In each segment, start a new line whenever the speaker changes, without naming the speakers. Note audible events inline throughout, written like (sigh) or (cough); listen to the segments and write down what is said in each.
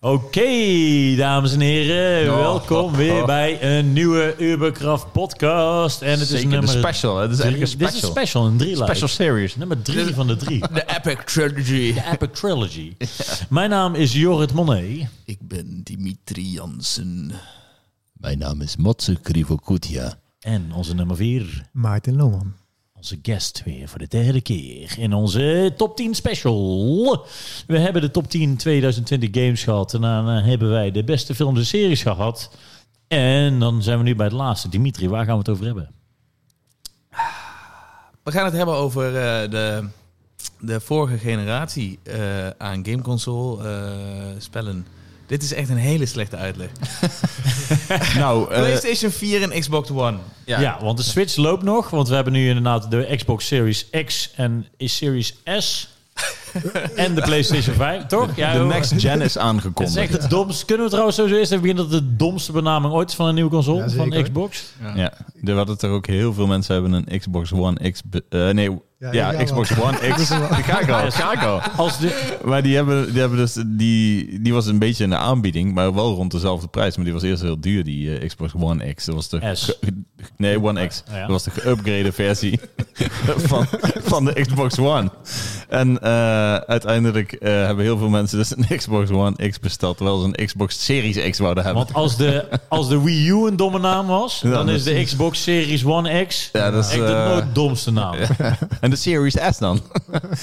Oké, dames en heren,
Oh,
welkom
oh,
weer
(laughs) oh.
bij een nieuwe Uberkraft podcast. En het is
Zeker
nummer
de special. hè. Het is
drie-
eigenlijk een
Dit is
special.
een special, een drie
Special series.
Nummer drie van de
(laughs)
drie.
De Epic Trilogy.
De Epic Trilogy. Mijn naam is Jorrit Monet.
Ik ben Dimitri Jansen.
Mijn naam is Matsu Krivokutia.
En onze nummer vier,
Maarten Loman.
onze guest weer voor de derde keer in onze top 10 special. We hebben de top 10 2020 games gehad. En dan eh, hebben wij de beste films en series gehad. En dan zijn we nu bij het laatste. Dimitri, waar gaan we het over hebben?
We gaan het hebben over eh, de, de vorige generatie eh, aan gameconsole eh, spellen. Dit is echt een hele slechte uitleg.
(laughs) Nou, eh,
PlayStation 4 en Xbox One.
Ja. want de Switch loopt nog. Want we hebben nu inderdaad de Xbox Series X en Series
(laughs)
S. en de PlayStation 5, toch? Ja,
de
joh.
next gen is
Het Oh. (laughs) is
aangekondigd.
echt het domste. Kunnen we trouwens sowieso eerst even beginnen dat het de domste benaming ooit is van een nieuwe console
Ja,
van
zeker.
Xbox?
Ja, er hadden er ook heel veel mensen hebben een Xbox One X. be- eh, nee,
Ja,
ja,
ja, ja,
Xbox One X. Ga ik al, ga ik al.
Als de,
Maar die hebben, die hebben dus die, die was een beetje in de aanbieding, maar wel rond dezelfde prijs. Maar die was eerst heel duur, die eh, Xbox One X. Dat was de
S.
ge- ge- nee, One X.
Ja.
Dat was de geüpgrade versie (laughs) van, van de Xbox One. En eh, uiteindelijk eh, hebben heel veel mensen dus een Xbox One X besteld, terwijl ze een Xbox Series X wouden hebben.
want als de, als de Wii U een domme naam was,
Ja,
dan is de
precies.
Xbox Series One X
Ja, dat is,
echt de
eh,
nooit domste naam.
En de Series S (laughs) dan?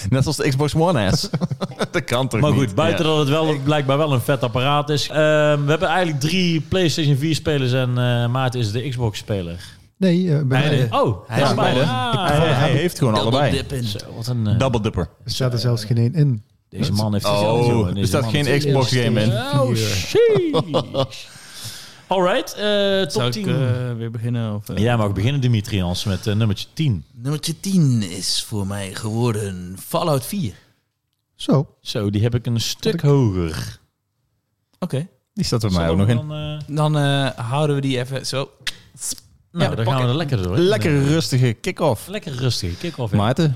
Net als de Xbox One S. (laughs) dat kan toch
Maar
niet?
goed, buiten dat het wel blijkbaar wel een vet apparaat is. Ehm, we hebben eigenlijk drie PlayStation 4 spelers en eh Maarten is de Xbox speler.
Nee, eh, bij mij
Oh, hij
is
is
beide.
Ja. Hij, hij heeft gewoon allebei.
Zo, wat een... eh,
Double dipper.
er staat er zelfs geen één in.
deze man heeft geld,
Oh,
jongen.
er
Deze
staat
man
geen
heeft
Xbox game in.
geld. Oh, sheesh. Alright, eh,
Zou
top
ik
10.
eh, weer beginnen? Of, eh?
Jij mag beginnen, Dimitrians, met eh, nummertje 10.
Nummertje 10 is voor mij geworden Fallout 4.
Zo.
Zo, die heb ik een stuk hoger.
Oké,
Die staat er bij mij ook
Zal
nog
ik
in.
dan, eh,
dan eh, houden we die even zo.
nou,
de
dan gaan
pakken.
we er lekker door.
Lekker
Eh,
rustige kick-off.
lekker rustig. Kick-off. in.
Maarten?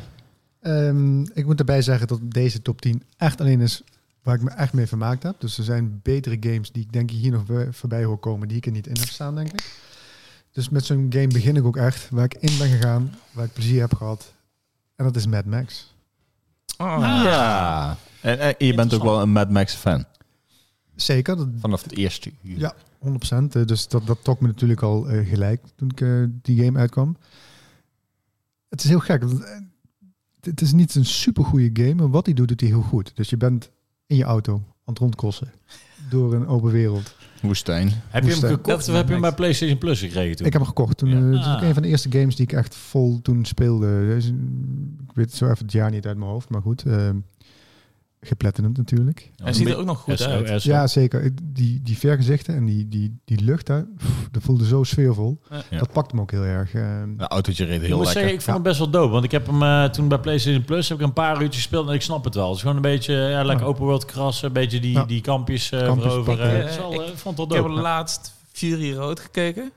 Ehm, ik moet erbij zeggen dat deze top 10 echt alleen is waar ik me echt mee vermaakt heb. Dus er zijn betere games die ik denk ik hier nog weer voorbij hoor komen, die ik er niet in heb staan, denk ik. Dus met zo'n game begin ik ook echt waar ik in ben gegaan, waar ik plezier heb gehad. En dat is Mad Max.
Ah.
Ja. En, eh, je bent ook wel een Mad Max fan.
Zeker, dat,
Vanaf het eerste uur.
Ja, 100%. Eh, Dus dat, dat trok me natuurlijk al eh, gelijk toen ik eh, die game uitkwam. Het is heel gek. want, eh, Het is niet een supergoeie game, maar wat hij doet, doet hij heel goed. Dus je bent in je auto aan het rondkossen door een open wereld.
Woestijn.
Heb je hem
Woestijn.
gekocht of heb je hem bij PlayStation Plus gekregen toen?
Ik heb hem gekocht. Toen,
Ja.
eh, dat was
Ah.
ook een van de eerste games die ik echt vol toen speelde. Dus, mm, ik weet zo even het jaar niet uit mijn hoofd, maar goed. eh geplattenend natuurlijk.
Hij ziet er ook nog goed uit.
SOS.
Ja, zeker. Ik- Die, die vergezichten en die, die, die lucht daar, pff, dat voelde zo sfeervol.
Ja.
Dat pakt hem ook heel erg. ehm.
Een autootje reed
ik
heel
moet
lekker.
zeggen, ik vond hem best wel dope. Want ik heb hem eh, toen bij PlayStation Plus heb ik een paar uurtjes gespeeld en ik snap het wel. Het is gewoon een beetje eh, ja, lekker
Ja.
open world krassen, een beetje die,
Ja.
die kampjes eh
Kampjes
veroveren.
pakken.
Eh, het is wel, eh, ik vond het
Ik
wel
heb
dope.
laatst Fury Road gekeken.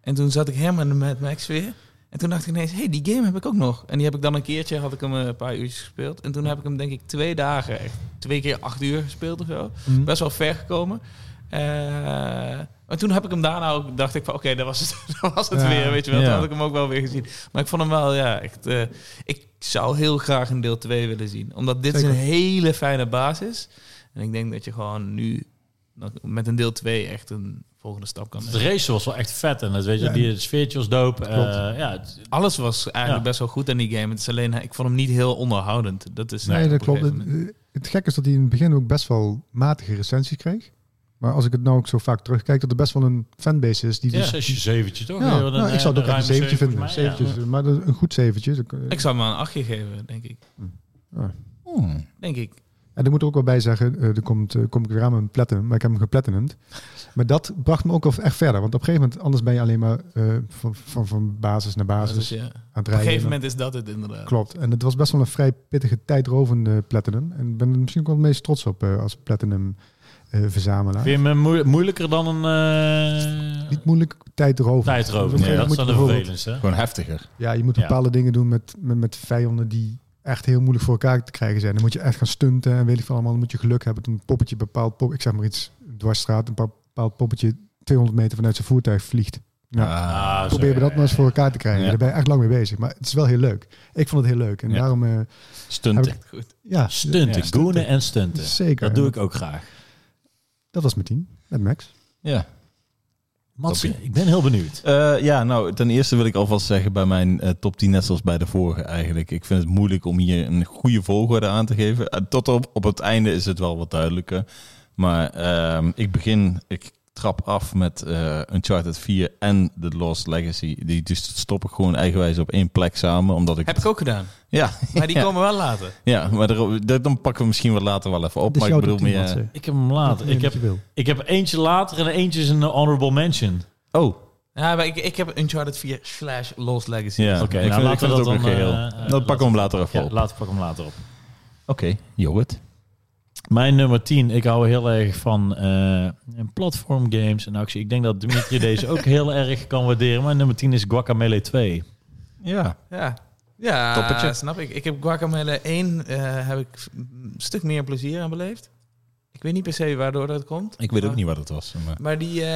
En toen zat ik helemaal in de Mad Max weer. En toen dacht ik ineens, hey, die game heb ik ook nog. En die heb ik dan een keertje, had ik hem eh, een paar uurtjes gespeeld. En toen heb ik hem denk ik twee dagen, echt twee keer acht uur gespeeld of zo.
Mhm.
Mm.
Best wel ver gekomen. Eh, maar toen heb ik hem daarna ook, dacht ik van, oké, dat was het, (laughs) dat was het
Ja.
weer, weet je wel. Toen
Ja.
had ik hem ook wel weer gezien. Maar ik vond hem wel, ja, echt... eh, ik zou heel graag een deel 2 willen zien. Omdat dit
Zeker.
is een hele fijne basis. En ik denk dat je gewoon nu dat- met een deel 2 echt een volgende stap kan
Het
nemen.
race was wel echt vet en het, weet je,
Ja.
die het sfeertje was dope. Eh,
Klopt.
ja, het-
Alles was eigenlijk
Ja.
best wel goed in die game. Het is alleen, ik vond hem niet heel onderhoudend. Dat is
nee,
op
dat
een
klopt.
gegeven
Het,
moment.
het gekke is dat hij in het begin ook best wel matige recensies kreeg. Maar als ik het nou ook zo vaak terugkijk, dat er best wel een fanbase is die
het
dus...
is een zeventje toch?
Ja,
Eh, dan,
nou, ik
eh,
zou het ook
ruim
echt een zeventje
zeven,
vinden.
volgens mij, ja.
Zeventjes, Maar dat- een goed zeventje. Dus, eh,
Ik zou hem wel een achtje geven, denk ik.
Hmm.
Denk ik.
En ik moet er ook wel bij zeggen, eh, er komt, eh, kom ik weer aan met een platinum, maar ik heb hem geplattenend. Maar dat bracht me ook wel echt verder. Want op een gegeven moment, anders ben je alleen maar eh, van, van, van basis naar basis
Dus ja. Op
aan het
een
rijden.
gegeven moment is dat het inderdaad.
Klopt. En het was best wel een vrij pittige, tijdrovende platinum. En ik ben er misschien ook wel het meest trots op eh, als platinum eh, verzamelaar.
Vind je hem moe- moeilijker dan een eh
Niet moeilijk, tijdrovend.
tijdrover?
Moet je-
Ja, dat
moet
is dan
je
de
bijvoorbeeld-
vervelendste. hè?
Gewoon heftiger.
Ja, je moet
Ja.
bepaalde dingen doen met, met, met vijanden die echt heel moeilijk voor elkaar te krijgen zijn. Dan moet je echt gaan stunten en weet ik veel allemaal. Dan moet je geluk hebben dat een poppetje bepaald... Pop, ik zeg maar iets, dwarsstraat, een pa- bepaald poppetje 200 meter vanuit zijn voertuig vliegt. Nou,
Ah,
probeer we dat maar eens voor elkaar te krijgen.
Ja.
Daar ben je echt lang mee bezig. Maar het is wel heel leuk. Ik vond het heel leuk. En
Ja.
daarom, eh,
Stunten.
ja,
Stunten,
Ja,
goenen en stunten.
zeker.
Dat doe ik ook graag.
Dat was mijn team, met Max.
Ja.
Matze,
Toppie.
ik ben heel benieuwd.
Eh, ja, nou, ten eerste wil ik alvast zeggen bij mijn eh, top 10, net zoals bij de vorige eigenlijk. Ik vind het moeilijk om hier een goede volgorde aan te geven. Eh, tot op, op het einde is het wel wat duidelijker. Maar ehm, ik begin, ik trap af met eh Uncharted 4 en The Lost Legacy. Die dus stop ik gewoon eigenwijs op één plek samen, omdat ik...
Heb ik ook gedaan.
Ja,
Maar die
(laughs) Ja.
komen wel later.
ja maar daarop- dat, dan pakken we misschien wel later wel even op.
Dit is
Maar ik
Dus jouw
bedoel
top 10,
meer...
Matze.
Ik heb hem
Wat
later.
je
Ik heb,
wil.
ik heb eentje later en eentje is een honorable mention.
oh,
Ja, maar ik, ik heb Uncharted 4 slash Lost Legacy.
ja.
Oké,
Ik
nou,
vind- ik
laten
vind
we
het
dat
ook
dan,
een geheel.
eh, eh,
dan
laten
pakken we hem later even
Ja,
op.
later pak hem later op.
Oké, Jobbert.
Mijn nummer 10. Ik hou heel erg van eh, platform games en actie. Ik denk dat
(laughs)
Dimitri deze ook heel erg kan waarderen. Mijn nummer 10 is Guacamele 2.
Ja.
Ja, ja
Toppetje.
snap ik. Ik heb Guacamele 1 eh, heb ik een stuk meer plezier aan beleefd. Ik weet niet per se waardoor dat komt.
Ik weet ook
Maar-
niet wat het was. Maar...
Maar die, eh,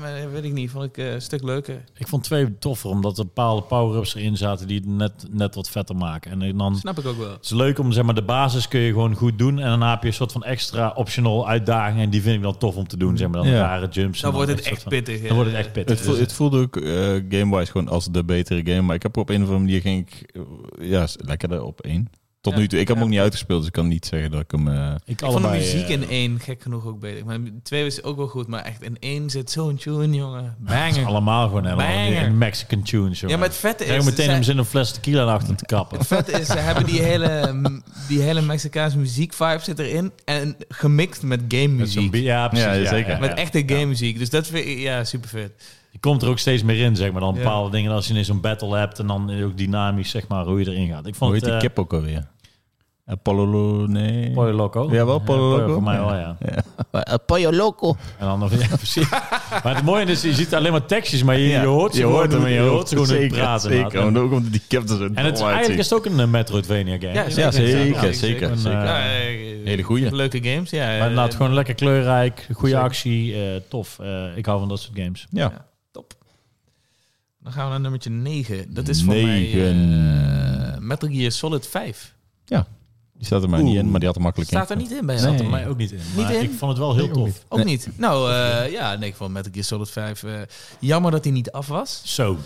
maar weet ik niet, vond ik eh, een stuk leuker.
Ik vond 2 toffer, omdat er bepaalde power-ups erin zaten die het net, net wat vetter maken. En dan
Snap ik ook wel.
Het is leuk om, zeg maar, de basis kun je gewoon goed doen. En daarna heb je een soort van extra optional uitdagingen. En die vind ik dan tof om te doen, zeg maar. Dan
Ja.
rare jumps. en
Dan wordt het
soort
echt
van-
pittig. eh.
Dan wordt het echt pittig.
Het, voel-
Dus-
het voelde ook eh, game-wise gewoon als de betere game. Maar ik heb er op een of andere manier ging ik eh, ja, s- lekkerder op één. Tot
Ja,
nu toe. Ik heb
ja.
hem ook niet uitgespeeld, dus ik kan niet zeggen dat ik hem... eh,
ik
Ik vond de
allebei,
muziek
eh,
in 1 gek genoeg ook beter. Maar 2 is ook wel goed, maar echt in 1 zit zo'n tune, jongen. Banger.
Allemaal gewoon helemaal
Hm. Banger.
in Mexican tunes,
Ja,
jongen.
maar het vette
Zeg
is...
meteen
zij-
om ze in een fles tequila naar achter te
(laughs)
kappen.
Het vet is, ze hebben die hele, mm, die hele Mexicaanse muziek-vibe zit erin. En gemixt met
Met zo'n
game-muziek.
bi- ja, precies.
Ja,
ja,
zeker.
ja, ja.
Met echte game-muziek. Dus dat vind ik ja, super vet.
Je komt er ook steeds meer in, zeg maar. Dan
Ja.
bepaalde dingen als je in zo'n battle hebt. En dan ook dynamisch, zeg maar, hoe je erin gaat. Ik
hoe
vond
heet
het...
die
eh,
kip ook alweer? Eh, Pololo... Nee.
Pollo Loco.
Ja, wel Pollo Loco.
Voor mij wel, ja.
Eh, Pollo Loco.
En dan nog, ja, (laughs) precies. maar het mooie is, je ziet alleen maar tekstjes, maar je, je hoort ze
je
gewoon,
hoort hem in je hoort
gewoon
zeker,
praten.
Zeker,
inderdaad.
want ook omdat die kip er zo
En het, is-
dom
eigenlijk
uitziet.
is het ook een eh, Metroidvania game.
Ja,
Ja, zeker,
Zeker,
zeker.
Een,
zeker.
eh,
Ja, eh,
Hele goeie.
Leuke games, ja.
maar
eh,
inderdaad, gewoon lekker kleurrijk, goede
zeker.
actie, eh, tof. Eh, ik hou van dat soort games.
ja.
Top. Dan gaan we naar nummertje 9. Dat is voor mij
Negen.
eh Metal Gear Solid 5.
Die staat er maar niet in, maar die had er makkelijk
Staat
in.
er niet in bij
Zat
jou?
er mij ook niet in. Maar
Niet in?
ik vond het wel heel
Nee, ook
tof.
niet.
Ook niet. Nou, eh, ja, nee, ik vond Metal Gear Solid 5... eh, jammer dat hij niet af was.
Zo.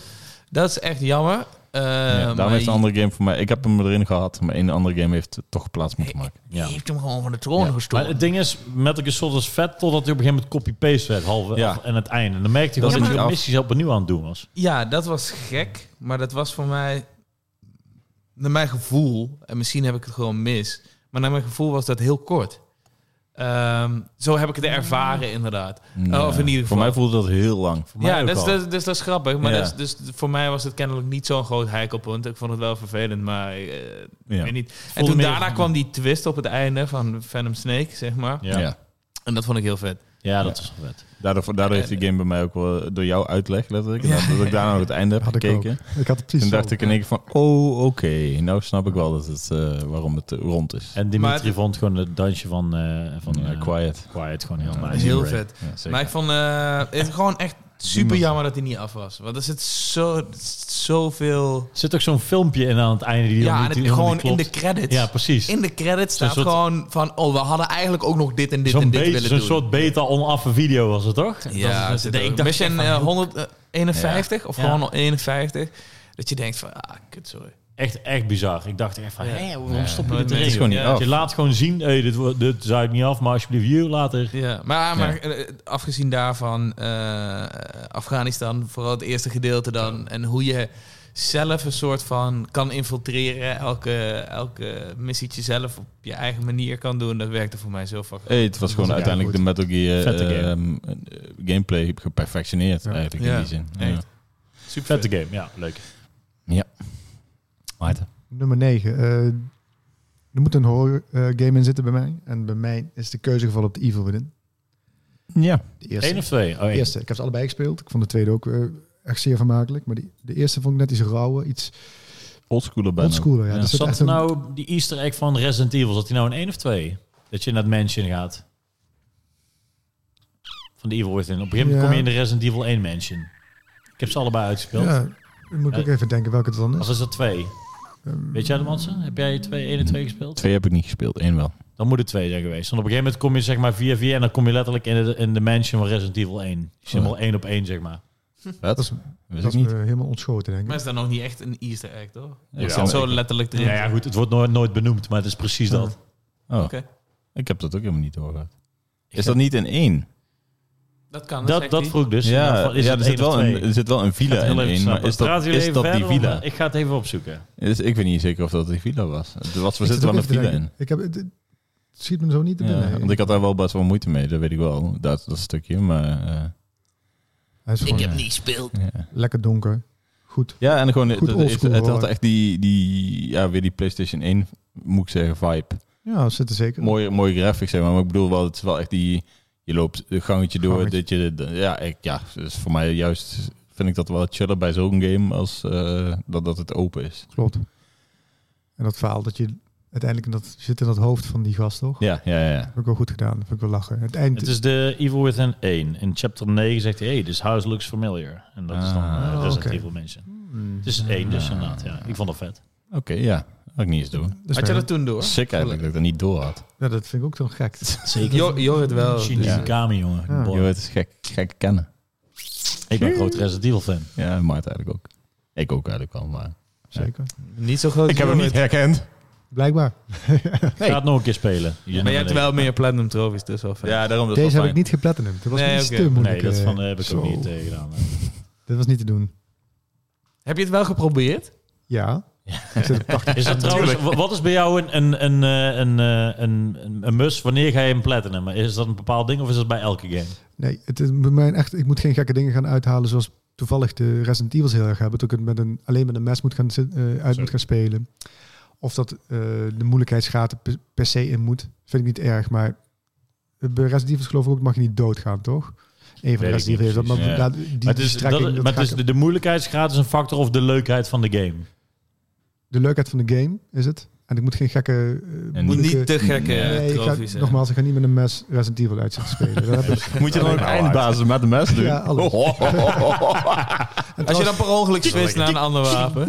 Dat is echt jammer. Eh,
Ja,
maar
daarom heeft een
je-
andere game voor mij... Ik heb hem erin gehad, maar één andere game heeft toch plaats moeten maken.
Ja.
Je heeft hem gewoon van de troon
Ja,
Maar
gestolen.
het ding is, Metal Gear Solid is vet totdat hij op een gegeven moment copy-paste werd, halve
Ja.
af- en het einde. En dan merkte je
Dat
gewoon
is
dat je
niet af.
missies opnieuw aan het doen was.
Ja, dat was gek. Maar dat was voor mij... Naar mijn gevoel... En misschien heb ik het gewoon mis. Maar naar mijn gevoel was dat heel kort. Ehm, zo heb ik het ervaren, inderdaad.
Ja.
Oh, of in ieder
Voor
geval.
mij voelde dat heel lang.
Voor mij
Ja,
ook
dat is,
al.
dat, is- dus dat is grappig. Maar
Ja.
dat is- dus voor mij was het kennelijk niet zo'n groot heikelpunt. Ik vond het wel vervelend, maar eh, ik
Ja.
weet niet. En
Voelde
toen
meer-
daarna kwam die twist op het einde van Venom Snake, zeg maar.
Ja. Ja.
ja.
En dat vond ik heel vet.
dat is wel vet.
Daardoor, daardoor heeft die game bij mij ook wel eh, door jouw uitleg letterlijk. en Dat, dat ik daarna nog het einde heb
Had ik ook.
gekeken.
Ik had het precies
Toen
zo. eh,
dacht ik in één keer van, oh oké, nou snap ik wel dat het, eh, waarom het eh, rond is.
En Dimitri
Maar het-
vond gewoon het dansje van, eh, van
Ja,
eh,
quiet.
Quiet gewoon heel
Ja,
nice.
Heel
Brain.
vet.
Ja, zeker.
Maar ik vond eh, het gewoon echt super
Niemand-
jammer dat hij niet af was. Want er zit zo, zoveel...
Er zit ook zo'n filmpje in aan het einde die
Ja,
nog
en
niet,
het-
die nog
gewoon
niet
in
klopt.
de credits.
Ja, precies.
In de credits
Zo'n
staat
soort-
gewoon van... Oh, we hadden eigenlijk ook nog dit en dit
Zo'n
en dit
beetje-
willen
zo'n
doen.
soort beta onaffe video was het toch?
Ja,
dat is,
zit
dat-
er-
ik dacht
Mission
echt van,
eh,
hoe-
151 of
Ja.
gewoon al 51. Dat je denkt van, ah, kut, sorry.
echt, echt bizar. Ik dacht echt van, hé, waarom
Ja.
stoppen we dit
Nooit meer.
erin?
Het is gewoon niet
Ja.
af.
Je laat gewoon oh. zien, hey, dit, wo- dit zuigt niet af, maar alsjeblieft, you later.
Ja, maar, maar eh, afgezien daarvan, eh, Afghanistan, vooral het eerste gedeelte dan. En hoe je zelf een soort van kan infiltreren. Elke, elke missietje zelf op je eigen manier kan doen. Dat werkte voor mij zo fucking
Hey, het was gewoon
was ook
uiteindelijk de Metal Gear
Vette
eh,
game.
ehm, eh, gameplay geperfectioneerd
Ja.
eigenlijk
Ja,
in die zin. Ja.
echt. super.
Vette game, ja, leuk.
Maarten?
Nummer 9. eh, er moet een horror eh, game in zitten bij mij. En bij mij is de keuze gevallen op de Evil Within.
Ja.
De eerste.
Eén of twee? Oh,
De
één.
eerste. Ik heb ze allebei gespeeld. Ik vond de tweede ook eh, echt zeer vermakelijk. Maar die, de eerste vond ik net iets rauwer. Iets
Oldschool bijna.
Oldschooler, ja.
Ja.
Dus dat is
Zat
echt een-
nou die easter egg van Resident Evil, zat die nou in één of twee? Dat je naar het mansion gaat. Van de Evil Within. Op een gegeven moment
Ja.
kom je in de Resident Evil 1 mansion. Ik heb ze allebei uitgespeeld.
Ja, dan moet ik ook even denken welke het dan
Of
is.
is dat twee? Weet jij dat, Mansen? Heb jij 2, 1 en 2 gespeeld?
Twee heb ik niet gespeeld, één wel.
Dan moet het twee zijn geweest. Want op een gegeven moment kom je zeg maar via via en dan kom je letterlijk in de, in de mansion van Resident Evil 1. Je zit helemaal één op één, zeg maar.
Wat?
Dat is,
Weet ik
dat is
niet.
me helemaal ontschoten, denk
Maar
ik.
is dat nog niet echt een easter egg, toch?
Ja,
Ja,
maar
zo
ik-
letterlijk erin.
Ja, ja, goed, het wordt nooit, nooit benoemd, maar het is precies
Ja.
dat.
Oh,
Oké.
ik heb dat ook helemaal niet doorgehad.
Ik
Is
heb-
dat niet in één?
Dat kan,
Dat, dat vroeg ik dus.
ja,
Is
ja
het
er,
één
zit
of
wel een,
twee?
er zit wel een
Ik
villa
ga het
in
heel even
één, maar
snappen.
is dat,
Praten jullie
is
even
dat die
verder of-
villa?
Ik ga het even opzoeken.
Dus ik weet niet zeker of dat die villa was. Het was we
Ik
zitten
zit
wel een
ook even te
villa in.
denken. Ik heb, het, het schiet me zo niet te binnen.
Ja, want ik had daar wel best wel moeite mee, dat weet ik wel. Dat, dat stukje, maar... eh,
Hij is
Ik
gewoon
heb niet gespeeld.
ja.
lekker donker. Goed.
ja, en gewoon... Het,
Goed
het-
oldschool,
het had
hoor.
echt die, die... Ja, weer die PlayStation 1, moet ik zeggen, vibe.
Ja, we zitten zeker. in.
Mooie, mooie graphics, zeg maar. Maar ik bedoel wel, het is wel echt die... Je loopt een gangetje door,
Gangetje.
dat je... de- ja, ik, ja, dus voor mij juist vind ik dat wel chiller bij zo'n game als eh, dat, dat het open is.
Klopt. En dat verhaal dat je uiteindelijk in dat, zit in dat hoofd van die gast, toch?
Ja, ja, ja.
Heb ik wel goed gedaan. Heb ik wel lachen. Het eind
Het is de Evil Within 1. In chapter 9 zegt hij, hey, this house looks familiar. En dat is dan
Ah,
eh, Resident
oké.
Evil Mansion.
Hmm.
Het is een 1 dus inderdaad, ja. Ik vond dat vet.
Oké, ja. Had ik niet eens door.
Dus
Had je
wij-
dat toen door?
Sick eigenlijk dat ik dat niet door had.
ja, dat vind ik ook zo
(laughs)
gek.
Zeker.
Jo, jo het wel. dus
Shinji
Ja.
Mikami, jongen.
Ja.
Boy.
Je het is gek, gek kennen.
Ik ben een groot Resident Evil fan.
Ja, Maarten eigenlijk ook. Ik ook eigenlijk al, maar...
Zeker.
Niet zo groot. als Jorrit.
herkend.
Blijkbaar.
Gaat Ga het nog een keer spelen. Ja,
Maar je hebt wel meer platinum trophies, dus wel vet.
Ja, daarom dat is
Deze
wel
heb ik
fijn.
niet geplatinumd. Dat was
Nee,
iets
oké.
te moeilijk.
Nee, dat
eh,
van, eh, heb ik
zo.
ook niet eh, gedaan. hè.
Dat was niet te doen.
Heb je het wel geprobeerd?
Ja. Ik zit op 80.
Is dat trouwens, wa- wat is bij jou een, een, een, eh, een, eh, een, een, een mus? Wanneer ga je hem platinum? Is dat een bepaald ding of is dat bij elke game?
Nee, het is bij mij echt, ik moet geen gekke dingen gaan uithalen zoals toevallig de Resident Evils heel erg hebben. Dat ik het met een, alleen met een mes moet gaan, zit- eh, uit
Zo.
moet gaan spelen. Of dat eh, de moeilijkheidsgraad er per, per se in moet. Vind ik niet erg, maar bij Resident Evils geloof ik ook mag je niet doodgaan, toch? Een van de
ik
Resident
niet
Evils. dat- Maar
precies, ja.
ja, die,
Maar het
die
is, dat,
strekking, dat
maar het
ga
is
ik-
de, de moeilijkheidsgraad is een factor of de leukheid van de game.
de leukheid van de game is het. En ik moet geen gekke... eh,
En
Moet
moeilijke-
niet te gekke
Nee,
Nee, ik ga,
trofies hebben.
nogmaals, ik ga niet met een mes Resident Evil uit zitten
(laughs)
spelen. Dat heb ik.
Moet
(laughs)
je dan ook eindbazen met de mes doen?
Ja,
(laughs)
alles. En
Als je
trouwens-
dan per ongeluk switcht naar een ander wapen.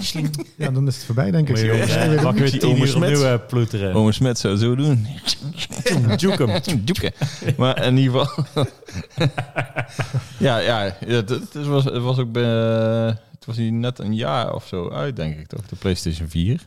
Ja, dan is het voorbij, denk ik.
Moet je
Ik weet het
weer,
niet. Oh.
pak je weer
Die
tien
Ome
uur
Smit.
opnieuw eh, ploeteren.
Ome Smit zou zo doen. Juke (laughs) hem. Maar in ieder geval... ja, ja. ja, Het, het was, het was ook... bij- het was hier net een jaar of zo uit, denk ik, toch? De PlayStation 4.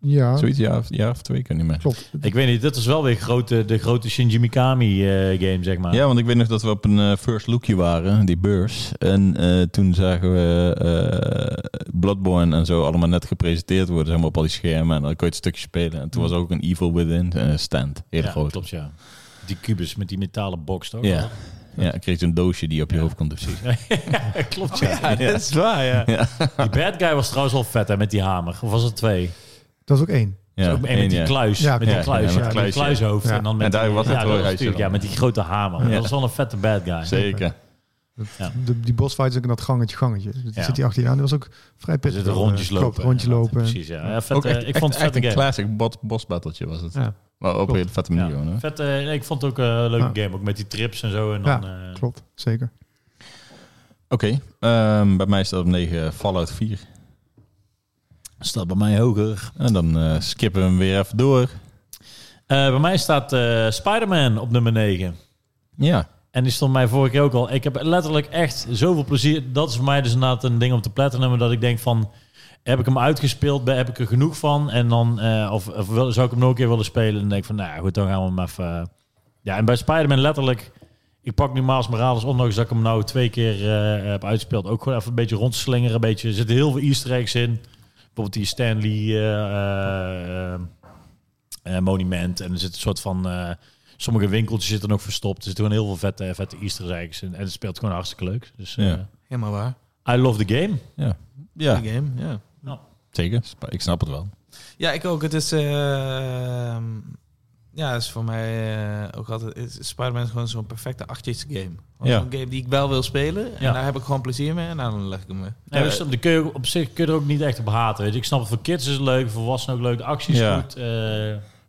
Ja,
Zoiets, een jaar of, jaar of twee, ik weet niet meer.
klopt.
Ik weet niet, dit is wel weer grote, de grote Shinji Mikami eh, game, zeg maar.
Ja, want ik weet nog dat we op een eh, first lookje waren, die beurs. En eh, toen zagen we eh, Bloodborne en zo allemaal net gepresenteerd worden, zeg maar, op al die schermen. En dan kon je het stukje spelen. En toen was er ook een Evil Within eh, stand, heel
Ja,
groot.
Klopt, ja. Die kubus met die metalen box, toch?
Ja. Ja, dan kreeg je een doosje die op je
Ja.
hoofd kon precies.
(laughs) klopt, ja.
Ja.
Dat is waar, ja.
Die bad guy was trouwens wel vet, hè, met die hamer. Of was het twee?
Dat is ook één.
Ja,
ook één met die
ja.
kluis.
Ja,
met die
ja,
kluis,
ja,
ja,
met
met die
kluis, ja.
kluishoofd.
Ja.
En dan met
En daar was
ja,
het
dat
wel
was
juist
natuurlijk,
dan.
ja, met die grote hamer.
Ja.
Dat was wel een vette bad guy.
Zeker.
Ja.
De, die bossfight is ook in dat gangetje, gangetje. Dus
Ja.
Zit hij achter je aan? Dat was ook vrij
Er
pittig.
zitten rondjes
Klopt,
lopen.
rondjes
inderdaad.
eh, lopen.
Precies, ja. Ja, vet,
Ook
eh,
echt,
ik vond het
echt,
vette
echt een
game.
classic bot, boss battletje was het.
Ja,
Maar op een
Klopt.
hele vette manier. gewoon, hè?
Ja. Vet, eh, nee, ik vond het ook eh, een leuke game, ook met die trips en zo. En
Ja,
dan, eh,
klopt. Zeker.
Oké, ehm, bij mij staat op 9 Fallout 4.
staat bij mij hoger.
En dan eh, skippen we hem weer even door.
bij mij staat eh Spider-Man op nummer 9.
Ja,
En die stond mij vorige keer ook al. Ik heb letterlijk echt zoveel plezier. Dat is voor mij dus inderdaad een ding om te platinum. Dat ik denk van, heb ik hem uitgespeeld? Ben- Heb ik er genoeg van? En dan, eh, of, of wil- zou ik hem nog een keer willen spelen? En dan denk ik van, nou ja, goed, dan gaan we hem even... eh. Ja, en bij Spider-Man letterlijk... Ik pak nu Miles Morales, ondanks dat ik hem nou twee keer eh, heb uitgespeeld. Ook gewoon even een beetje rondslingeren. Een beetje, er zitten heel veel easter eggs in. Bijvoorbeeld die Stanley eh, eh, eh, monument. En er zit een soort van... eh, sommige winkeltjes zitten nog verstopt. Er zitten gewoon heel veel vette, vette easter eggs in. En het speelt gewoon hartstikke leuk. Dus eh,
Ja.
Helemaal waar.
I love the game.
ja
Die game, ja.
zeker. Sp- Ik snap het wel.
Ja, ik ook. Het is... ehm, Ja, dat is voor mij eh, ook altijd... is- Spider-Man is gewoon zo'n perfecte achtjes game. Gewoon
Ja.
Een game die ik wel wil spelen. En
Ja.
daar heb ik gewoon plezier mee. En dan leg ik hem weer.
Nee, dus dan kun je op zich kun je er ook niet echt op haten. Weet je. Ik snap het voor kids is het leuk, voor volwassenen ook leuk, de acties
Ja.
goed. eh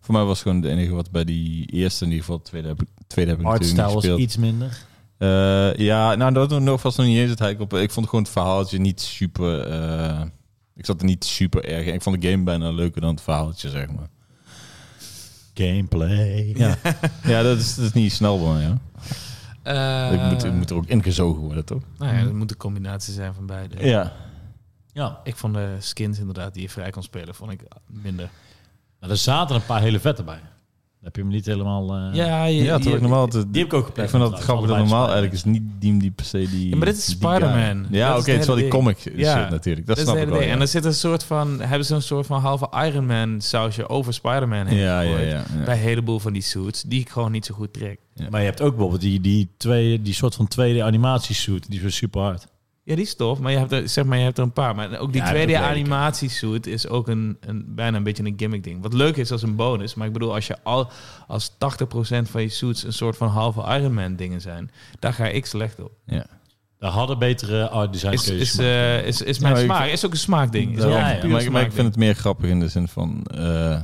Voor mij was het gewoon de enige wat bij die eerste in ieder geval. Tweede heb ik, tweede heb ik natuurlijk niet
hardstyle was
gespeeld.
iets minder.
Eh, ja, nou dat nog vast nog niet eens het hek op. Ik vond gewoon het verhaaltje niet super. eh, ik zat er niet super erg in. Ik vond de game bijna leuker dan het verhaaltje, zeg maar.
Gameplay.
Ja, ja dat, is, dat is niet snel bij mij. Hè?
Eh,
ik, moet, ik moet er ook ingezogen worden, toch?
Nou ja, dat moet een combinatie zijn van beide.
Ja.
Ja,
Ik vond de skins inderdaad die je vrij kon spelen, vond ik minder.
maar er zaten een paar hele vette bij. Dan heb je hem niet helemaal... eh,
je,
Ja, terwijl ik normaal altijd-
Die heb ik ook gepland.
Ik vind dat
trouwens,
grappig dat
allebei
normaal
Spider-Man.
eigenlijk is niet die, die per se die...
Ja, maar dit is
die
Spider-Man.
guy.
Dat
Ja,
is
oké,
het
het is wel die
hele
comic
Ja.
shit natuurlijk. Dat,
Dat, is
snap
het
ik
hele
wel.
ding. En
ja.
er zit een soort van, hebben ze een soort van halve Iron Man sausje over Spider-Man heen
ja, ja,
gegooid.
ja, ja.
Bij een heleboel van die suits, die ik gewoon niet zo goed trek.
Maar je hebt ook bijvoorbeeld die, die, twee, die soort van tweede animatiesuit. Die was super hard.
Ja, die is tof, maar je hebt er, zeg maar, je hebt er een paar. Maar ook die
Ja,
tweede
dat weet ik.
animatiesuit is ook een, een, bijna een beetje een gimmick ding. Wat leuk is als een bonus, maar ik bedoel, als je al als 80% van je suits een soort van halve Iron Man dingen zijn, daar ga ik slecht op.
Daar hadden betere art design
Is,
keuzes.
is,
gemaakt.
eh, is, is mijn
Nou, ik-
smaak, is ook een smaakding. Is
Ja,
ook
ja,
een
maar
puur
maar, ik- maar ik
smaakding.
vind het meer grappig in de zin van... eh,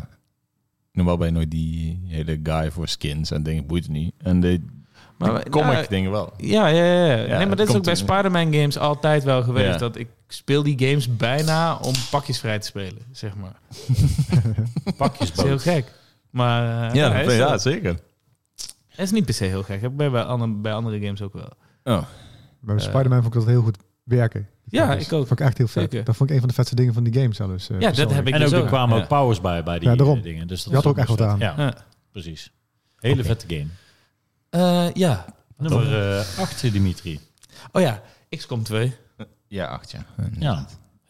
normaal ben je nooit die hele guy voor skins en dingen. Boeit het niet. En de
Maar- nou,
de comic dingen wel.
Ja, ja, ja. ja. nee, maar
het
dit is ook
komt
bij
in-
Spider-Man games altijd wel geweest.
Ja.
Dat ik speel die games bijna om pakjes vrij te spelen, zeg maar.
pakjes
eh, (laughs)
Dat is heel gek. Maar eh,
Ja,
hij
ja,
is, wel-
zeker.
hij is niet per se heel gek. Dat heb ik bij, andere, bij andere games ook wel.
Oh,
Maar bij
Eh.
Spider-Man vond ik dat heel goed werken.
Ja,
Dat is-
ik ook.
Vond ik echt heel vet.
Zeker.
Dat vond ik een van de vetste dingen van die game zelfs. eh,
Ja, dat
persoonlijk.
heb ik
en ook,
dus
er
ook.
kwamen
Ja.
ook powers bij, bij die
Ja, daarom.
eh, dingen. Dus dat
Je had
is
ook echt
best
wat
vet.
aan.
Ja,
Ja.
precies. Hele vette game.
Eh, ja.
Nummer 8, Dimitri.
Oh ja, XCOM 2.
ja, acht ja.
Ja,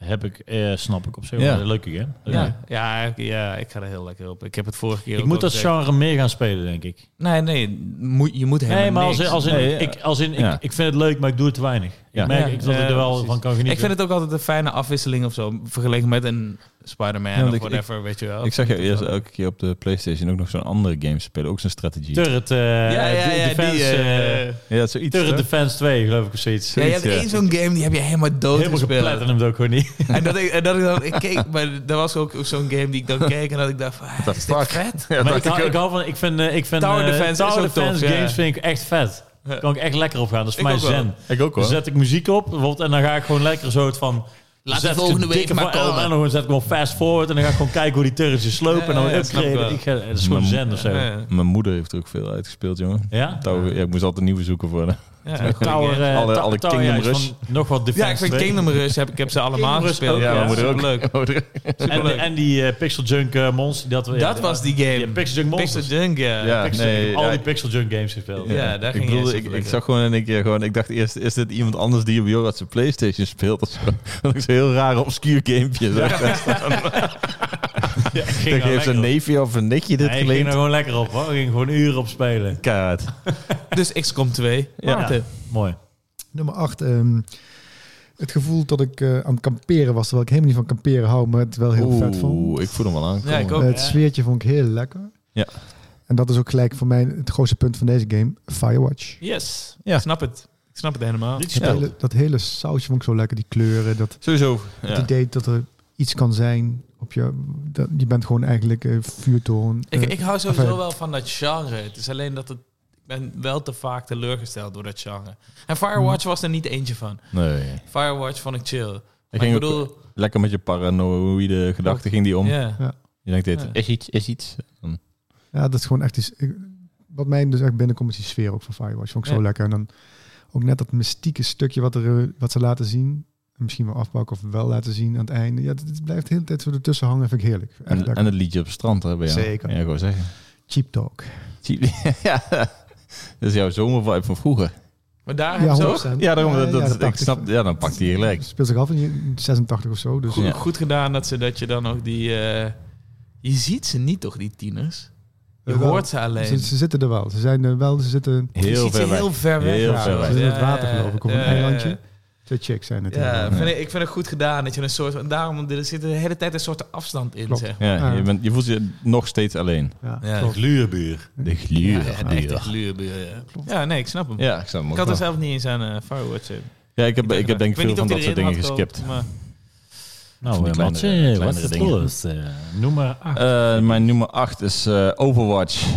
heb ik, eh, snap ik op zich.
Ja.
wel. Leuke game. Leuke game.
Ja. Ja, ik- ja, ik ga er heel lekker op. Ik heb het vorige keer
Ik
ook
moet
al
dat
gezegd.
genre meer gaan spelen, denk ik.
Nee, nee. moet- je moet helemaal
Nee, maar als,
niks.
als in,
Nee, ja.
ik, als in
Ja.
ik, ik vind het leuk, maar ik doe het te weinig.
Ja.
Ik merk
Ja,
ik, dat
ja,
ik er wel
precies.
van kan genieten.
Ik vind het ook altijd een fijne afwisseling of zo. Vergeleken met een Spider-Man
want
of
ik-
whatever, weet je wel.
Ik zag je eerst elke keer op de Playstation ook nog zo'n andere game spelen. Ook zo'n strategie.
Turret, eh, de- Defense, eh,
ja, zoiets.
Turret
eh,
toch?
Defense 2, geloof ik, of zoiets.
ja, je hebt
ja.
één zo'n game, die heb je helemaal dood
Helemaal geplet
gespeeld.
en hem ook gewoon niet.
En dat ik, en dat ik dan, ik keek, maar dat was ook zo'n game die ik dan keek en dat ik dacht van, hè,
the
is dit
fuck?
vet?
(laughs)
maar
Ja, dat
ik, hou- ik hou van, ik vind, eh, ik vind
Tower
eh,
Defense is
Tower
ook tof,
Defense
ja.
games vind ik echt vet. Daar kan ik echt lekker op gaan. Dat is voor
Ik
mij
ook wel.
zen.
ik ook
Dan
hoor.
zet ik muziek op bijvoorbeeld, en dan ga ik gewoon lekker zo het van...
Laat
zet
de
ik
volgende
zo'n
week
dikke
maar
va- En
komen.
dan zet ik gewoon fast forward en dan ga ik gewoon kijken hoe die turretjes slopen. en dan
Ja, ja, snap ik
upgraden.
wel.
Ik ga- Dat is gewoon
Maar-
zen of zo.
Ja,
Mijn moeder heeft er ook veel uitgespeeld, jongen.
Ja?
Touw- ja, ik moest altijd nieuwe zoeken voor de-
ja,
Tower,
goeie game.
eh,
Alle-
ta-
alle
Tower,
Kingdom
ja, is
Rush.
van Nog wat Defense
ja, ik vind
2.
Kingdom Rush, heb, ik heb ze allemaal
Kingdom Rush
gespeeld.
ook,
Ja,
ja.
mijn moeder ook.
Leuk.
Mijn moeder-
En, en die eh, Pixel Junk eh, Monster. Dat, ja,
Dat was die
Ja,
game.
Pixel Junk Monster.
Pixel Junk, ja.
Ja,
Pixel
nee,
Junk. Ik heb al
ja,
die Pixel Junk games gespeeld. (laughs)
Ja. daar
ik
ging
bedoel,
jij
ik,
zo
ik
lekker.
zag gewoon in een keer gewoon... Ik dacht eerst, is dit iemand anders die op Jorad zijn Playstation speelt of zo? (laughs) Dat is een heel raar obscuur gamepje. zag ik daar staan.
Ja, ik ging
Ik denk,
daar
heeft
nou lekker
een
op.
neefje of een nichtje dit
Nee, ik ging er
geleend?
gewoon lekker op hoor. Ik ging gewoon uren op spelen.
Kaart.
Dus XCOM 2.
Ja.
Maarten.
Mooi.
Nummer 8. het gevoel dat ik eh, aan het kamperen was, terwijl ik helemaal niet van kamperen hou, maar het wel heel vet vond.
Oeh, ik voel hem wel aan.
Ja, ik ook.
Oh,
Eh, het
ja.
sfeertje vond ik heel lekker.
Ja.
En dat is ook gelijk voor mij het grootste punt van deze game, Firewatch.
Yes.
Ja.
Ik snap het. Ik snap het helemaal.
Niet
Dat
gespeeld.
hele, dat hele sausje vond ik zo lekker, die kleuren, dat
Sowieso.
het
Ja.
idee dat er iets kan zijn op je... Dat, je bent gewoon eigenlijk eh, vuurtoren.
Ik,
eh,
ik hou sowieso
enfin-
wel van dat genre. Het is alleen dat het... Ik ben wel te vaak teleurgesteld door dat genre. En Firewatch was er niet eentje van.
Nee.
Firewatch vond ik chill.
Hm. Ik
Maar ik
ging ook
bedoel...
lekker met je paranoïde gedachten ging die om.
Ja.
Je denkt, dit
Ja.
is iets, is iets.
Ja, dat is gewoon echt iets. ik- wat mij dus echt binnenkomt is die sfeer ook van Firewatch. Vond ik zo
Ja.
lekker. En dan ook net dat mystieke stukje wat, er, eh, wat ze laten zien. Misschien wel afpakken of wel laten zien aan het einde. Ja, het, het blijft de hele tijd zo ertussen hangen. Vind ik heerlijk. Echt
En,
lekker.
en het liedje op het strand, hè, bij jou.
Zeker.
Ja, gewoon zeggen.
Cheap talk.
Zie- (laughs) ja. Dat is jouw zomervibe van vroeger.
Maar daar hebben ze ook
100%.
Ja, daarom, dat, dat-
ja,
ik
dacht
snap, ja, dan pakt hij je gelijk.
Het Speelt zich af in 86 of zo. Dus
goed,
Ja.
goed gedaan dat ze dat je dan ook die... eh, je ziet ze niet toch, die tieners? Je
Jawel.
hoort ze alleen.
ze, ze zitten er wel. Ze zijn er wel. Ze zitten
je
Heel
ziet
ver
ze
weg.
heel ver weg.
Heel
Ja,
ver
zo.
weg.
Ze zitten in het
Ja,
water, geloof ik, op een
ja,
eilandje.
ja,
Twee chicks zijn het.
Ja,
inderdaad.
vind ik, ik vind het goed gedaan dat je een soort. en Daarom er zit de hele tijd een soort afstand in.
Klopt.
Zeg. maar.
Ja,
Ja.
Je, bent, je voelt je nog steeds alleen.
Ja,
Ja.
klopt.
Gluurbuur.
De gluur. Ja,
Ja, echt een gluurbuur. Ja. ja, nee, ik snap hem.
ik snap hem
Ik
ook
had er
wel.
zelf niet eens aan eh Firewatch. eh,
Ja, ik heb,
gedacht.
ik heb denk
weet
ik veel
niet
van
of
dat
die
soort
erin
dingen
had
geskipt.
gehad, maar-
Nou,
Van die
eh,
kleinere-
Mats, eh, wat is
kleinere
het
dingen.
los? Eh, Noem maar acht.
Eh, mijn nummer 8 is eh, Overwatch.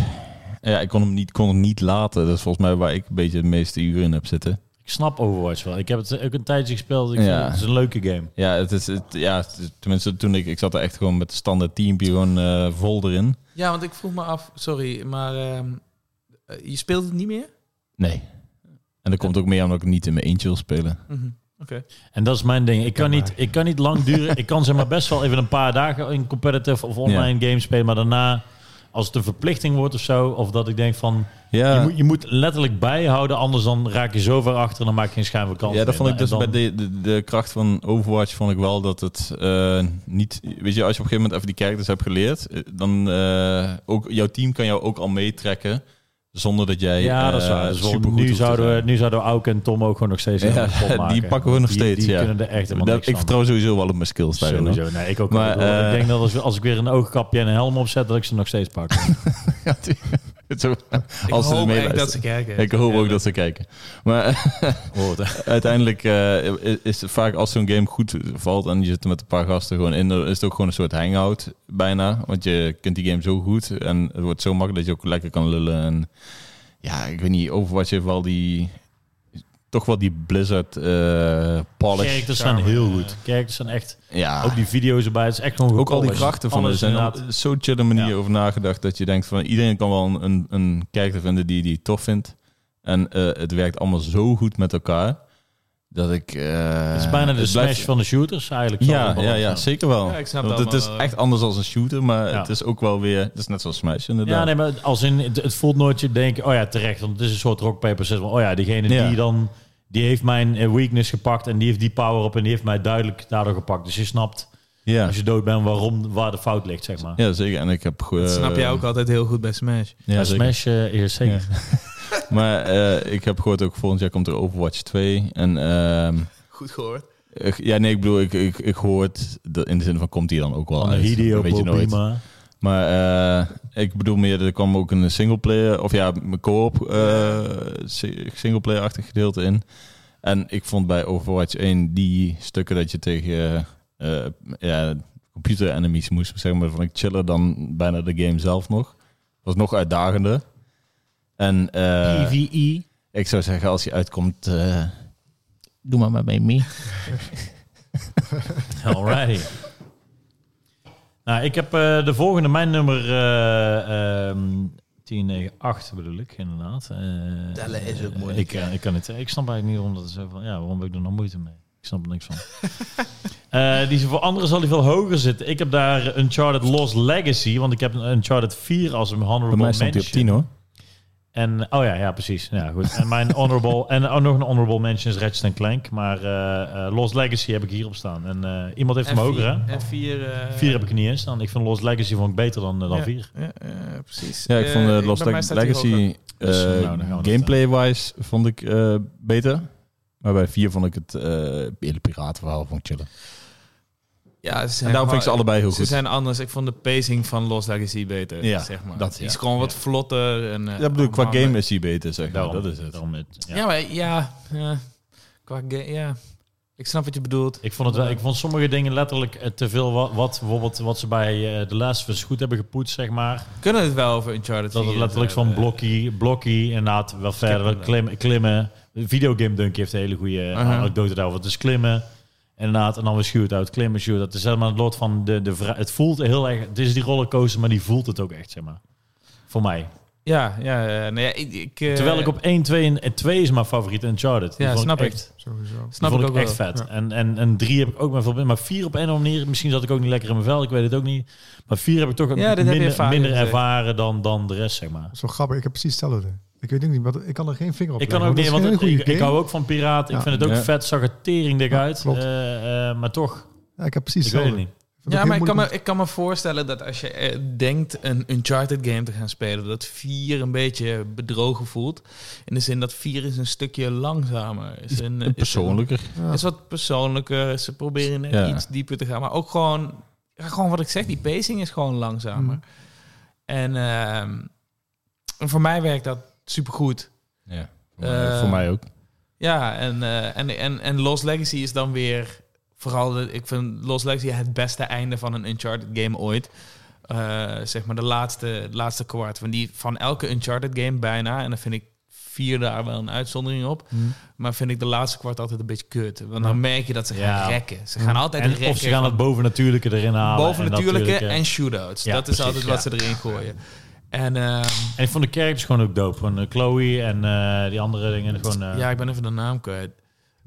Ja, ik kon hem, niet, kon hem niet laten. Dat is volgens mij waar ik een beetje de meeste uren in heb zitten.
Ik snap Overwatch wel. Ik heb het ook een tijdje gespeeld. Ik
Eh. Ja.
vind het is een leuke game.
Ja, het is, het, ja het is- tenminste toen ik... Ik zat er echt gewoon met standaard teampje gewoon eh, vol erin.
Ja, want ik vroeg me af, sorry, maar ehm, eh, je speelt het niet meer?
Nee. En dat komt ook meer omdat ik niet in mijn eentje wil spelen.
Mhm.
En dat is mijn ding. Ik kan,
Ja,
niet,
maar.
ik kan niet lang duren. Ik kan zeg maar best wel even een paar dagen in competitive of online games spelen. Maar daarna, als het een verplichting wordt of zo. Of dat ik denk van,
Ja,
je, moet, je moet letterlijk bijhouden. Anders dan raak je zo ver achter en dan maak je geen schijn van kans.
ja dat
meer.
vond ik
En
dus
dan-
bij de, de, de kracht van Overwatch vond ik wel dat het eh, niet... Weet je, als je op een gegeven moment even die characters hebt geleerd... eh, dan eh, ook jouw team kan jou ook al meetrekken... Zonder dat jij
Ja, dat is
eh,
waar. Dus
supergoed hoeft
nu,
te
zouden we,
zijn.
nu zouden we Auke en Tom ook gewoon nog steeds
Ja,
een
(laughs)
pot
die
maken.
pakken we nog
Die-
steeds,
Die
ja.
kunnen er echt helemaal
Dat-
niks
ik
van.
vertrouw sowieso wel op mijn skills daarin. hoor.
Sowieso. Nee, ik ook
Maar,
wel. Ik bedoel,
eh,
ik denk dat als, als ik weer een oogkapje en een helm opzet, dat ik ze nog steeds pak.
(laughs) Ja, die- Zo,
Ik
als ze
hoop
ermee
echt dat ze
luisteren.
kijken.
Ik hoop ook dat ze kijken. Maar (laughs) uiteindelijk eh, is het vaak als zo'n game goed valt en je zit er met een paar gasten gewoon in, dan is het ook gewoon een soort hangout bijna. Want je kent die game zo goed en het wordt zo makkelijk dat je ook lekker kan lullen. En ja, ik weet niet, Overwatch heeft wel die, toch wel die Blizzard eh polish.
Characters zijn heel goed. Characters zijn echt...
Ja.
Ook die video's erbij. Het is echt gewoon
Ah. Ook al die
gepolished.
krachten van er
Alles
zijn
inderdaad.
op zo'n chille manier
Ja.
over nagedacht dat je denkt van iedereen kan wel een, een, een kijker vinden die die tof vindt. En eh, het werkt allemaal zo goed met elkaar dat ik. eh,
Het is bijna de
het
smash
blijft-
van de shooters eigenlijk. zal
Ja,
het wel
ja, ja,
zijn.
zeker wel.
Ja, ik snap
Want
het
het is
allemaal wel.
echt anders als een shooter, maar
eh, Ja.
het is ook wel weer. Het is net zoals Smash inderdaad.
Ja, nee, maar als in, het, het voelt nooit je denkt, oh ja, terecht, want het is een soort rock paper system. Oh ja, diegene
Ja.
die dan, die heeft mijn eh, weakness gepakt en die heeft die power op en die heeft mij duidelijk daardoor gepakt. Dus je snapt,
ja.
als je dood bent, waarom, waar de fout ligt, zeg maar.
ja, zeker. En ik heb. eh,
Dat snap je ook altijd heel goed bij Smash.
Ja,
Ja,
zeker.
Smash eh, is zeker.
Maar eh, ik heb gehoord ook volgend jaar komt er Overwatch 2 en. ehm,
Goed gehoord.
ik- ja, nee, ik bedoel, ik, ik, ik hoor het de- in de zin van komt die dan Ah, ook wel
Van
uit.
Hideo
Weet je nooit.
Kojima.
Maar eh, ik bedoel meer, er kwam ook een singleplayer, of ja, een co-op eh, si- singleplayer-achtig gedeelte in. En ik vond bij Overwatch 1 die stukken dat je tegen eh, eh, ja, computer-enemies moest, zeg maar, van ik chiller dan bijna de game zelf nog. Was nog uitdagender. En eh,
PvE.
ik zou zeggen, als je uitkomt, eh,
Doe maar maar bij me.
Alrighty. nou, ik heb eh, de volgende, mijn nummer eh ehm 10, 9, 8 bedoel ik, inderdaad. Eh,
Tellen is ook
eh,
moeilijk,
Ik, eh, ik kan het, ik snap eigenlijk niet omdat het zo van, ja, waarom heb ik er nou moeite mee? Ik snap er niks
(laughs)
van. Eh, die is- voor anderen zal die veel hoger zitten. Ik heb daar Uncharted Lost Legacy, want ik heb een Uncharted 4 als een honorable
bij mij stond hij op
mention.
10 hoor.
En oh ja, ja precies. Ja, goed. En mijn honorable en ook nog een honorable mention is Ratchet Clank, maar eh, eh, Lost Legacy heb ik hierop staan. En eh, iemand heeft hem hoger, hè?
En vier. eh,
Vier heb ik er niet eens staan. Ik vind Lost Legacy vond ik beter dan, eh, dan
ja,
vier.
Ja, eh, precies.
Ja, ik vond
Eh,
eh,
bij
Lost
mij staat die hoger.
Legacy
Dus,
eh,
nou, dan gaan we dat, eh.
gameplay-wise vond ik eh, beter. Maar bij 4 vond ik het eh hele piratenverhaal vond ik chillen.
Ja, ze
En daarom vind ik
allebei
ze allebei heel
Ze
goed.
zijn anders. Ik vond de pacing van Lost Legacy beter.
Ja,
zeg maar.
dat,
Die is
ja.
gewoon wat vlotter. En, eh,
dat bedoel ik, qua
allemaal-
game is die beter, zeg maar.
Daarom,
Dat is het.
daarom het- ja.
Ja, maar ja. ja, qua game. Ja. Ik snap wat je bedoelt.
Ik vond, het wel, ik vond sommige dingen letterlijk eh, te veel. Wat, wat bijvoorbeeld wat ze bij eh The Last of Us goed hebben gepoetst, zeg maar.
Kunnen we het wel over Uncharted eh,
Dat het
4
letterlijk van
hebben?
blokkie, blokkie, inderdaad, wel verder,
Skippen.
klimmen. klimmen. De videogame Dunk heeft een hele goede eh,
Aha.
anekdote daarover. Het is klimmen, inderdaad, en dan weer shoot-out, klimmen, shoot-out. Het is helemaal het lot van de, de vra- Het voelt heel erg... Het is die rollercoaster, maar die voelt het ook echt, zeg maar. Voor mij.
Ja, ja. eh, nee, ik, ik, eh,
Terwijl ik op 1, 2 en- en 2 is mijn favoriet, Uncharted. Die
Ja,
vond
snap ik.
echt-
sowieso.
Snap
die
ik
vond
ook
ik echt
wel.
vet.
Ja.
En, en, en drie heb ik ook maar veel minder. Maar vier op een of andere manier. Misschien zat ik ook niet lekker in mijn vel. Ik weet het ook niet. Maar vier heb ik toch
dit heb je
minder,
ervaren
minder
gezegd.
ervaren dan, dan de rest, zeg maar.
Zo grappig, ik heb precies hetzelfde. Ik weet ook niet, wat, ik kan er geen vinger op
Ik kan ook
leggen,
niet, want
dat is
het-
geen
ik,
goede
ik
game.
hou ook van piraten.
Ja.
Ik vind het ook
Ja.
vet. Zag er tering dik
Ja,
uit.
klopt.
Eh, eh, maar toch,
Ja, ik heb precies
ik weet het
hetzelfde.
niet.
Vind
Ja,
ook
maar ik
heel
kan, me,
moeilijk
ik kan me voorstellen dat als je eh, denkt een Uncharted game te gaan spelen, dat 4 een beetje bedrogen voelt. In de zin dat 4 is een stukje langzamer. Is een, is een-
Persoonlijker.
om- ja.
is wat persoonlijker. Ze proberen net
Ja.
iets dieper te gaan. Maar ook gewoon, ja, gewoon wat ik zeg, die pacing is gewoon langzamer.
Mm.
En ehm, voor mij werkt dat supergoed.
Ja.
Eh,
voor mij ook.
Ja, en, eh, en, en, en Lost Legacy is dan weer... Vooral, de- ik vind Lost Legacy het beste einde van een Uncharted game ooit. Eh, zeg maar de laatste, het laatste kwart. Van, die, van elke Uncharted game bijna. En dan vind ik vier daar wel een uitzondering op.
Hm.
Maar vind ik de laatste kwart altijd een beetje kut. Want
Hmm. Ja.
dan merk je dat ze gaan
Ja. Hmm.
rekken. Ze
Ja.
gaan altijd
En
rekken.
of ze gaan het bovennatuurlijke erin halen.
boven natuurlijke en,
En, eh, dat
shootouts.
Ja,
dat is
precies,
altijd wat ze erin gooien. En ehm,
en ik vond de characters gewoon ook dope. Van Chloe en eh, die andere dingen. Gewoon, eh,
ja, ik ben even de naam kwijt.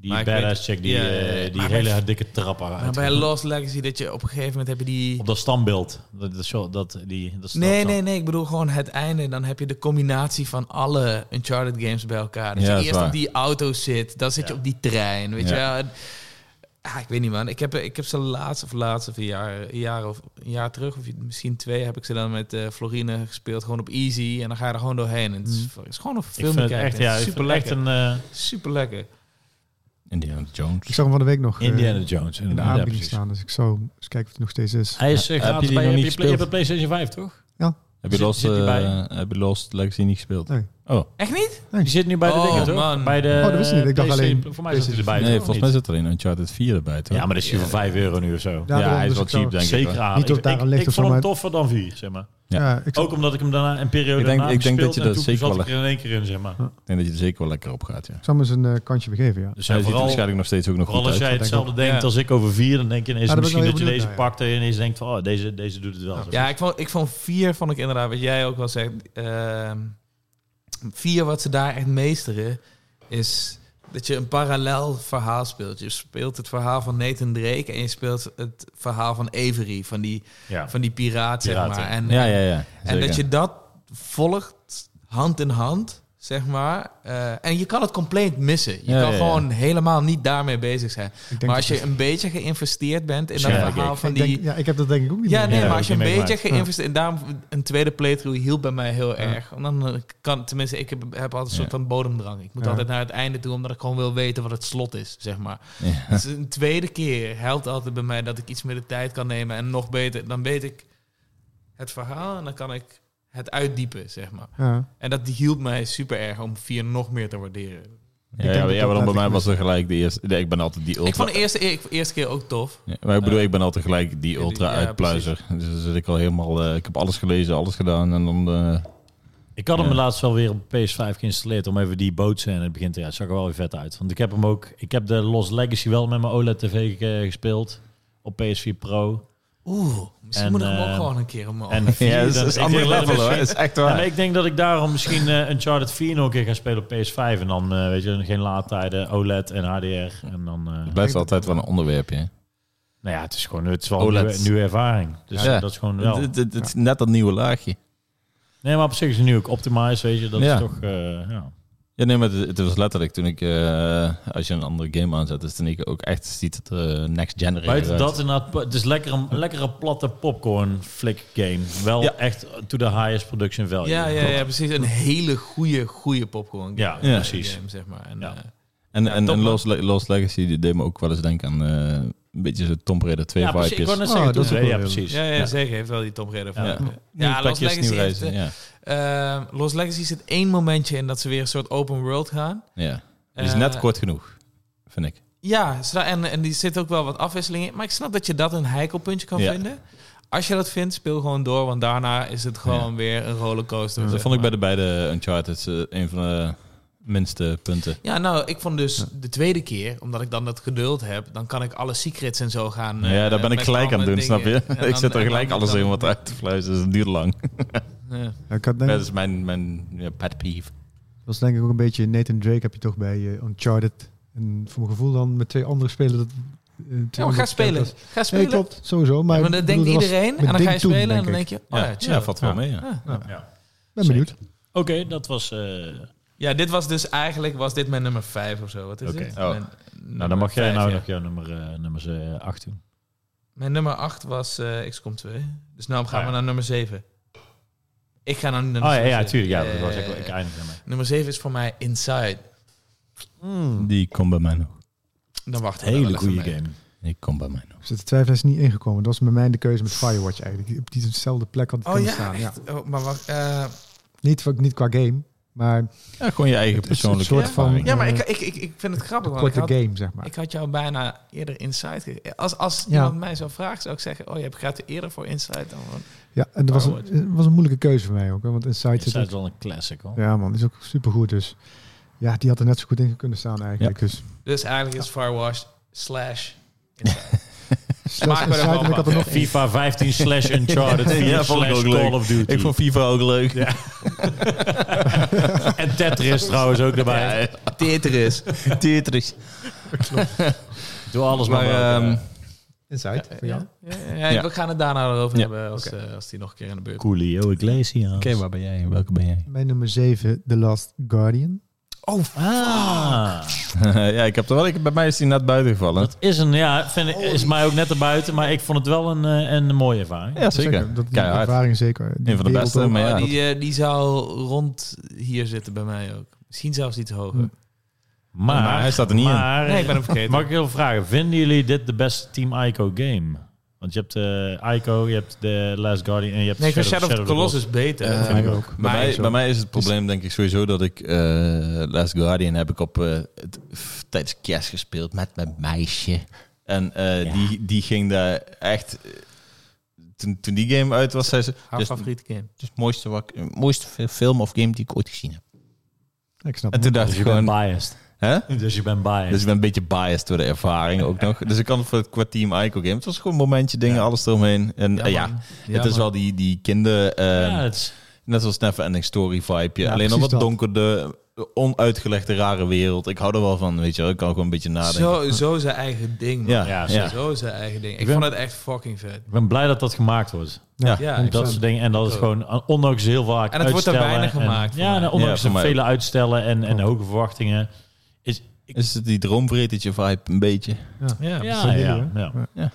maar
die
ik
badass
weet-
check die,
Ja, ja,
eh,
ja.
die
Maar
hele
bij-
dikke trappen
Maar
uit.
bij Lost Legacy dat je op een gegeven moment heb je die...
Op dat standbeeld. Dat, dat, zo- dat, die, dat
Nee, nee, nee. Ik bedoel gewoon het einde. Dan heb je de combinatie van alle Uncharted games bij elkaar. Dat
Ja, dat
je
is
eerst
waar.
op die auto zit. Dan zit je
Ja.
op die trein. Weet
Ja.
je wel. En- Ah, ik weet niet, man. Ik heb, ik heb ze laatst of laatst of een jaar, een jaar of een jaar terug, of misschien twee, heb ik ze dan met eh, Florine gespeeld. Gewoon op easy. En dan ga je er gewoon doorheen. En het
Mhm.
is, het is gewoon een
Ik
film
vind het
kijken.
echt, ja, ik
super
vind het echt
lekker.
een eh,
Super lekker.
Indiana
Ik
Jones.
zag hem van de week nog eh,
Indiana Jones.
in de
inderdaad. Ja,
aanbieding
precies.
staan. Dus ik zou eens kijken of het nog steeds is.
Hij is eh,
Heb je
gratis
die
bij
nog
heb
niet
je, play- je
gespeeld?
hebt een PlayStation 5, toch?
Heb je
Zit-
Lost,
zit die
eh,
bij?
heb je Lost Legacy niet gespeeld?
Nee.
Oh,
Echt niet?
Die zit nu bij de
Oh,
dingen, toch?
man.
Bij de,
Oh, dat wist ik niet. Ik dacht
PlayStation.
alleen
Voor mij zit hij erbij.
nee,
toch?
volgens
Of
mij
niet?
zit er in Uncharted 4 erbij, toch?
Ja, maar dat is hier voor 5 euro nu of zo.
Ja, daarom,
hij is
dus
wel
ik zou-
cheap, denk ik.
Zeker
hoor.
aan.
Niet
Ik,
of daar
ik,
aan ligt
ik
of zo,
vond hem
maar-
toffer dan 4, zeg maar.
Ja.
Ja, ik zou-
Ook omdat ik hem daarna een periode
Ik denk-
daarna
ik denk
gespeeld
dat je
en
dat
toen
zeker
zat
wel-
ik er in één keer in, zeg maar.
Ik denk dat je er zeker wel lekker op gaat, ja.
ik zou hem eens een eh, kantje begeven, ja.
Dus ja,
Hij ziet er
Dus vooral,
waarschijnlijk nog steeds ook nog
vooral
goed
als
uit.
jij hetzelfde denkt
Ja.
als ik over vier, dan denk je ineens
Ah, daar ben ik
misschien
wel
dat je
heel
deze
benieuwd naar,
pakt en ineens denkt van, oh, deze, deze doet het wel. zeg maar.
Ja, ik vond, ik vond vier, vond ik inderdaad, wat jij ook wel zegt. ehm, vier, wat ze daar echt meesteren, is dat je een parallel verhaal speelt. Je speelt het verhaal van Nathan Drake en je speelt het verhaal van Avery, van die,
Ja.
van die piraat, zeg
Piraten.
maar. En,
Ja, ja, ja.
en dat
zeker.
je dat volgt hand in hand, zeg maar. Eh, en je kan het compleet missen. Je
Ja,
kan
ja, ja.
gewoon helemaal niet daarmee bezig zijn.
Ik denk
Maar
dat
als
het-
je een beetje geïnvesteerd bent in dat
Waarschijnlijk
verhaal
ook.
van
ik
die...
denk- ja, ik heb dat denk ik ook niet
Ja,
meer.
nee,
Ja,
maar
dat
als je
heb
een
ik
beetje
meegemaakt.
geïnvesteerd... En daarom een tweede playthrough hielp bij mij heel
Ja.
erg. En dan eh, kan, tenminste, ik heb, heb altijd een soort
Ja.
van bodemdrang. Ik moet
Ja.
altijd naar het einde toe, omdat ik gewoon wil weten wat het slot is, zeg maar.
Ja.
Dus een tweede keer helpt altijd bij mij dat ik iets meer de tijd kan nemen. En nog beter, dan weet ik het verhaal en dan kan ik het uitdiepen, zeg maar.
Ja.
En dat hielp mij super erg om vier nog meer te waarderen.
Ja,
denk
ja,
dat
ja, maar
dat
dan bij mij
ik-
was er gelijk de eerste... Nee, ik ben altijd die
Ik
ultra...
vond de eerste, e- eerste keer ook tof.
Ja, maar ik bedoel,
Eh,
ik ben altijd gelijk die
ja, die-
ultra
ja,
uitpluizer. Dus dan zit ik al helemaal... eh, ik heb alles gelezen, alles gedaan en dan... eh,
Ik had hem
Ja.
laatst wel weer op PS5 geïnstalleerd om even die boot scène in het begin te... Ja, het zag er wel weer vet uit. Want ik heb hem ook... Ik heb de Lost Legacy wel met mijn OLED-tv ge- gespeeld op PS4 Pro.
Oeh, misschien
En,
moet ik hem ook
eh,
gewoon een keer om
En vier,
(laughs) ja, dat
dan-
is, is
ik
ander
denk dat ik
level hoor.
misschien-
is echt
Ja,
waar.
maar ik denk dat ik daarom misschien eh Uncharted 4 nog een keer ga spelen op PS5. En dan, eh, weet je, geen laadtijden, OLED en HDR. En dan... eh,
Het blijft altijd wel een onderwerpje. hè.
Nou ja, het is gewoon het is wel
OLED.
een nieuwe, nieuwe ervaring. Dus
Ja.
eh, dat is gewoon wel.
Het, het- het is net dat nieuwe laagje.
Nee, maar op zich is het nu ook optimized, weet je. Dat
Ja.
is toch... eh, ja.
Ja, nee, maar het, het was letterlijk toen ik... eh, als je een andere game aanzet, is toen ik ook echt ziet het eh, next gen eruit.
Buiten dat inderdaad, het is lekker een lekkere platte popcorn flick game. Wel
Ja.
echt to the highest production value.
Ja, ja, ja, precies. Een hele goede, goede popcorn game.
Ja,
Ja.
precies.
Game, zeg maar. En,
Ja.
eh,
En, en,
top,
en
man.
Lost, Le- Lost Legacy die deed me ook wel eens denken aan eh, een beetje zo'n Tomb Raider 2
Ja, precies. Ik wou
vibejes.
net
Oh,
zeggen,
dat
toen-
is ook
ja,
wel
precies.
ja, ja,
Ja.
zeker. Heeft wel die Tom Raider van.
Ja.
Ja,
Nieuwe
ja Lost
plekjes,
Legacy
nieuwe
heeft,
reizen, ja.
eh, Lost Legacy zit één momentje in dat ze weer een soort open world gaan.
ja. Die is
Eh,
net kort genoeg, vind ik.
Ja, zodra- en, en die zit ook wel wat afwisseling in. Maar ik snap dat je dat een heikelpuntje kan
Ja.
vinden. Als je dat vindt, speel gewoon door. Want daarna is het gewoon weer een rollercoaster.
Dat
zeg
vond ik bij
maar.
de beide Uncharted eh, een van de minste punten.
Ja, nou, ik vond dus de tweede keer, omdat ik dan dat geduld heb, dan kan ik alle secrets en zo gaan. eh,
Nou ja, daar ben ik
met
gelijk aan
andere
doen,
dingen.
snap je?
En
(laughs) ik
dan-
zit er
en
gelijk
dan-
alles
dan-
in wat uit te fluisteren, dus het duurt lang.
Ja. Oh,
Ja, ik had denk,
Dat is mijn, mijn ja, pet peeve.
dat was denk ik ook een beetje Nathan Drake heb je toch bij eh, Uncharted. En voor mijn gevoel dan met twee andere spelers. Dat, eh,
Ja,
twee
maar
andere
ga spelen.
spelers.
Ga
Nee,
spelen.
klopt, sowieso. Maar,
Maar,
ik
dat
bedoel,
denkt
was
iedereen. En
mijn
dan
ding
ga je
toen,
spelen en dan
ik.
denk je... Oh,
Ja,
ja,
ja,
chill.
valt wel mee. Ja.
Ja.
Ben benieuwd.
Oké, dat was... eh,
Ja, dit was dus eigenlijk was dit mijn nummer 5 of zo. Wat is
Oké.
dit?
Oh.
Mijn
nou, dan mag jij
vijf,
nou
ja.
nog jouw nummer, eh nummer 8 doen.
Mijn nummer 8 was eh XCOM 2. Dus nou gaan
Ah, ja.
we naar nummer 7. Ik ga naar nummer
Oh ja,
zeven.
ja tuurlijk. Ja, dat
Eh,
was ik, ik eindig ermee.
Nummer 7 is voor mij Inside. Hmm.
Die komt bij mij nog.
Dan wacht ik wel
Hele
even
goede
mee.
game.
Die komt bij mij nog.
Dus de twijfel is niet ingekomen. Dat was bij mij de keuze met Firewatch eigenlijk. Die Op diezelfde plek had het
Oh
kunnen
ja,
staan. Ja.
echt? Oh, maar wacht, eh,
Niet, voor- niet qua game, maar
Oh,
Ja, gewoon je eigen
Het is een
persoonlijke
soort
ervaring.
van-
ja, maar ik, ik, ik, ik vind het grappig. Want ik,
korte
had,
game, zeg maar.
ik had jou bijna eerder Inside gegeven. Als, als
Ja.
iemand mij zou vragen, zou ik zeggen... Oh, je gaat eerder voor Inside dan... voor-
Ja, en dat was een,
Firewatch.
het was een moeilijke keuze voor mij ook. Hè, want Inside
Dat
zit
is wel een classic hoor.
Ja, man, die is ook supergoed. Dus ja, die had er net zo goed in kunnen staan eigenlijk. Dus
Dus eigenlijk is Firewatch slash...
slash
er wel
Inside, en ik
van.
had er nog één.
FIFA 15 slash Uncharted 4
Ja, vond ik
slash
ook leuk.
Call of Duty.
Ik vond FIFA ook leuk.
Ja. en Tetris trouwens ook erbij.
(laughs)
Tetris.
(laughs) Tetris.
Doe alles maar.
Maar,
maar
ehm,
Inside, voor jou.
Ja, ja, ja,
Ja.
we gaan het daarna erover
Ja.
hebben als, eh, als die nog een keer in de beurt
Coolio Iglesias.
Oké, waar ben jij? Welke ben jij?
Mijn nummer 7, The Last Guardian.
Ah,
(laughs) ja, ik heb er wel. Ik, bij mij is die net buiten gevallen.
dat is een, ja, vind ik, is mij ook net erbuiten, maar ik vond het wel een, eh, een mooie ervaring.
Ja,
Zeker,
zeker.
dat die
Keihard.
ervaring zeker. Die
Een van de
wereld
beste,
ook.
maar ja.
die, eh, die zou rond hier zitten bij mij ook. Misschien zelfs iets hoger.
Maar,
Maar hij staat er niet in.
maar,
Nee, ik ben hem vergeten.
Mag ik heel vragen, vinden jullie dit de beste Team Ico game? Want je hebt eh Ico, je hebt The Last Guardian en je hebt
nee, ik vind Shadow, of the
Colossus.
Colossus beter.
Eh,
Dat vind ik ook.
Bij
Maar
mij,
zo.
bij mij is het probleem denk ik sowieso dat ik eh, Last Guardian heb ik op eh, het- f- tijdens kerst gespeeld met mijn meisje. En eh,
Ja.
die, die ging daar echt... eh, Toen, toen die game uit was, zei ze...
Haar
Dus-
favoriete game.
Het is het mooiste, wat ik- mooiste fi- film of game die ik ooit gezien heb.
Ik snap
En toen
het.
dacht
Dus
ik
je bent
gewoon...
biased.
Hè?
Dus je bent biased.
Dus ik ben een beetje biased door de ervaring ook nog. Dus ik kan het voor het qua Team Ico game. Het was gewoon een momentje, dingen, alles eromheen. En eh, ja,
man.
het is
man.
wel die, die kinder... eh,
ja, het is-
Net zoals Never Ending Story vibe.
Ja,
Alleen al
precies
wat
dat.
donkerde, onuitgelegde, rare wereld. Ik hou er wel van, weet je wel. Ik kan gewoon een beetje nadenken.
Zo, zo zijn eigen ding. man.
Ja,
Ja,
ja,
zo-
ja.
Zo zijn eigen ding. Ik,
ben-
vond het echt fucking vet.
ik ben blij dat dat gemaakt wordt.
Ja,
Ja,
en
ik
Dat
dat
soort dingen. En dat is gewoon, eh, ondanks heel vaak
En het wordt er
uitstellen
weinig
en-
gemaakt voor
Ja,
mij.
nou, ondanks
Ja, voor
de
mij
vele uitstellen en, en
Klopt.
hoge verwachtingen. Is,
Is het die droomvretertje vibe een beetje?
Ja,
ja,
dat
ja,
is wel
ja,
heel,
Ja.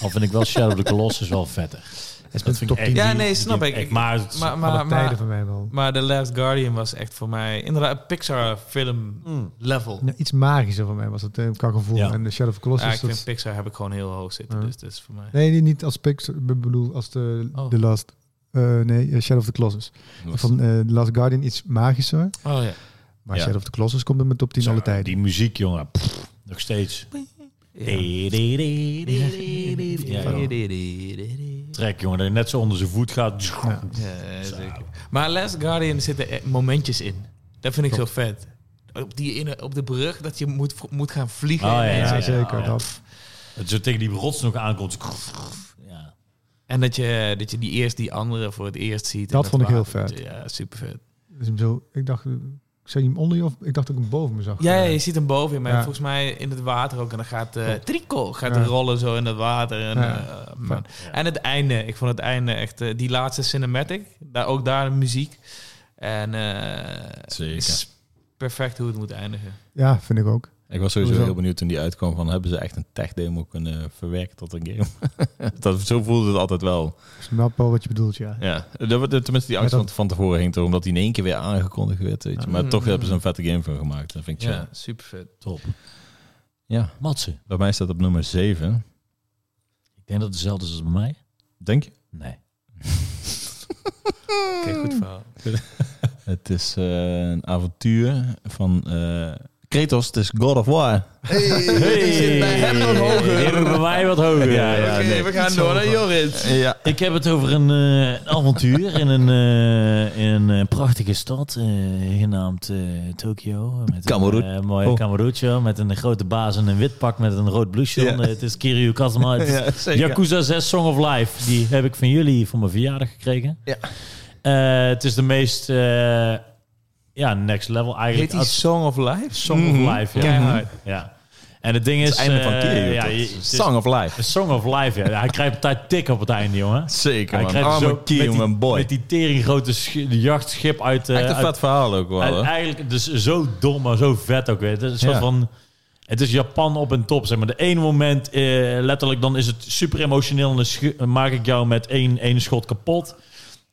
Al vind ik wel Shadow of the Colossus wel vetter.
is met
vind
top
ik
10
Ja,
die-
nee, snap
die-
ik. Ik-
Maar, het-
Maar,
alle
maar,
tijden
maar,
van mij wel.
maar The Last Guardian was echt voor mij... Inderdaad, een Pixar film
Mm.
level.
Nou, iets magischer voor mij was het eh, qua gevoel.
Ja.
En de Shadow of
Ja,
Colossus.
ik vind
dat,
Pixar heb ik gewoon heel hoog zitten.
Ja.
Dus dat is voor mij...
nee, nee, niet als Pix, ik bedoel als de,
Oh.
de Last... eh, nee, eh, Shadow of the Colossus. Ik vond eh, The Last Guardian iets magischer.
Oh ja.
Maar
Ja.
Shadow of the Colossus komt in mijn top 10
Zo,
alle tijden.
Die muziek, jongen. Pff, nog steeds. Ja, joh. Trek, jongen. Dat je net zo onder zijn voet gaat. Ah,
Ja, zeker. Maar Last Guardian zitten eh, momentjes in. Dat vind ik zo vet. Op, die ene, op de brug dat je moet, v- moet gaan vliegen.
Oh, ja,
en,
Ja,
zo.
zeker.
ja.
Dat.
Dat zo tegen die rots nog aankomt. Ja.
en dat, je, dat je die eerst die andere voor het eerst ziet.
Dat
En
vond ik heel
water.
vet.
Ja, super vet.
Dus hem zo, ik dacht, eh, zag je hem onder je of ik dacht dat ik hem boven me zag.
Ja, ja, je ziet hem boven je, maar
Ja.
volgens mij in het water ook. En dan gaat eh
Klopt.
Trico gaat
Ja.
rollen zo in het water. En,
Ja.
eh, man. en het einde, ik vond het einde echt... eh, die laatste cinematic, daar, ook daar de muziek. En eh,
Zeker.
is perfect hoe het moet eindigen.
Ja, vind ik ook.
Ik was sowieso
Hoezo?
heel benieuwd toen die uitkwam van... hebben ze echt een tech-demo kunnen verwerken tot een game? (laughs) dat, zo voelde het altijd wel.
Ik snap wel wat je bedoelt, ja.
Ja. Dat, wordt- tenminste, die angst
Ja,
van,
dat-
van tevoren ging er... omdat die in één keer weer aangekondigd werd, weet je. Maar
Mm.
toch hebben ze een vette game van gemaakt. Dat vind ik
Ja,
chill.
super vet.
Top.
Ja.
Matsen.
Bij mij staat op nummer 7.
Ik denk dat het hetzelfde is als bij mij.
Denk je?
Nee.
Oké, goed verhaal.
Het is eh, een avontuur van eh, Kratos, het is God of War.
(laughs)
Hey. Die hebben bij mij wat hoger.
Ja, ja. Oké, nee.
we gaan door naar Joris. (laughs)
Ja.
Ik heb het over een eh, een avontuur in een, eh, in een prachtige stad, eh, genaamd eh, Tokio. Met
Kameroen.
Een eh, mooie
Oh.
Kameroentje, met een grote baas en een wit pak met een rood blouseje.
Ja.
om. Eh, Het is Kiryu Kazama. Het is
Ja, zeker.
Yakuza 6 Song of Life. Die heb ik van jullie voor mijn verjaardag gekregen.
Ja.
Eh, het is de meest, eh, ja, next level
Heet
eigenlijk.
die
Als-
Song of Life?
Song
Mhm.
of Life, ja.
Keihard.
ja. En het ding is...
Het einde van
eh,
Kiryu,
ja,
toch?
je- het is-
Song of Life.
Song of Life, ja. Hij krijgt tijd tik op het einde, jongen.
Zeker,
Hij
man.
krijgt zo
Arme
met die,
Kiryu, mijn boy.
met die teringrote sch- jachtschip uit... eh,
Echt een
uit-
vet verhaal ook wel,
uit-
hoor.
Eigenlijk, dus zo dom, maar zo vet ook weer. Het is een soort
Ja.
van... Het is Japan op een top, zeg maar. De ene moment, eh, letterlijk, dan is het super emotioneel... en dan schi- maak ik jou met één, één schot kapot.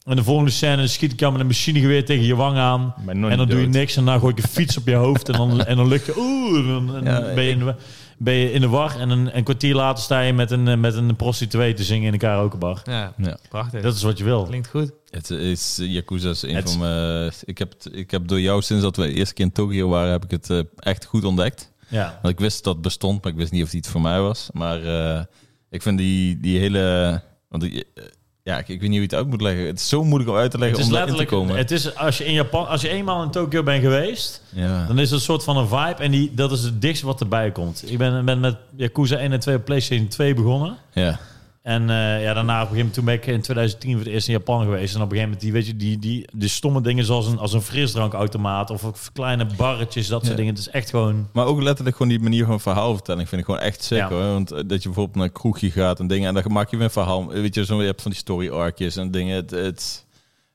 En de volgende scène schiet ik jou met een machinegeweer tegen je wang aan...
Maar nog
en dan
niet
doe je
dood.
niks en dan gooi ik een fiets op je hoofd en
(laughs)
dan, en dan lukt je... Oeh, en dan- en dan
Ja,
ben, je in de, ben je in de war en een, een kwartier later sta je met een, eh, met een prostituee te zingen in elkaar ook een bar.
Ja,
Ja.
prachtig.
Dat is wat je wil.
klinkt goed.
Het is eh, Yakuza is een
Het-
van mijn... Ik heb, het- ik heb door jou, sinds dat we de eerste keer in Tokio waren, heb ik het eh, echt goed ontdekt.
Ja.
Want ik wist dat het bestond, maar ik wist niet of die iets voor mij was. Maar eh, ik vind die, die hele... Want die, eh, ja, ik, ik weet niet hoe je het uit moet leggen. Het is zo moeilijk om uit te leggen
Het is
om daarin te
letterlijk,
komen.
het is, als je in Japan, als je eenmaal in Tokio bent geweest,
ja.
Dan is het een soort van een vibe en die, dat is het dichtst wat erbij komt. Ik ben, ben met Yakuza 1 en 2 op PlayStation 2 begonnen.
ja.
En eh, ja, daarna op een gegeven moment, toen ben ik in 2010 voor het eerst in Japan geweest. En op een gegeven moment, die, weet je, die, die, die stomme dingen zoals een, als een frisdrankautomaat of ook kleine barretjes, dat soort
Ja.
dingen. Het is echt gewoon...
Maar ook letterlijk gewoon die manier van verhaalvertelling vind ik gewoon echt sick
Ja.
hoor. Want eh, dat je bijvoorbeeld naar een kroegje gaat en dingen en dan maak je weer een verhaal. Weet je, zo, je hebt van die story arcjes en dingen. Het, het,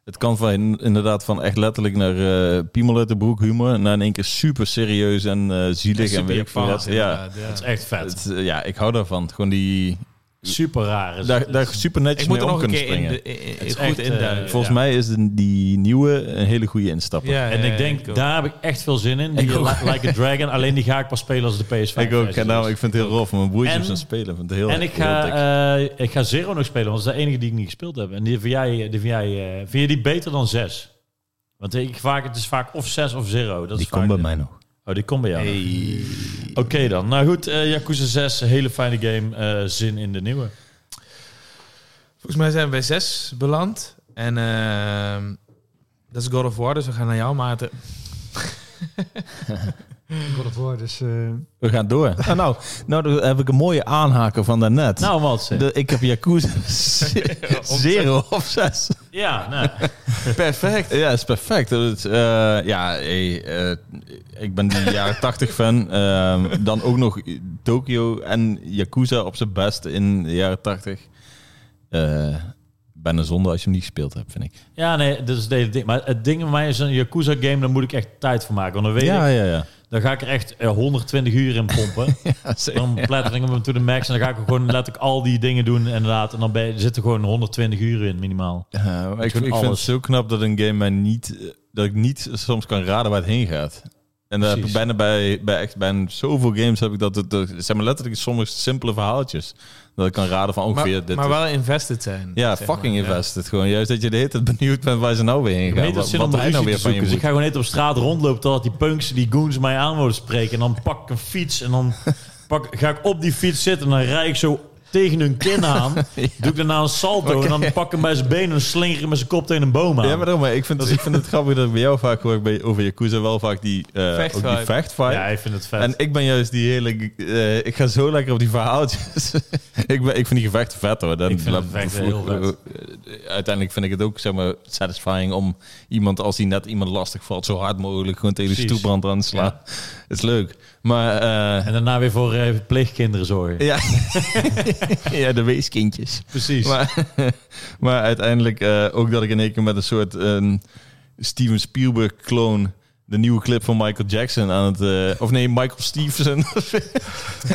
het kan van inderdaad van echt letterlijk naar eh piemel uit de broek humor naar in één keer super serieus en eh, zielig en
Super
weet ik veel wat.
Japans,
Ja,
inderdaad, ja.
Het is echt vet.
het, eh, ja, ik hou daarvan. Gewoon die,
Super raar. Is
daar,
Dus het.
daar super netjes
Ik moet
mee
er
om
nog een
kunnen
keer in,
springen.
de, in- in-
is
goed
echt, eh,
induiken.
Volgens
ja.
mij is de, die nieuwe een hele goede instap.
eh, Ja,
en
ja,
ik denk,
ook.
daar heb ik echt veel zin in. Die
Ik ook.
Li- Like a Dragon, alleen die ga ik pas spelen als de PS5
(laughs) Ik ook.
versie
En nou,
is.
ik vind het heel rof. Mijn broertje
En-
is aan het spelen. Ik Vind het heel,
En ik
heel
ga,
dik.
eh, ik ga Zero nog spelen, want dat is de enige die ik niet gespeeld heb. En die vind jij, die vind jij eh, vind je die beter dan 6? Want ik vaak, het is vaak of 6 of Zero. Dat
die
is vaak
komt bij
de-
mij nog.
Oh, die komt bij jou. Oké dan. Nou goed, eh Yakuza 6, hele fijne game. eh, zin in de nieuwe.
Volgens mij zijn we bij zes beland. En ehm, dat is God of War, dus we gaan naar jou, Maarten.
God of War, dus... eh,
We gaan
(laughs)
door. Ah, nou, nou, dan heb ik een mooie aanhaker van daarnet.
Nou, Mats.
De- ik heb
(laughs)
Yakuza (laughs) ze- zero of zes.
Ja, nou.
Perfect. Ja, is perfect. Dat is, eh, ja, hey, eh, ik ben die jaren tachtig fan. Ehm, dan ook nog Tokio en Yakuza op zijn best in de jaren tachtig. Eh bijna zonde als je hem niet gespeeld hebt, vind ik.
ja, nee, dat is het hele ding. Maar het ding bij mij is een Yakuza game, daar moet ik echt tijd voor maken. Want dan weet
ja,
ik,
ja, ja.
dan ga ik er echt eh, 120 uur in pompen.
(laughs) Ja, zeker.
Dan platter ik hem to the max en dan ga ik gewoon letterlijk al die dingen doen inderdaad. En dan ben je, zitten gewoon 120 uur in minimaal.
Eh, maar ik,
doet
ik vind het
alles.
zo knap dat een game mij niet eh, dat ik niet soms kan raden waar het heen gaat. En daar heb ik
Precies.
bijna bij, bij, echt, bij zoveel games heb ik dat het dat- zeg maar letterlijk soms simpele verhaaltjes dat ik kan raden van
Maar,
ongeveer dit.
maar
is-
wel invested zijn.
ja,
zeg maar.
fucking
Ja.
invested gewoon. Juist dat je de hele tijd benieuwd bent waar ze nou weer heen
Ik weet
gaan.
dat
Wat,
zin om
wat hij
ruzie
nou weer
te
van je
zoeken. Dus ik
moet.
ga gewoon net op straat rondlopen totdat die punks, die goons mij aan willen spreken. En dan pak ik een fiets en
(laughs)
dan pak, ga ik op die fiets zitten en dan rijd ik zo tegen hun kin
(laughs)
aan. Doe ik daarna een salto en dan pak ik hem bij zijn been en slinger ik hem met zijn kop tegen een boom aan.
Ja, maar, daarom, maar ik,
(laughs)
vind, ik vind het grappig dat ik bij jou vaak hoor ik bij, over Yakuza wel vaak die, eh ook die
Vechtvibe.
vecht vibe.
Ja, ik vind het vet.
En ik ben juist die hele... eh, ik ga zo lekker op die verhaaltjes. (laughs) ik, ben, ik vind die gevechten vet hoor. Dan,
Ik vind het gevecht heel vet.
Uiteindelijk vind ik het ook zeg maar, satisfying om iemand, als die net iemand lastig valt, zo hard mogelijk gewoon tegen de
Precies.
stoelbrand aan te slaan. Het is leuk. Maar
(laughs)
eh,
En daarna weer voor eh, pleegkinderen zorgen.
ja. (laughs) ja, de weeskindjes.
Precies.
Maar, (laughs) maar uiteindelijk eh, ook dat ik in één keer met een soort ehm, Steven Spielberg-kloon de nieuwe clip van Michael Jackson aan het... eh, of nee, Michael Stevenson (laughs)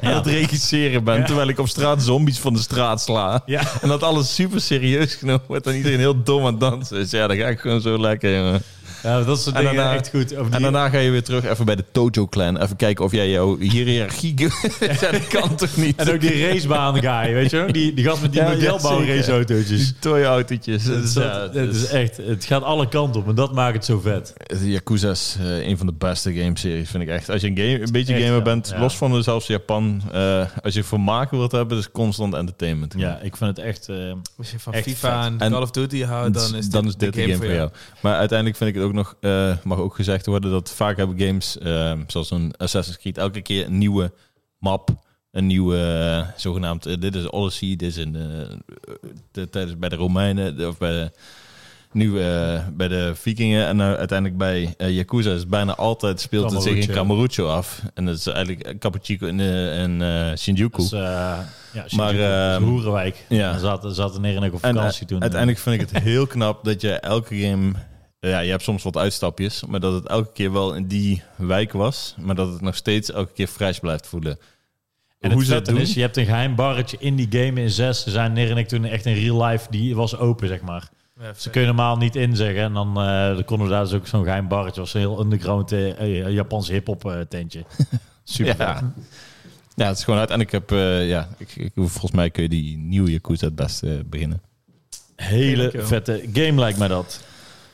aan
Ja.
het regisseren ben.
Ja.
Terwijl ik op straat zombies van de straat sla.
Ja. (laughs)
En dat alles super serieus genomen wordt en iedereen heel dom aan het dansen is. Ja, dan ga ik gewoon zo lekker, jongen.
ja, dat soort
En
dingen
daarna-
echt goed. Of die-
En daarna ga je weer terug even bij de Tojo-clan. Even kijken of jij jouw
(laughs)
hiërarchie... (laughs) dat kan toch niet?
en ook
(laughs)
die racebaan guy, weet je wel? Die, die gast met die
Ja, ja,
modelbouw
zeker.
raceautootjes.
Die toy-autootjes.
Het is,
Dus, ja,
dat- het is echt, het gaat alle kanten op en dat maakt het zo vet.
De Yakuza is eh, een van de beste gameseries, vind ik echt. Als je een, game, een beetje
Echt
gamer
wel,
bent,
ja.
los van dus zelfs Japan, eh, als je vermaken wilt hebben, is constant entertainment.
Ja, ik vind het echt... eh,
Als je van
Echt
FIFA en
En
Call of Duty houdt, dan is dit,
de game, voor jou. Maar uiteindelijk vind ik het ook nog, eh, mag ook gezegd worden, dat vaak hebben games, eh, zoals een Assassin's Creed, elke keer een nieuwe map, een nieuwe, eh, zogenaamd, eh, dit is Odyssey, dit is een, eh, eh, tijdens bij de Romeinen, de- of bij de, nu eh, bij de Vikingen en nou uiteindelijk bij eh, Yakuza is het bijna altijd speelt het zich in
Kamurocho.
Kamurocho af. En dat is eigenlijk eh, Kapuchiko en, eh, en eh, Shinjuku.
Dus, eh, ja,
Maar,
maar uh,
ehm,
Hoerenwijk.
ja.
Ja. Zat, zat in Erik op
En,
vakantie
eh,
toen. (laughs)
Uiteindelijk vind ik het heel knap dat je elke game ja, je hebt soms wat uitstapjes, maar dat het elke keer wel in die wijk was, maar dat het nog steeds elke keer fris blijft voelen.
En
Hoe
het
ze dat
vette
doen?
is, je hebt een geheim barretje in die game in 6. Er zijn Ner en ik toen echt in real life, die was open, zeg maar. Ze kunnen normaal niet inzeggen. En dan, eh, dan konden we daar dus ook zo'n geheim barretje. was een heel underground eh, eh, Japans hip-hop eh,
(laughs)
tentje. Super. vet.
Ja. ja, het is gewoon uit. En ik heb, eh, ja, ik, ik- volgens mij kun je die nieuwe Yakuza het beste eh, beginnen.
Hele
Heerlijk, joh.
vette game lijkt mij dat.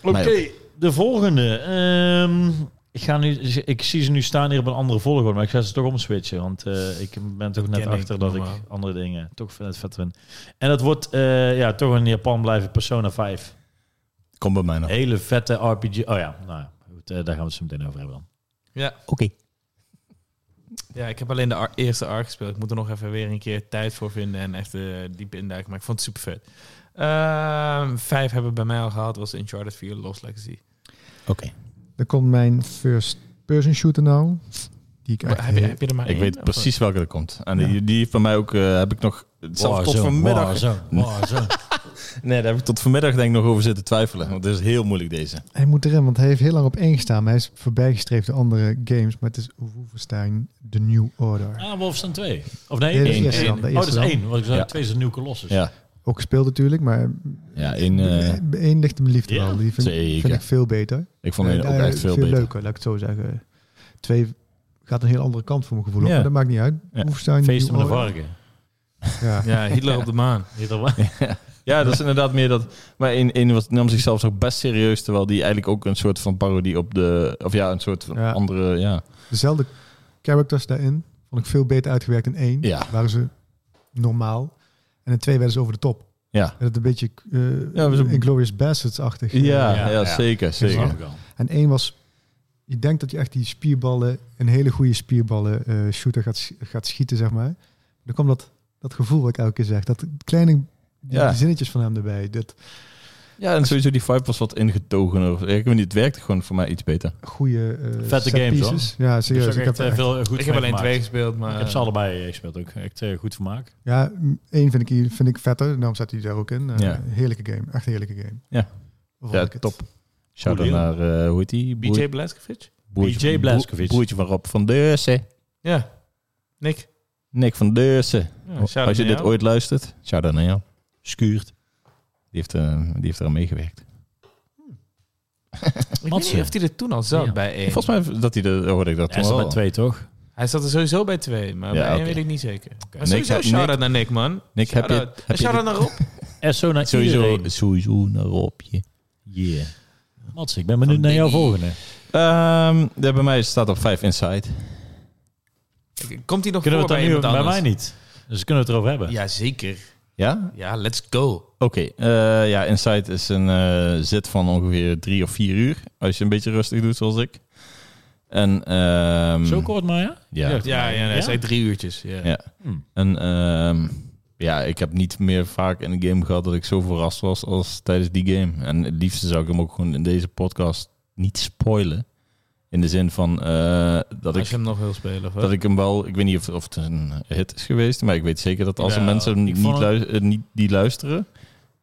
Oké,
Mij
de volgende. Ehm, ik, ga nu, ik zie ze nu staan hier op een andere volgorde, maar ik ga ze toch omswitchen. Want eh, ik ben toch net
ken ik,
achter dat ik
normaal.
andere dingen toch vet vet vind. En dat wordt eh, ja, toch een Japan blijven Persona 5.
Kom bij mij nog.
Hele vette RPG. Oh ja, nou ja, goed, eh, daar gaan we het zo meteen over hebben dan.
Ja.
Oké.
Ja, ik heb alleen de ar- eerste ARC gespeeld. Ik moet er nog even weer een keer tijd voor vinden en echt eh, diep induiken. Maar ik vond het super vet. Ehm, vijf hebben we bij mij al gehad. was Uncharted 4 Lost Legacy.
Oké.
Dan komt mijn first person shooter nou. Die ik
Maar Heb je,
eigenlijk...
heb je er maar
Ik
één, eh,
weet
of-
precies welke er komt. En
Ja.
die, die heeft bij mij ook, eh, heb ik nog, zelfs tot vanmiddag.
(laughs)
Nee, daar heb ik tot vanmiddag denk ik nog over zitten twijfelen. Want het is heel moeilijk deze.
Hij moet erin, want hij heeft heel lang op één gestaan. Maar hij is voorbijgestreefd door andere games. Maar het is Wolfenstein The New Order.
Ah, Wolfenstein 2. Of nee,
Nee, dat is
één.
eerste
Één.
dan, de
Oh, dat
eerste
is
dan.
één. Want ik zei,
Ja.
twee is een nieuw Colossus.
Ja,
Ook gespeeld natuurlijk, maar
ja in, eh,
één ligt hem liefde
ja,
wel. Die vind,
zeker.
vind ik veel beter.
ik vond
Eh,
het ook
daar-
echt veel, beter.
leuker, laat ik het zo zeggen. Twee gaat een heel andere kant voor mijn gevoel op.
Ja.
Maar dat maakt niet uit.
Ja.
Wolfenstein The
Feesten
New
met de
Oh,
Order.
varken.
Ja.
Ja, Hitler op de
(laughs)
maan.
Weet je wel?
Ja, dat is inderdaad meer dat. Maar in, in was, nam zichzelf ook best serieus, terwijl die eigenlijk ook een soort van parodie op de. Of ja, een soort van
Ja.
andere. Ja.
Dezelfde characters daarin. Vond ik veel beter uitgewerkt in één.
Ja.
Waren ze normaal. En in twee werden ze over de top.
Ja.
En dat een beetje eh
Ja, we zijn-
Inglorious Bastards-achtig. eh,
Ja, ja,
ja.
zeker.
Snap
zeker.
ik al.
En één was... Je denkt dat je echt die spierballen... Een hele goede spierballen eh, shooter gaat, sch- gaat schieten, zeg maar. Dan kwam dat, dat gevoel wat ik elke keer zeg. Dat kleine die
Ja.
zinnetjes van hem erbij. Dat
Ja, en sowieso die vibe was wat ingetogen. Of, ik weet niet, het werkte gewoon voor mij iets beter.
goede eh
Vette
set
games, hoor.
pieces. Ja,
Dus
serieus.
ook
ik
echt,
heb
eh,
echt-
veel goed
ik heb alleen
gemaakt.
twee gespeeld, maar...
Ik heb ze allebei eh, gespeeld ook. Echt eh, goed vermaak.
Ja, m- één vind ik, hier- vind ik vetter. Daarom zat hij daar ook in. Eh,
Ja.
Heerlijke game. Echt heerlijke game.
Ja.
Vond
Ja,
ik het.
top. Shout out
Cool
naar, eh, hoe heet die?
BJ Blazkowicz?
BJ Blazkowicz.
Broertje van Rob van Deursen.
Ja. Nick.
Nick van Deursen.
Ja, shout-out
Als je
naar
dit
jou.
ooit luistert, shout out naar jou. Skuurt. Die heeft, eh, die heeft eraan meegewerkt.
Ik weet
Matze.
niet of hij er toen al zat
Ja.
bij één.
(laughs) Volgens mij dat hij dat, hoorde ik dat
Hij
toen
zat
wel.
bij twee, toch?
Hij zat er sowieso bij twee, maar
Ja,
bij één
oké.
weet ik niet zeker. Maar
Nick,
sowieso
heb-
shout-out naar Nick, man.
Nick, heb je-
Shout-out.
heb
En
je
shout-out naar Rob.
En zo naar
Sowieso,
iedereen.
sowieso naar Robje.
Yeah. Mats, ik ben benieuwd naar jouw volgende.
Ehm, de- bij mij staat op 5 Inside.
Komt hij nog
Kunnen we
voor
het dan
bij
nu
iemand
bij
anders?
mij niet? Dus kunnen we het erover hebben?
Ja, zeker.
Ja?
Ja, let's go.
Oké. eh, ja, Inside is een eh, zit van ongeveer drie of vier uur. Als je een beetje rustig doet, zoals ik. En, ehm,
Hmm.
Zo kort maar, ja?
Ja.
Ja, ja, hij zei drie uurtjes. Ja.
Ja.
Hm.
En, ehm, ja, ik heb niet meer vaak in een game gehad dat ik zo verrast was als tijdens die game. En het liefste zou ik hem ook gewoon in deze podcast niet spoilen. In de zin van eh, dat
Als
ik
je hem nog wil spelen, of wat?
Dat ik hem wel, ik weet niet of, of het een hit is geweest, maar ik weet zeker dat als er
Ja,
mensen hem
ik
niet,
vond het-
lui- eh, niet die luisteren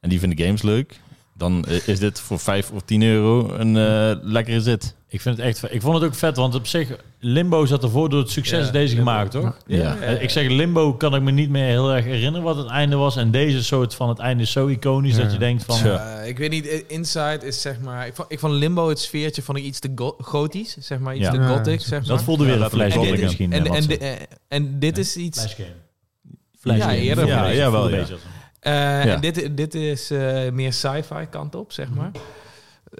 en die vinden games leuk, dan eh, is dit voor 5 of 10 euro een eh, lekkere zit.
Ik, vind het echt, vet. ik vond het ook vet, want op zich, Limbo zat ervoor door het succes
Ja,
deze
Limbo.
gemaakt, toch?
Ja.
Eh, Ik zeg, Limbo kan ik me niet meer heel erg herinneren wat het einde was. En deze soort van het einde is zo iconisch
Ja.
dat je denkt van...
Zo.
Eh, ik weet niet, eh, Inside is zeg maar... Ik vond, ik vond Limbo het sfeertje van iets te go- gotisch, zeg maar. Iets
Ja.
te
Ja,
gothic,
dat-
zeg maar.
Dat voelde weer
Ja,
een
dat- en
flashback
dit is-
misschien.
en,
eh,
en,
Mats.
di- eh, en dit is iets...
Flashgame.
Flashgame.
Ja, eerder
ja,
Voelde
ja, wel,
voelde
ja.
een beetje als een-
Eh,
Ja.
en dit, dit is eh, meer sci-fi kant op, zeg maar.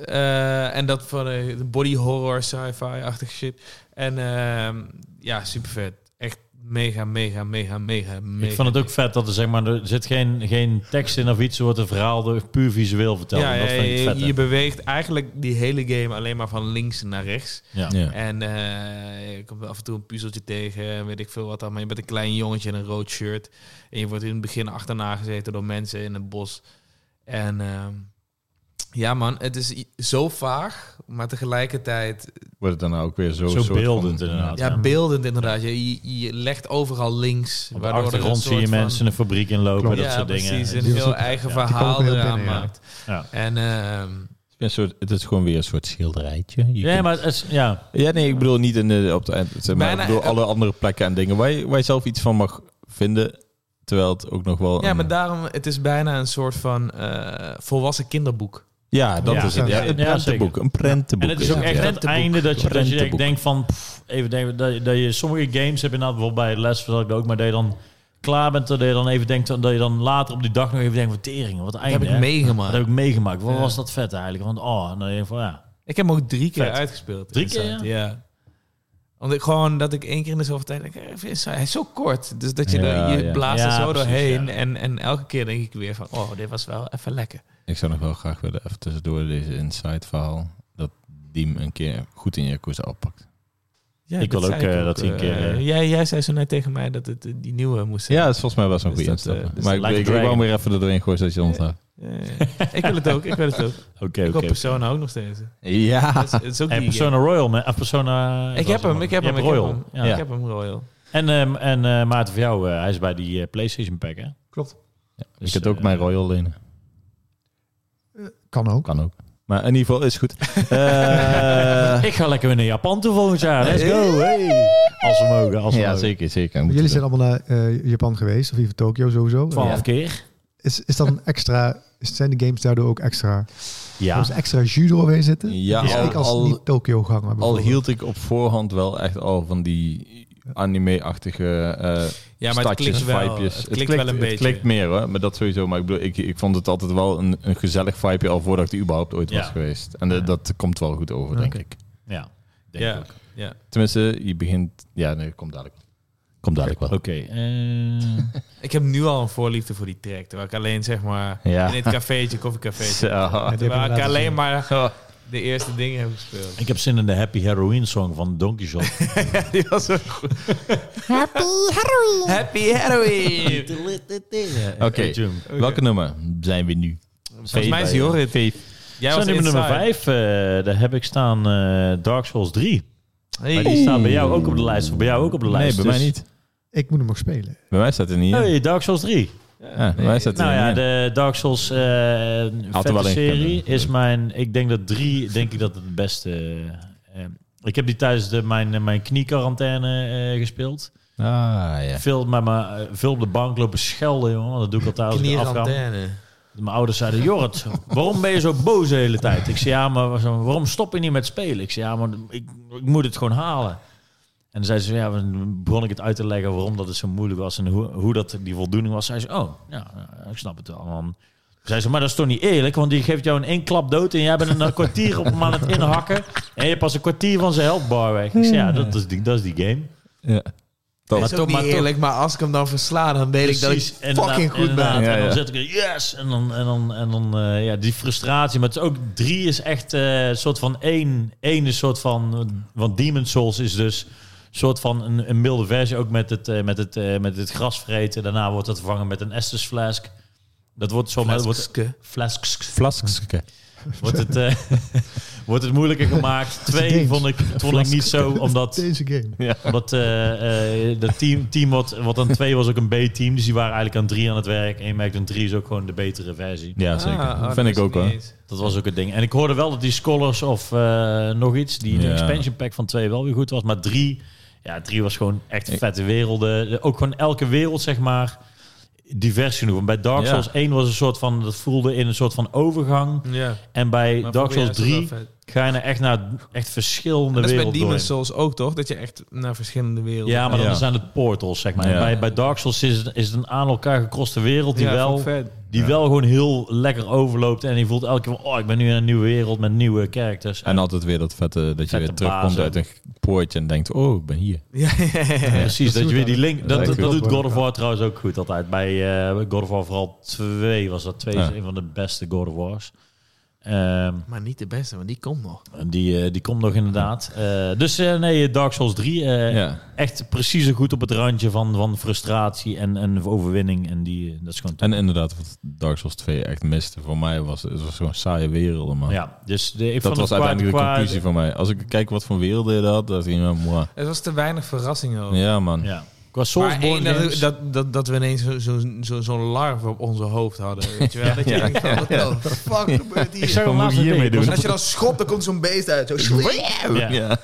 Eh, en dat van eh, de body horror, sci-fi-achtig shit. En ehm, ja, super vet. Echt mega, mega, mega, mega, mega.
Ik vond het ook vet dat er zeg maar, er zit geen, geen tekst in of iets, er wordt een verhaal er puur visueel verteld.
ja,
En dat
ja,
vind ik
je,
vet. hè.
je beweegt eigenlijk die hele game alleen maar van links naar rechts.
ja.
Ja.
En eh je komt af en toe een puzzeltje tegen, en weet ik veel wat dan. Maar je bent een klein jongetje in een rood shirt. En je wordt in het begin achterna gezeten door mensen in een bos. En ehm, ja man, het is i- zo vaag, maar tegelijkertijd
Wordt het dan nou ook weer zo...
Zo
soort van-
beeldend inderdaad.
ja, beeldend inderdaad. Je, je, je legt overal links.
Op de
waardoor er een
achtergrond zie je
soort van-
mensen een fabriek inlopen,
Klopt.
dat
ja,
soort dingen.
precies.
Het
Een
is
Die
heel
was ook-
eigen
ja,
die kwam ook
verhaal
heel
eraan
binnen, ja.
maakt.
Ja.
En ehm,
Een soort, het is gewoon weer een soort schilderijtje. Je
Ja,
kunt-
maar het is, ja.
ja, nee, ik bedoel niet in de, op de eind, zeg maar,
Bijna-
ik bedoel
eh,
alle andere plekken en dingen waar je, waar je zelf iets van mag vinden. Terwijl het ook nog wel...
Ja,
een-
maar daarom, het is bijna een soort van eh, volwassen kinderboek.
ja dat
Ja,
is het. Ja, een
zeker. Ja,
prentenboek. een prentenboek.
En het is ook
het,
echt
ja.
aan het einde dat je, dat je echt
Prentenboek.
denkt van... pff, even denken, dat, je- dat je sommige games heb je nou bijvoorbeeld bij Les, dat ik dat ook, maar dat je dan klaar bent, dat je dan even denkt, dat je dan later op die dag nog even denkt van teringen, wat
Dat
einde.
heb ik
hè?
meegemaakt.
Dat heb ik meegemaakt. Wat
Ja.
was dat vet eigenlijk? Want oh, en dan denk je van ja.
Ik heb hem ook drie keer
Vet.
uitgespeeld.
Drie keer,
Inside, ja? Omdat ik gewoon dat ik één keer in de zoveel tijd denk, eh, Inside, hij is zo kort. Dus dat je,
Ja,
er, je
ja.
blaast er
Ja,
zo
precies,
doorheen.
ja.
En, en elke keer denk ik weer van, oh, dit was wel even lekker.
Ik zou nog wel graag willen, even tussendoor deze inside verhaal, dat Diem een keer goed in Yakuza oppakt.
Ja,
Ik
dat
wil
zei
ook,
ik
eh, dat hij een
eh,
keer, eh,
jij, jij zei zo net tegen mij dat het eh, die nieuwe moest zijn.
Ja, dat is volgens mij best een
Dus
goede
dat, eh,
instap.
dus
maar ik,
Like a
ik, ik wou
Dragon.
hem weer even er doorheen gooien, zodat je het onthoudt.
Eh, ik wil het ook, ik wil het
(laughs)
ook.
Oké,
Ik wil Persona ook nog
(laughs)
steeds.
Ja. (laughs)
Dat is, het is ook
En
die game.
Persona Royal, man. Of Persona...
Ik heb hem, ik heb
Je
hem,
hebt
ik heb
Royal.
hem.
Ja.
Ik heb hem Royal.
En, ehm, en eh, Maarten, voor jou, eh, hij is bij die eh, PlayStation Pack, hè?
Klopt.
Dus,
ik heb ook
eh,
mijn Royal lenen.
Kan ook.
Kan ook. Maar in ieder geval is goed. Eh,
(laughs) Ik ga lekker weer naar Japan toe volgend jaar. Let's
Eh.
go, hey. Als we mogen, als we
ja,
mogen.
zeker, zeker. Moet
Jullie
je
zijn allemaal naar eh, Japan geweest, of even Tokio sowieso.
Twaalf
Eh,
keer.
Is, is dat een extra... Zijn de games daardoor ook extra...
Ja.
Als extra jus doorheen
doen.
zitten?
Ja.
ja,
dus Ik als
al, al,
niet-Tokio-ganger
al
bijvoorbeeld.
hield ik op voorhand wel echt al van die anime-achtige eh
Ja, maar het klinkt,
stadjes,
wel, het
vibejes.
klinkt, wel een
het
beetje.
klinkt meer hoor, maar dat sowieso. Maar ik bedoel, ik, ik vond het altijd wel een, een gezellig vibe al voordat ik er überhaupt ooit
Ja.
was geweest. En eh, dat komt wel goed over, denk
Oké.
ik.
ja. Denk
ja.
ik ook.
ja.
Tenminste, je begint... Ja, nee, komt dadelijk. Komt dadelijk wel.
Oké. eh,
Ik heb nu al een voorliefde voor die track. Terwijl ik alleen zeg maar
Ja.
in dit cafeetje, koffiecafeetje.
Zo.
Ja, die hebben we
Terwijl ik
laten
alleen
zien.
maar de eerste dingen heb gespeeld. (laughs)
ik heb zin in de Happy Heroin song van Donkey Shot.
Die was zo goed. Happy Halloween!
Oké.
Oké. Welke nummer zijn we
(laughs)
nu?
Volgens mij is die hoor het Jij
Zijn
was
nummer nummer
inside.
5, daar heb ik staan eh, Dark Souls 3. Maar die
Hey.
staan bij jou ook op de lijst. Of bij jou ook op de
Nee,
lijst.
bij mij
dus-
niet.
Ik moet hem nog spelen.
Bij mij staat er niet in.
Hey, Dark Souls 3.
Ja, bij mij staat er
Nou ja,
niet in.
de Dark Souls eh vette
wel in
serie
gekund, hè.
is mijn... Ik denk dat drie, denk ik dat het het beste... eh, eh, ik heb die tijdens de, mijn, eh, mijn kniequarantaine eh, gespeeld.
Ah, ja.
Veel, met me, eh, veel op de bank lopen schelden, jongen. want Dat doe ik altijd als ik afga.
Knierantenne.
Mijn ouders zeiden, Jorrit, waarom ben je zo boos de hele tijd? Ik zei, ja, maar zo, waarom stop je niet met spelen? Ik zei, ja, maar ik, ik moet het gewoon halen. En dan zei ze, ja, dan begon ik het uit te leggen waarom dat het zo moeilijk was en hoe, hoe dat die voldoening was. Zei ze, oh, ja, ja, ik snap het wel, man. Zei ze, maar dat is toch niet eerlijk, want die geeft jou in één klap dood en jij bent een eh, kwartier op hem aan het inhakken en je hebt pas een kwartier van zijn helpbar weg. Ik zei, ja, dat is die, dat is die game.
ja.
Dat
Maar
is
toch-
ook niet
maar toch-
eerlijk, maar als ik hem dan versla, dan weet ik dat ik
Precies, inderdaad,
fucking goed ben.
inderdaad.
Ja,
En dan
ja.
zet ik er yes! En dan, en dan, en dan eh, ja, die frustratie. Maar het is ook drie is echt eh, een soort van één. Eén is soort van. Want Demon Souls is dus een soort van een, een milde versie. Ook met het, eh, met, het, eh, met het gras vreten. Daarna wordt dat vervangen met een Estus Flask. Dat wordt zomaar. Oh, dat Wordt,
Flaske.
flasks.
Vlaskske.
Wordt het, eh, (laughs) wordt het moeilijker gemaakt. Twee
Deens.
vond ik, vond ik niet zo. Omdat
Deze game.
omdat eh, eh, dat team, team wat, wat aan twee was ook een B-team. Dus die waren eigenlijk aan drie aan het werk. En je merkt, een drie is ook gewoon de betere versie.
Ja, zeker.
Ah, oh,
dat
dat
vind ik
is
ook
niet
wel.
eens.
Dat was ook het ding. En ik hoorde wel dat die Scholars of eh, nog iets, die de
Ja.
expansion pack van twee wel weer goed was. Maar drie, ja, drie was gewoon echt vette werelden. Ook gewoon elke wereld, zeg maar, divers genoeg. Want bij Dark
Ja.
Souls 1 was een soort van, dat voelde in een soort van overgang.
Ja.
En bij
Maar
Dark
voor jou
Souls
is dat wel
3
vet.
ga je naar echt naar echt verschillende
Dat is bij
werelden.
Demon
doorheen.
Souls ook toch? Dat je echt naar verschillende werelden
Ja, maar dan
Ja.
zijn het portals, zeg maar.
Ja.
Bij, bij Dark Souls is het, is het een aan elkaar gekroste wereld die,
Ja,
wel,
vond ik vet.
die wel gewoon heel lekker overloopt. En die voelt elke keer van, oh, ik ben nu in een nieuwe wereld met nieuwe characters.
En altijd weer dat vette, dat je
Vette
weer terugkomt
bazen.
uit een poortje en denkt, oh, ik ben hier.
Ja, ja, ja, ja.
Ja, precies, dat,
dat
je weer
doet
die link... Dat,
dat
dat, dat
is
echt
doet
wel
God of War trouwens ook goed altijd. Bij eh, God of War vooral 2 was dat. 2
Ja.
is een van de beste God of Wars. Ehm,
Maar niet de beste, want die komt nog.
en die, eh, die komt nog inderdaad. Eh, dus eh, nee, Dark Souls 3. eh,
Ja.
Echt precies zo goed op het randje van, van frustratie en, en overwinning. En die, eh, dat is gewoon
En inderdaad, wat Dark Souls 2 echt miste voor mij was, het was gewoon saaie werelden, man.
Ja, dus de, ik
dat
vond
was
het qua-
uiteindelijk de
qua-
conclusie van mij. Als ik kijk wat voor werelden je had, dacht ik, nou, mwah.
Oh.
Het was te weinig verrassingen over.
ja man.
Ja. Qua
Maar één,
Soulsborne
dat,
games-
dat, dat, dat we ineens zo'n zo, zo, zo'n larve op onze hoofd hadden. Weet je wel? Dat je denkt van, wat de fuck gebeurt
Ik
hier?
zag hem
Wat moet
laatst
je
hiermee
hiermee
doen.
doen?
En
(laughs)
als je dan schopt, dan komt zo'n beest uit. Zo.
Ja.
Ja.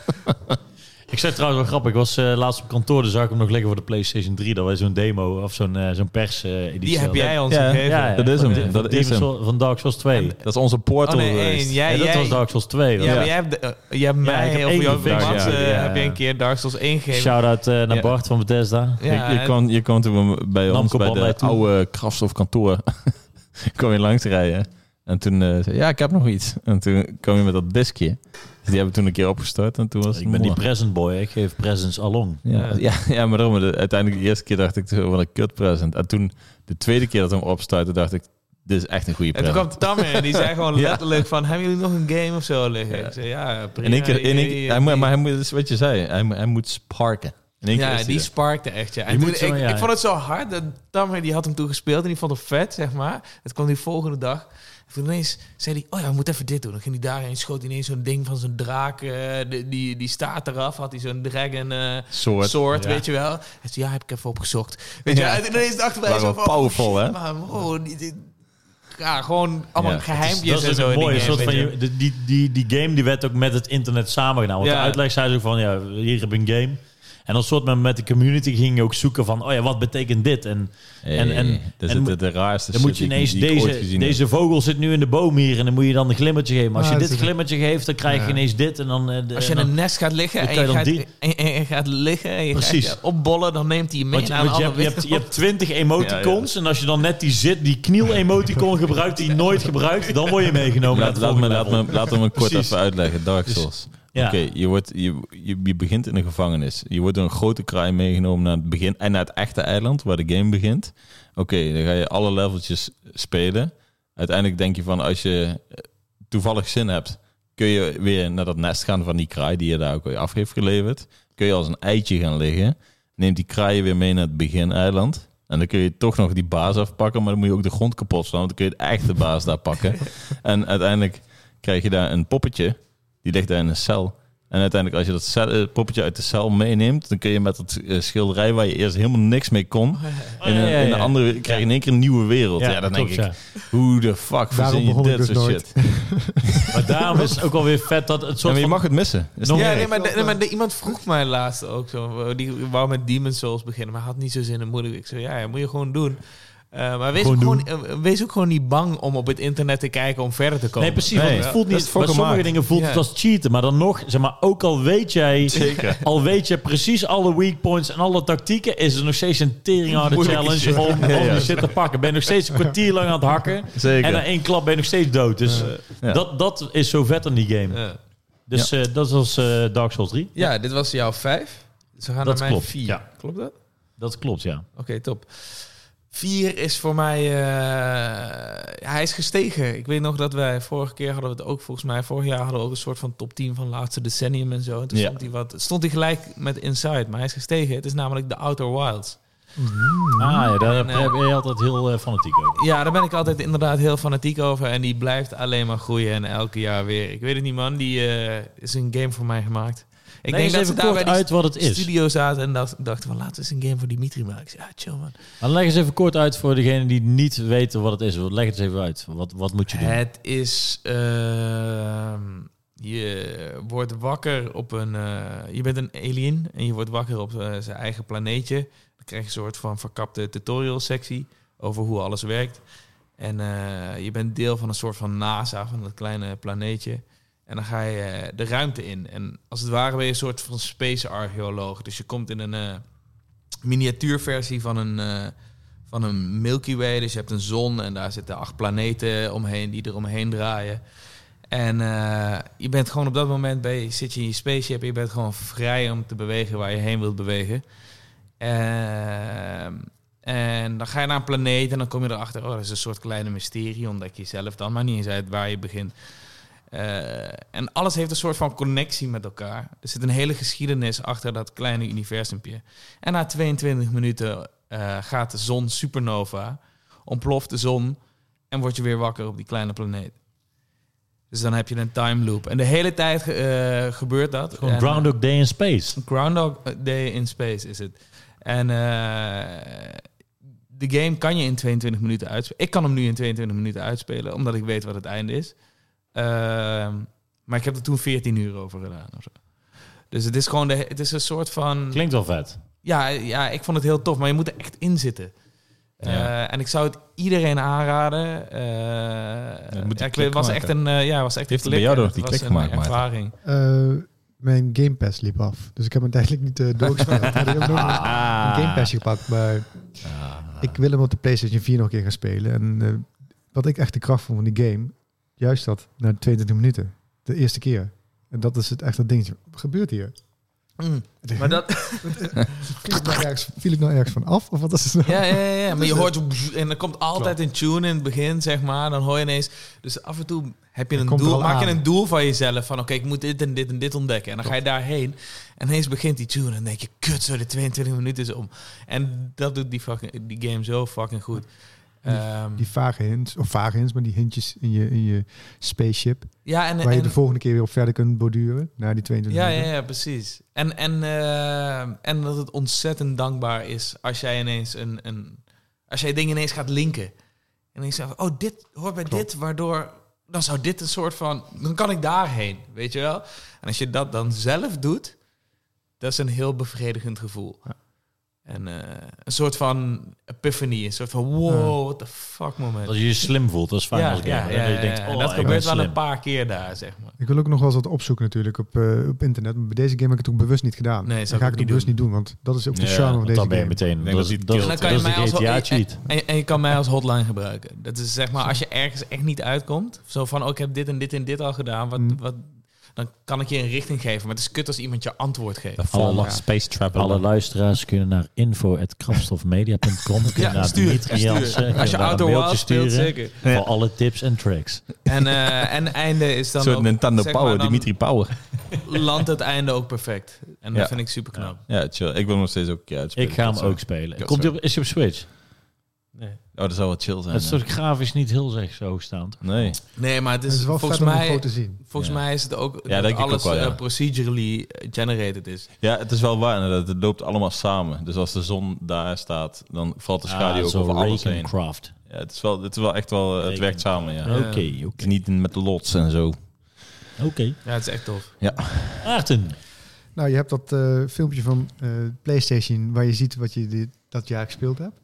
Ik zei trouwens wel grappig. Ik was eh, laatst op kantoor, dus zag ik hem nog lekker voor de PlayStation 3. Dat wij zo'n demo of zo'n eh, zo'n pers eh, editie.
Die heb
hadden.
jij ons
Ja,
Ja,
gegeven.
ja,
Dat is hem.
Van,
Dat
van
is
Demon's
hem.
Soul- Van Dark Souls 2.
En-
Dat is onze portal
Oh nee,
geweest.
één. Jij,
Ja, dat
jij,
was Dark Souls 2.
Ja,
Ja.
maar jij hebt, eh, jij hebt
ik
mij
heb één
of jouw
gevraagd,
Mats,
ja,
eh,
ja.
heb je een keer Dark Souls 1 gegeven.
Shout-out eh, naar
Ja.
Bart van Bethesda.
Ja,
je, je
en-
kwam, je kwam toen bij
Namco
ons bij
bal bij
de
toe.
oude kraftstofkantoor. (laughs) kwam je langs rijden. En toen eh, zei ja, ik heb nog iets. En toen kwam je met dat diskje. Dus die hebben we toen een keer opgestart. En toen was het
Ik ben die
mooi.
present boy. Ik geef presents along.
Ja, ja, ja, maar daarom, de- uiteindelijk de eerste keer dacht ik, zo, wat een kut present. En toen, de tweede keer dat we hem opstartte, dacht ik, dit is echt een goede
En toen
present.
kwam Tam in en die zei gewoon
Ja.
letterlijk van... Hebben jullie nog een game of zo liggen?
Ja.
Ik zei, ja, prima.
in één keer, in één keer-
Jullie- eh,
hij moet, maar hij moet, dat is wat je zei, hij, moet- hij moet sparken. In één keer
ja,
is
die
hij er.
sparkte echt, ja. En
Je
toen,
moet zo,
ik,
ja.
ik vond het zo hard. Dat Tamer die had hem toen gespeeld en die vond het vet, zeg maar. Het kwam die volgende dag. En toen ineens zei hij, oh ja, we moeten even dit doen. Dan ging hij daarheen, schoot ineens zo'n ding van zo'n draak. eh, de- die, die staat eraf, had hij zo'n dragon eh,
soort.
soort,
ja.
weet je wel. Hij zei, ja, heb ik even opgezocht. Weet je
Ja.
wel. En toen ineens dachten wij
Waren
zo
wel
van...
powerful, hè?
Maar wow, die- die- ja, gewoon allemaal
Ja, het is-
geheimpjes
Dat
en
is
zo.
een
in die
mooie
game,
soort van...
weet je wel.
je- de- Die, die, die game die werd ook met het internet samengedaan. Want
Ja.
de uitleg zei ze ook van... Ja, hier heb ik een game. En dan soort met, met de community ging je ook zoeken van... Oh ja, wat betekent dit? En En- en-
dat
en
is het-
moet-
de raarste
dan
shit
moet je
die ik-
ineens...
die ik ooit
Deze,
gezien heb.
deze vogel zit nu in de boom hier. En dan moet je dan een glimmertje geven. Maar als
Ja,
je dit
dat is-
glimmertje geeft, dan krijg je
Ja.
ineens dit. En dan... eh, de-
Als je
en
in
dan-
een nest gaat liggen
Dan
en
kan
je,
je
gaat,
dan
en, en je gaat liggen en je
Precies.
gaat je opbollen, dan neemt hij je mee
Want, je-
naar een
want je,
andere
hebt, je, hebt, je
wereld.
hebt 20 emoticons. En als je dan net die zit, die
(laughs)
kniel-emoticon gebruikt die je nooit gebruikt, dan word je meegenomen.
Laat,
naar
laat,
het
me,
volgende
laat, me,
level.
laat me hem kort
Precies. Dus
even uitleggen. Dark Souls.
ja.
Oké, je, wordt- je, je, je begint in een gevangenis. Je wordt door een grote kraai meegenomen naar het begin en naar het echte eiland waar de game begint. Oké, dan ga je alle leveltjes spelen. Uiteindelijk denk je van als je eh, toevallig zin hebt, kun je weer naar dat nest gaan van die kraai die je daar ook weer af heeft geleverd. Kun je als een eitje gaan liggen. Neemt die kraai weer mee naar het begineiland. En dan kun je toch nog die baas afpakken, maar dan moet je ook de grond kapot slaan, want dan kun je de echte baas daar pakken. En uiteindelijk krijg je daar een poppetje, die ligt daar in een cel. En uiteindelijk, als je dat cel- eh, poppetje uit de cel meeneemt, dan kun je met dat eh, schilderij waar je eerst helemaal niks mee kon, in
ja,
een,
Oh, ja,
in
ja.
een andere, krijg je in één keer een nieuwe wereld. Ja, dan denk
klopt,
ik,
ja.
hoe de fuck verzin je
begon ik
dit
dus
soort
nooit.
shit? Ja,
Maar daarom is het ook alweer vet dat het soort
maar je
van...
mag het missen. Is
Nog-
niet
Ja,
erg.
nee, maar, de- nee, maar de- iemand vroeg mij laatst ook zo. eh, Die wou met Demon Souls beginnen, maar had niet zo zin in moeilijk. Ik zei, ja, ja, moet je gewoon doen. Eh, maar wees,
Gewoon
ook gewoon, eh, wees ook gewoon niet bang om op het internet te kijken om verder te komen.
Nee, precies. want
Nee,
het voelt
dat
niet, bij
is voor
sommige
gemaakt.
dingen voelt
Ja.
het als cheaten. Maar dan nog, zeg maar, ook al weet
(laughs)
jij...
Zeker.
Al weet je precies alle weak points en alle tactieken... is er nog steeds een teringharde
Moeilijke
challenge
shit.
om, om
Ja, ja.
die shit te pakken. Ben je nog steeds een kwartier lang aan het hakken...
Zeker.
en eh, na één klap ben je nog steeds dood. Dus
ja.
dat, dat is zo vet aan die game.
Ja.
Dus eh, dat was eh, Dark Souls 3.
Ja, dit was jouw vijf. Dus we gaan
Dat
naar
klopt,
mijn vier.
ja.
Klopt dat?
Dat klopt, ja.
Oké, top. Vier is voor mij... eh, hij is gestegen. Ik weet nog dat wij vorige keer hadden we het ook volgens mij... Vorig jaar hadden we ook een soort van top 10 van laatste decennium en zo. En toen
Ja.
stond, hij wat, stond hij gelijk met Inside, maar hij is gestegen. Het is namelijk The Outer Wilds.
Mhm.
Ah ja, daar
Nee.
ben je altijd heel eh, fanatiek over.
Ja, daar ben ik altijd inderdaad heel fanatiek over. En die blijft alleen maar groeien en elke jaar weer. Ik weet het niet, man. Die eh, is een game voor mij gemaakt. Ik
Ik denk eens
ze
even
daar bij
kort
die
uit wat het is.
studio zaten en dacht- dachten van... laten we eens een game voor Dimitri maken. Ik zei, ja, chill, man.
Maar leg eens even kort uit voor degenen die niet weten wat het is. Leg het eens even uit. Wat, wat moet je doen?
Het is. ehm, je wordt wakker op een. eh, je bent een alien en je wordt wakker op eh, zijn eigen planeetje. Dan krijg je een soort van verkapte tutorial sectie over hoe alles werkt. En eh, je bent deel van een soort van NASA, van dat kleine planeetje. En dan ga je eh, de ruimte in. En als het ware ben je een soort van space archeoloog. Dus je komt in een eh, miniatuurversie van een, eh, van een Milky Way. Dus je hebt een zon en daar zitten acht planeten omheen die er omheen draaien. En eh, je bent gewoon op dat moment bij, zit je in je spaceship en je bent gewoon vrij om te bewegen waar je heen wilt bewegen. Ehm, en dan ga je naar een planeet en dan kom je erachter, oh, dat is een soort kleine mysterie, ontdek je zelf dan, maar niet eens uit waar je begint. Eh, en alles heeft een soort van connectie met elkaar. Er zit een hele geschiedenis achter dat kleine universumpje. En na 22 minuten eh, gaat de zon supernova, ontploft de zon en word je weer wakker op die kleine planeet. Dus dan heb je een time loop. En de hele tijd eh, gebeurt dat.
Gewoon
En-
Groundhog Day in Space.
Groundhog Day in Space is het. En eh, de game kan je in 22 minuten uitspelen. Ik kan hem nu in 22 minuten uitspelen, omdat ik weet wat het einde is. Ehm, maar ik heb er toen 14 uur over gedaan. Of zo. Dus het is gewoon de, het is een soort van.
Klinkt wel vet.
Ja, ja, ik vond het heel tof, maar je moet er echt in zitten. Eh,
Ja.
en ik zou het iedereen aanraden. Eh
je moet die
ja, ik
klik
weet- was
maken.
echt een, eh, ja, was echt
Heeft
een
het bij jou
klik.
nog die
Het was
klik
een
gemaakt, Maarten?
ervaring.
Eh, mijn Game Pass liep af. Dus ik heb hem tijdelijk niet eh,
(laughs)
doorgespeeld. Had ik heb nog een, een Game Pass gepakt. Maar
Ah.
ik wil hem op de PlayStation 4 nog een keer gaan spelen. En eh, wat ik echt de kracht vond van die game... Juist dat, na 22 minuten. De eerste keer. En dat is het echte dingetje. Wat gebeurt hier?
Mm. Maar dat,
viel, ik nou ergens, viel ik nou ergens van af? Of wat is het nou?
ja, ja, ja, ja,
(laughs)
maar je hoort zo bzz, en dan komt altijd een tune in het begin, zeg maar. Dan hoor je ineens. Dus af en toe heb je
Het
een
komt er
doel,
al
maak je
aan.
een doel van jezelf van, oké, ik moet dit en dit en dit ontdekken. En dan ga je daarheen en ineens begint die tune en dan denk je, kut, zo de 22 minuten is om. En dat doet die, fucking, die game zo fucking goed. Ehm,
Die vage hints, of vage hints, maar die hintjes in je, in je spaceship.
ja, en,
waar je
en-
de volgende keer weer op verder kunt borduren. Na die 22
Ja,
minuten.
ja, ja, precies. En, en, eh, en dat het ontzettend dankbaar is als jij ineens een, een als jij dingen ineens gaat linken. En ik zeg, oh, dit hoort bij dit, waardoor dan zou dit een soort van, dan kan ik daarheen, weet je wel? En als je dat dan zelf doet, dat is een heel bevredigend gevoel. En eh, een soort van epiphany, een soort van wow, what the fuck moment.
Als je je slim voelt, dat is fijn als gamer. dat je denkt,
ja.
oh,
En dat
ik ben
gebeurt wel
slim.
een paar keer daar, zeg maar.
Ik wil ook nog wel eens wat opzoeken natuurlijk op, eh, op internet. Maar bij deze game heb ik het ook bewust niet gedaan.
Nee, zou
dan
ik
ga
ook
ik het
niet
ook bewust niet doen, want dat is ook de
Ja,
charme van
Want
deze
dan ben je
game.
meteen...
denk
Dat
dat
is
die
dat is-
tilt-
dat
En dan
is
kan
de
je mij e- als-
GTA-cheat.
En, en je kan mij als hotline gebruiken. Dat is zeg maar, als je ergens echt niet uitkomt, zo van, oh, ik heb dit en dit en dit al gedaan, wat,
Mm.
wat, dan kan ik je een richting geven. Maar het is kut als iemand je antwoord geeft.
De Fall
Alle-
of Space Traveler.
Alle luisteraars kunnen naar info.krapstofmedia.com. Kunnen
Ja,
naar
stuur,
Dimitri
stuur.
Jansen, kunnen
Als je
daar een
Outer
mailtje
Wilds speelt,
sturen
zeker.
Voor alle tips en tricks.
En, eh, en einde is dan
Een soort
ook,
Nintendo
zeg maar,
Power,
dan
Dimitri Power.
(laughs) landt het einde ook perfect. En dat
Ja.
vind ik super knap.
Ja, chill. Ik wil hem nog steeds ook een keer uitspelen.
Ik ga hem
Dat zou-
ook spelen.
dat
Komt die
zou-
op, is hij op Switch?
Oh, dat zou wel chill zijn.
Dat is
hè?
toch grafisch niet heel zeg zo staand.
Nee.
Nee, maar het
Het
is,
is wel
volgens
vet om het
mij...
gewoon te zien.
Volgens
Ja.
mij is het ook dat
denk ik ook
alles
wel, ja.
eh, procedurally generated is.
Ja, het is wel waar inderdaad. Het loopt allemaal samen. Dus als de zon daar staat, dan valt de schaduw
Ah,
ook
zo
over alles heen.
Rakencraft.
Ja, het, is wel, het is wel echt wel... Het werkt samen, ja.
Oké, oké.
Het is Niet met lots en zo.
Oké.
Ja, het is echt tof.
Maarten.
Nou, je hebt dat eh, filmpje van eh, PlayStation waar je ziet wat je dit, dat jaar gespeeld hebt.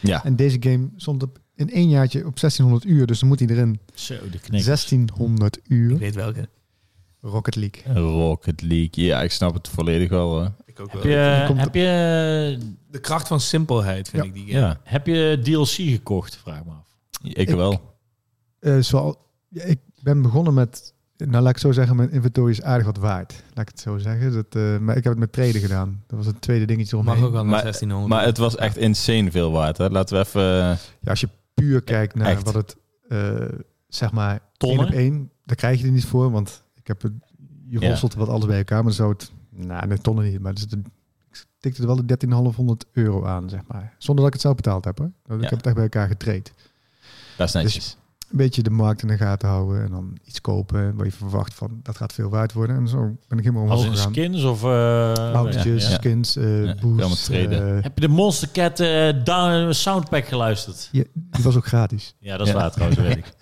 Ja.
En deze game stond op, in één jaartje op 1600 uur, dus dan moet hij erin.
Zo, de knik.
1600
Ik
uur
weet welke.
Rocket League.
Rocket League. Ja, ik snap het volledig wel. Hè.
Ik ook
Heb
wel.
je,
Komt-
heb, je,
De kracht van simpelheid vind
Ja.
ik die game.
Ja,
heb je DLC gekocht? Vraag me af.
ik, wel.
Eh, zoal, ja, ik ben begonnen met, nou laat ik het zo zeggen, mijn inventory is aardig wat waard. Laat ik het zo zeggen. Dat, eh, maar ik heb het met traden gedaan. Dat was het tweede dingetje eromheen.
Mag ook wel naar
Maar-
1600.
Maar het was echt insane veel waard. Hè. Laten we even... eh,
Ja, als je puur kijkt naar
Echt.
wat het, eh, zeg maar,
Tonnen?
één op één, daar krijg je er niet voor, want ik heb het, je
Ja.
rosselt wat alles bij elkaar, maar dan zou het, nou, nee, tonnen niet, maar er zit een- ik tikte er wel de 13,500 euro aan, zeg maar. Zonder dat ik het zelf betaald heb, hoor. Ik
Ja.
heb het echt bij elkaar getraind.
Dat is netjes.
Een beetje de markt in de gaten houden en dan iets kopen waar je verwacht van, dat gaat veel waard worden. En zo ben ik helemaal
Als
omhoog
in
gegaan.
skins of... eh,
Mountages,
ja.
skins, eh
Ja, helemaal
boosts.
traden.
eh,
Heb je de Monster Cat eh, down- soundpack geluisterd?
ja, die was ook gratis.
Ja, dat is
Ja.
waar trouwens, weet
(laughs)
ik.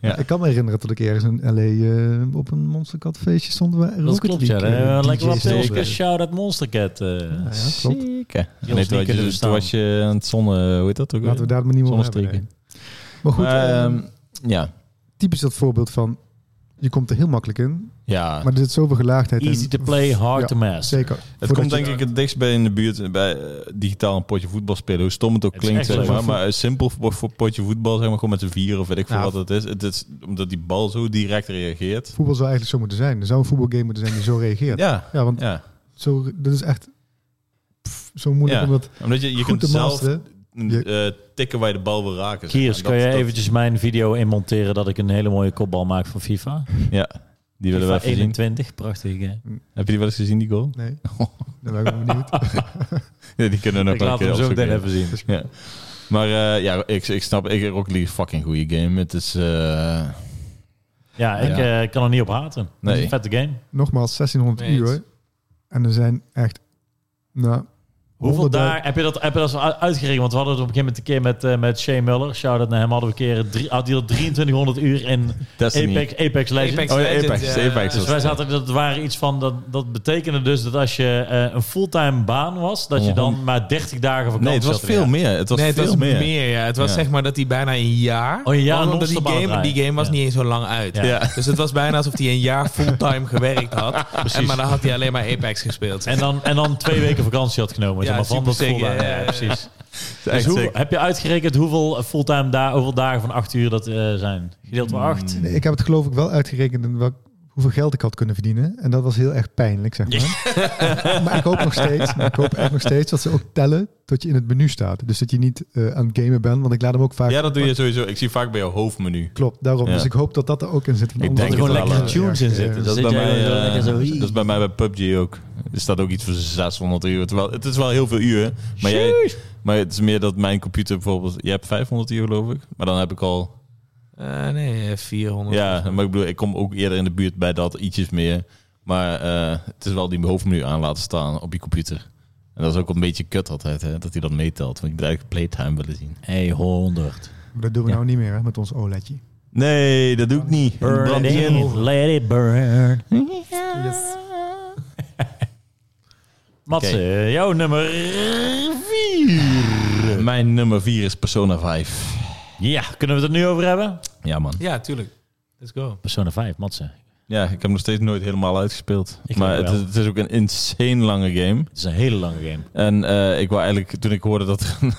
Ja.
Ik kan me herinneren dat ik ergens in L.A. eh, op een Monster Cat feestje stond. Waar
Dat
Rocket
klopt, ja.
League, eh,
Eh, Lekker
DJ's
wat
speelden.
pilsjes, shout-out Monster Cat. eh.
Ja, ja, klopt.
Zeker.
Die
Nee,
ons niet
toen, had
kunnen
je, toen
verstaan.
was je aan het zonne... Hoe heet dat ook
Laten we
weer?
daar maar niet meer om hebben.
Zonnestreken.
nee. Maar goed,
Maar,
eh,
ehm, ja.
typisch dat voorbeeld van... Je komt er heel makkelijk in,
Ja,
maar er zit zoveel gelaagdheid in.
Easy to play, hard
Ja,
to master.
Zeker.
Het
Voordat
komt
je-
denk ik het dichtst bij in de buurt bij eh, digitaal een potje voetbal spelen. Hoe stom het ook
Het is
klinkt,
echt
zeg
leuk.
maar. Maar een simpel vo- vo- potje voetbal, zeg maar, gewoon met z'n vier of weet ik veel
Nou,
wat het is. het is. Omdat die bal zo direct reageert.
Voetbal zou eigenlijk zo moeten zijn. Er zou een voetbalgame moeten zijn die zo
Ja,
reageert. Ja,
ja.
want Zo, dat is echt pff, zo moeilijk.
Ja.
Omdat
Omdat je, je
goed
kunt
te
zelf
masteren.
eh, tikken waar je de bal wil raken. zeg
Kiers,
maar.
kan
Dat-
jij
dat-
eventjes mijn video inmonteren dat ik een hele mooie kopbal maak van FIFA?
Ja, die willen we
FIFA
even zien.
21, prachtig hè?
Heb je die wel eens gezien, die goal? (laughs)
Nee,
Oh.
dan ben ik wel benieuwd.
Ja, die kunnen we nog
Ik
wel
laat
een
hem
keer
zo meteen
opzoeken.
even zien.
(laughs) Ja. Maar eh, ja, ik, ik snap, ik, Rocket League is een fucking goede game. Het is... eh,
Ja, ik
Ja.
eh, kan er niet op haten.
Nee.
Het is een vette game.
Nogmaals, 1600
Mee eens.
uur. En er zijn echt, nou,
Hoeveel
100
daar, heb je dat, heb je dat zo uit- uitgerekend? Want we hadden het op een gegeven moment een keer met, eh, met Shane Muller. Shout-out naar hem. Hadden we een keer drie, ah, had hij al 2300 uur in
Destiny.
Apex, Apex Legends.
Apex
Oh ja,
Legends,
Apex,
ja.
Apex
Dus wij zaten, dat waren iets van, dat, dat betekende dus dat als je eh, een fulltime baan was, dat je dan maar 30 dagen vakantie
Mhm. Nee, het was
had in het
veel
jaar.
meer. Het was
nee, het
veel
was meer.
meer.
ja. Het was
Ja.
zeg maar dat hij bijna een jaar...
Oh, een jaar
Want omdat die
non-stop aan het
game, die
draaien.
game was
Ja.
niet eens zo lang uit.
Ja.
Ja.
Dus het was bijna alsof hij een jaar fulltime gewerkt had. En,
Precies.
maar dan had hij alleen maar Apex gespeeld.
En dan, en dan twee weken vakantie had genomen.
Ja,
zeg maar, van dat
supersick,
fulltime.
ja, ja,
Ja,
ja.
precies.
Het is
Dus
echt
hoe,
sick.
heb je uitgerekend hoeveel eh, fulltime da hoeveel dagen van 8 uur dat eh, zijn? Gedeeld
Mm,
door 8?
Nee, ik heb het geloof ik wel uitgerekend in welk- hoeveel geld ik had kunnen verdienen. En dat was heel erg pijnlijk, zeg maar. (laughs) maar ik hoop nog
(laughs)
steeds, maar ik hoop echt nog steeds dat ze ook tellen tot je in het menu staat. Dus dat je niet eh, aan het gamen bent, want ik laat hem ook vaak...
Ja, dat doe je sowieso. Ik zie vaak bij jouw hoofdmenu.
Klopt, daarom.
Ja.
Dus ik hoop dat dat er ook in zit. want
Ik
anders
denk
is
het
het
wel,
wel
hè.
erg,
tunes in
eh,
zitten.
Dat is, bij
zit jij
mij,
wel
eh,
lekker zo, "Wee."
dat is bij mij bij PUBG ook. Er staat ook iets voor 600 uur. Terwijl, het is wel heel veel uren. Maar, jij, maar het is meer dat mijn computer bijvoorbeeld... Je hebt 500 uur geloof ik. Maar dan heb ik al...
Eh, nee, eh, 400.
Ja, maar ik bedoel, ik kom ook eerder in de buurt bij dat ietsjes meer. Maar eh, het is wel die hoofdmenu aan laten staan op je computer. En dat is ook een beetje kut altijd, hè, dat hij dat meetelt. Want je moet eigenlijk playtime willen zien.
Hey, 100.
Maar dat doen we
Ja.
nou niet meer hè, met ons OLEDje.
Nee, dat doe ik niet.
Burn
Brand
it
die
(laughs)
in.
in, let it burn.
Yes.
Matze, jouw nummer 4.
Mijn nummer 4 is Persona 5.
Ja, kunnen we het er nu over hebben?
Ja, man.
Ja, tuurlijk. Let's go.
Persona 5, Matze.
Ja, ik heb hem nog steeds nooit helemaal uitgespeeld.
Ik
maar
ook
het
wel.
is, het is ook een insane lange game.
Het is een hele lange game.
En eh, ik wou eigenlijk, toen ik hoorde dat er een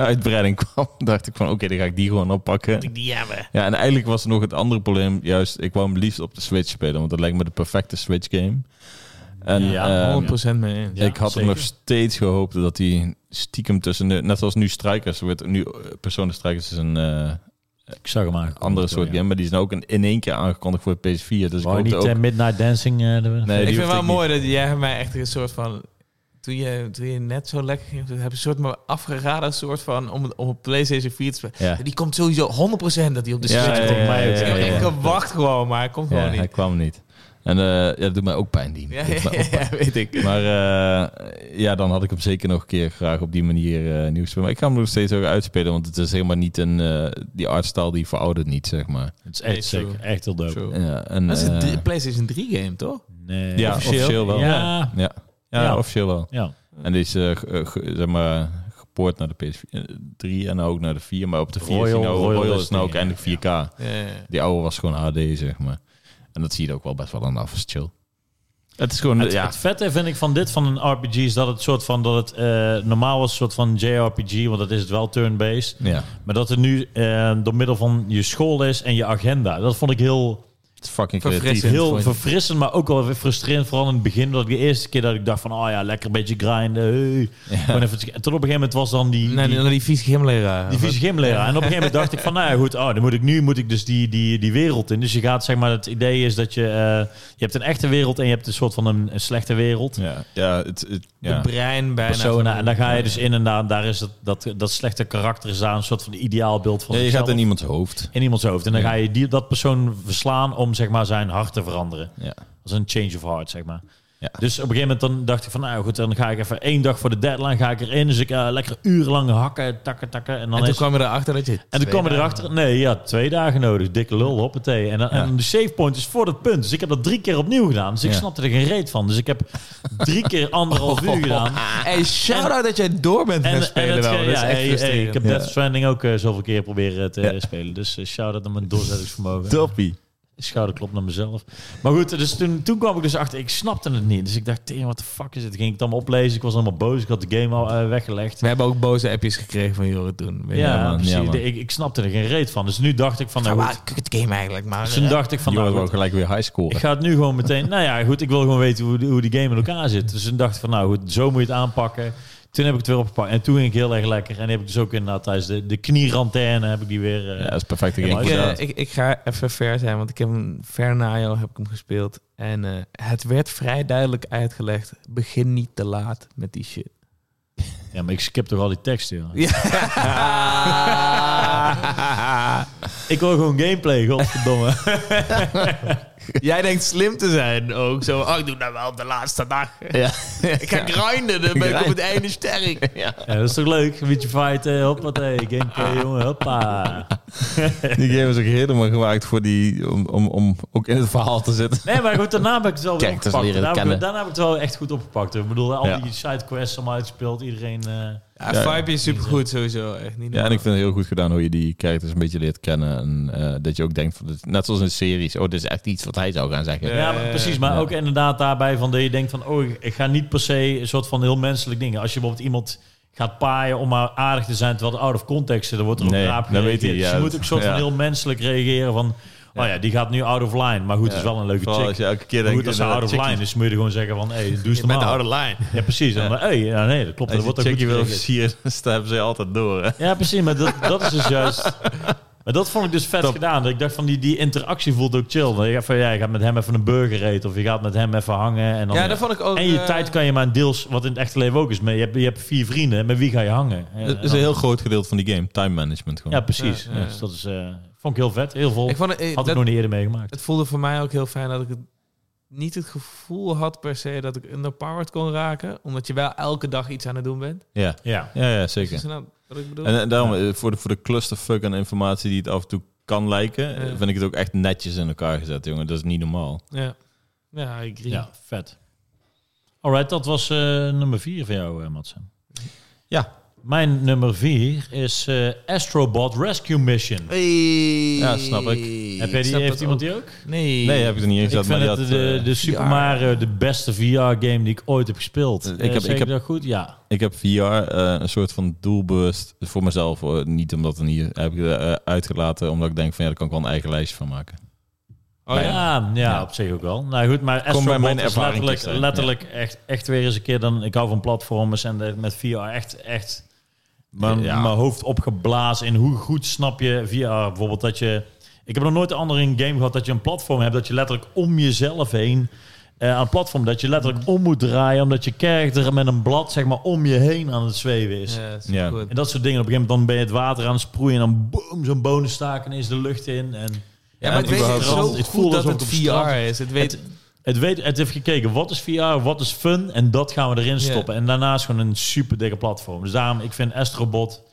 (laughs) uitbreiding kwam, (laughs) dacht ik van oké, dan ga ik die gewoon oppakken.
Die hebben.
Ja, en eigenlijk was er nog het andere probleem. Juist, ik wou hem liefst op de Switch spelen, want dat lijkt me de perfecte Switch game. En
Ja,
ehm,
100% mee eens.
Ja,
ik had hem
zeker.
nog steeds gehoopt dat hij stiekem tussen de, net zoals nu Strikers, wordt nu eh, Persona Strikers is een eh,
Ik zag hem aangekomen.
andere soort
Ja.
game, maar die is nou ook in, in één keer aangekondigd voor de PS4. Dus
Wou je
ik
niet
hoopte
eh,
ook.
Midnight Dancing... eh, de-
Nee,
ik
die
vind
hoefde
wel
ik
mooi dat jij mij echt een soort van... Toen je, toen je net zo lekker ging, heb je een soort maar afgeraden soort van om, om op PlayStation 4 te spelen.
Ja.
Die komt sowieso 100% dat Dus die op de
Ja,
Switch
ja,
komt.
ja, ja,
Ik
ja,
heb
ja.
echt gewacht gewoon, maar hij komt
Ja,
(laughs) gewoon
hij
niet.
kwam niet. En eh, ja, dat doet mij ook pijn, die.
Ja,
Dat doet mij ook pijn.
ja, weet ik.
Maar eh, ja, dan had ik hem zeker nog een keer graag op die manier eh nieuw spelen. Maar ik ga hem nog steeds ook uitspelen, want het is helemaal niet een... eh, die artstyle die veroudert niet, zeg maar.
(laughs) Het is
Nee,
echt
true.
sick. Echt heel dope.
Zo.
Ja, en,
Dat is een
eh,
drie- PlayStation 3 game, toch?
Nee.
Ja, officieel wel.
Ja.
ja, ja,
Ja.
officieel wel.
ja.
En die is, eh, ge- eh, ge- zeg maar, gepoord naar de PS3 en nou ook naar de 4. Maar op de 4 is
Royal-
die nou, Royal,
Royal
is nou ook
Destiny,
eindelijk 4K.
Ja.
Die oude was gewoon HD, zeg maar. En dat zie je er ook wel best wel aan af, is chill. Het is gewoon,
Het,
ja,
het vette vind ik van dit, van een RPG, is dat het soort van, dat het eh, normaal was een soort van JRPG, want dat is het wel turn-based.
ja,
Maar dat het nu eh, door middel van je school is en je agenda. Dat vond ik heel,
het is fucking
Verfrissend.
creatief.
heel
vond je?
verfrissend, maar ook wel weer frustrerend. Vooral in het begin, dat ik de eerste keer dat ik dacht van, oh ja, lekker een beetje grinden. Hey. Gewoon even- En tot op een gegeven moment was dan die...
Nee,
die
die, die vieze gymleraar.
die vieze gymleraar. En op een gegeven moment dacht ik
(laughs)
van, nou ja, goed, oh, dan moet ik nu moet ik dus die, die, die wereld in. Dus je gaat, zeg maar, het idee is dat je, eh, je hebt een echte wereld en je hebt een soort van een, een slechte wereld.
Ja, ja, het, het, ja.
De brein bijna.
Persona. En dan ga je dus in en daar, daar is dat, dat, dat slechte karakter is daar een soort van ideaalbeeld van
Ja, je
zichzelf.
gaat in iemands hoofd.
in iemands hoofd. En dan
Ja.
ga je die, dat persoon verslaan om zeg maar, zijn hart te veranderen.
Ja.
Dat is een change of heart, zeg maar.
Ja.
Dus op een gegeven moment dan dacht ik van, nou goed, dan ga ik even één dag voor de deadline ga ik erin. Dus ik eh, lekker urenlang hakken, takken, takken. En dan
En toen
is-
kwam je erachter dat je...
en toen kwam je erachter, nee, ja, twee dagen nodig. Dikke lul, hoppatee. En, dan, en de save point is voor dat punt. Dus ik heb dat drie keer opnieuw gedaan. Dus ik
Ja.
snapte er geen reet van. Dus ik heb drie keer
(laughs)
anderhalf uur gedaan.
Oh, Hey, shout-out dat jij door bent met spelen
het
wel.
ge-
Dat is
ja,
echt
hey, hey,
frustrerend.
ik heb
Ja.
Death Stranding ook eh, zoveel keer proberen te
Ja.
eh, spelen. Dus eh, shout-out aan mijn doorzettingsvermogen.
Toppie.
Schouderklop naar mezelf. Maar goed, dus toen, toen kwam ik dus achter, ik snapte het niet. Dus ik dacht, tegen wat de fuck is dit? Ging ik het allemaal oplezen? Ik was allemaal boos. Ik had de game al eh, weggelegd.
We hebben ook boze appjes gekregen van Joren toen. Weet je
ja,
Ja, man.
precies.
Ja, man.
De- ik, ik snapte er geen reet van. Dus nu dacht ik van,
Nou,
nou
maar
goed.
kut game eigenlijk, maar...
Dus toen dacht ik van,
Die
nou goed,
worden ook gelijk weer high
ik
scoren.
ga het nu gewoon meteen... Nou ja, goed, ik wil gewoon weten hoe, die- hoe die game in elkaar zit. Dus toen dacht ik van, nou goed, zo moet je het aanpakken. Toen heb ik het weer opgepakt. En toen ging ik heel erg lekker. En heb ik dus ook inderdaad tijdens de, de knierantaine heb ik die weer... eh,
Ja, dat is perfect.
Ja,
game.
maar
Ik, eh,
inderdaad.
ik, ik ga even ver zijn, want ik heb hem ver na jou heb ik hem gespeeld. En eh, het werd vrij duidelijk uitgelegd. Begin niet te laat met die shit.
Ja, maar ik skip toch al die teksten, joh.
Ja.
Ik wil gewoon gameplay, godverdomme.
(laughs) Jij denkt slim te zijn ook. Zo, oh, ik doe dat wel op de laatste (laughs) dag.
Ja.
Ik ga grinden, dan ben ik op het einde sterk.
ja, dat is toch leuk? Een beetje fighten, hoppatee, gameplay, jongen, hoppa.
Die game is ook helemaal gemaakt voor die, om, om, om ook in het verhaal te zitten.
Nee, maar goed, daarna heb ik het wel weer
Kijk, dat is
opgepakt.
leren
Daarna heb, ik,
kennen.
daarna heb ik het wel echt goed opgepakt. Ik bedoel, al
Ja.
die sidequests allemaal uitgespeeld. Iedereen... eh,
Ja,
Ja.
Vibe is supergoed sowieso. Echt niet
Ja, en ik vind het heel goed gedaan hoe je die characters een beetje leert kennen. En eh, dat je ook denkt, van, dit- net zoals in series, oh, dit is echt iets wat hij zou gaan zeggen.
Ja.
Ja, maar precies. Maar
ja.
ook inderdaad daarbij van dat je denkt van... oh, ik, ik ga niet per se een soort van heel menselijk ding. Als je bijvoorbeeld iemand gaat paaien om maar aardig te zijn... terwijl het out of context zit, dan wordt er
Nee,
ook raap
dat weet
gereageerd.
hij,
Dus je
ja,
moet
dat-
ook een soort van
ja.
heel menselijk reageren van... oh ja, die gaat nu out of line. Maar goed, het is wel een leuke
Vooral
chick.
als je elke keer
Maar
denkt...
goed, als ze out of line is, moet je er gewoon zeggen van... hey, doe eens normaal.
line.
Ja, precies. En dan, hey, ja, nee, dat klopt. Dat
Als je
wordt ook
chickie
goed
wil
gereageerd.
versieren, (laughs) dan stappen ze altijd door. Hè?
Ja, precies. Maar dat, dat is dus juist...
(laughs)
Maar dat vond ik dus vet
Dat-
gedaan. Dat ik dacht van die, die interactie voelt ook chill. Dat Je, gaat van, ja, je gaat met hem even een burger eten of je gaat met hem even hangen. En, dan,
Ja, dat vond ik ook...
en je
eh,
tijd kan je maar deels, wat in het echte leven ook is, maar je hebt, je hebt vier vrienden, met wie ga je hangen? En- en
Dat is
dan-
een heel groot gedeelte van die game, time management gewoon.
Ja, precies.
Ja, ja.
Dus dat is, eh, vond ik heel vet. Heel veel.
Ik vond het, eh,
had ik
dat-
nog niet eerder meegemaakt.
het voelde voor mij ook heel fijn dat ik het, niet het gevoel had per se dat ik underpowered kon raken. Omdat je wel elke dag iets aan het doen bent.
Ja,
Ja.
ja, ja
Is
zeker.
dat nou wat ik bedoel?
En, eh, daarom, eh, voor de, voor de clusterfuck aan informatie die het af en toe kan lijken, eh,
Ja.
vind ik het ook echt netjes in elkaar gezet, jongen. Dat is niet normaal.
ja. ja, ik agree.
ja, vet. Alright, dat was eh, nummer vier van jou, eh, Madsen.
Ja.
Mijn nummer vier is eh, Astrobot Rescue Mission.
Ja, snap ik.
Heb jij die,
snap
heeft
het
iemand
ook.
die ook?
Nee.
Nee, heb ik er niet in
Ik
gezet.
vind
maar
het
die had,
de,
eh,
de Super
VR.
Mario de beste VR-game die ik ooit heb gespeeld.
Ik
Eh,
heb-
zeg
ik heb-
dat goed? Ja.
Ik heb VR eh, een soort van doelbewust voor mezelf. eh, niet omdat er niet heb ik eh, uitgelaten, omdat ik denk van ja, daar kan ik wel een eigen lijstje van maken.
Oh,
ja.
ja.
Ja,
Ja.
op zich ook wel. Nou goed, maar Astro
bij
Bot
mijn
is
ervaring
letterlijk,
terecht, hè?
letterlijk echt, echt weer eens een keer... Dan, ik hou van platformers en de- met VR echt... echt mijn,
Ja.
mijn hoofd opgeblazen in hoe goed snap je VR. Bijvoorbeeld dat je... Ik heb nog nooit een andere in game gehad dat je een platform hebt... dat je letterlijk om jezelf heen... eh, aan het platform dat je letterlijk om moet draaien... omdat je character met een blad zeg maar, om je heen aan het zweven is.
Ja,
Ja.
super goed.
En dat soort dingen. Op een gegeven moment dan ben je het water aan het sproeien. En dan boom, zo'n bonenstaak en is de lucht in. En
Ja, maar
En
ik weet het
überhaupt-
zo
Het voelt
goed dat
alsof
het
het
VR
op straat-
is. Het weet...
het, weet, het heeft gekeken, wat is VR, wat is fun? En dat gaan we erin
Ja.
stoppen. En daarnaast gewoon een super dikke platform. Dus daarom, ik vind Astrobot...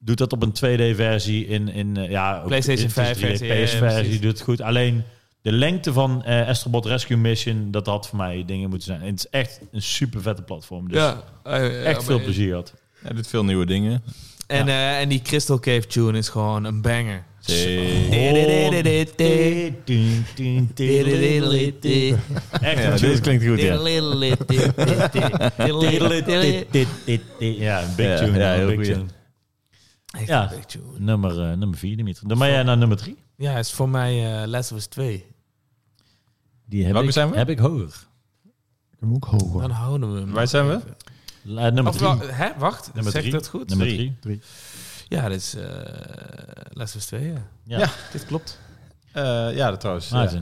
Doet dat op een 2D-versie in, in eh, ja, ook
PlayStation
in- het is
5
3D,
versie, ja, ja,
PS-versie
precies.
doet het goed. Alleen de lengte van eh Astrobot Rescue Mission, dat had voor mij dingen moeten zijn. En het is echt een super vette platform. Dus
Ja.
echt veel plezier had.
Hij doet veel nieuwe dingen.
En, eh, en die Crystal Cave tune is gewoon een banger.
Echt
Ja,
een tune.
deze klinkt goed, ja.
Ja, een big
Ja,
tune.
ja,
een
heel
big
goeie.
tune.
Echt
Ja.
een big tune.
Nummer, eh, nummer 4, Dimitri. Dan ben jij naar nummer 3.
Ja, is voor mij eh Last of Us 2.
Die heb
Welke
ik,
zijn we?
Heb ik hoger.
Ik hem ook hoger.
Dan houden we hem.
Waar zijn we?
La- eh, nummer
Of eh,
3.
wa- hè, wacht,
Nummer
zeg
drie.
ik dat goed?
Nummer 3.
Ja, dat is eh Last of Us 2, ja.
Ja.
Ja.
Dit klopt.
Eh, ja, dat trouwens. ja.
Maarten.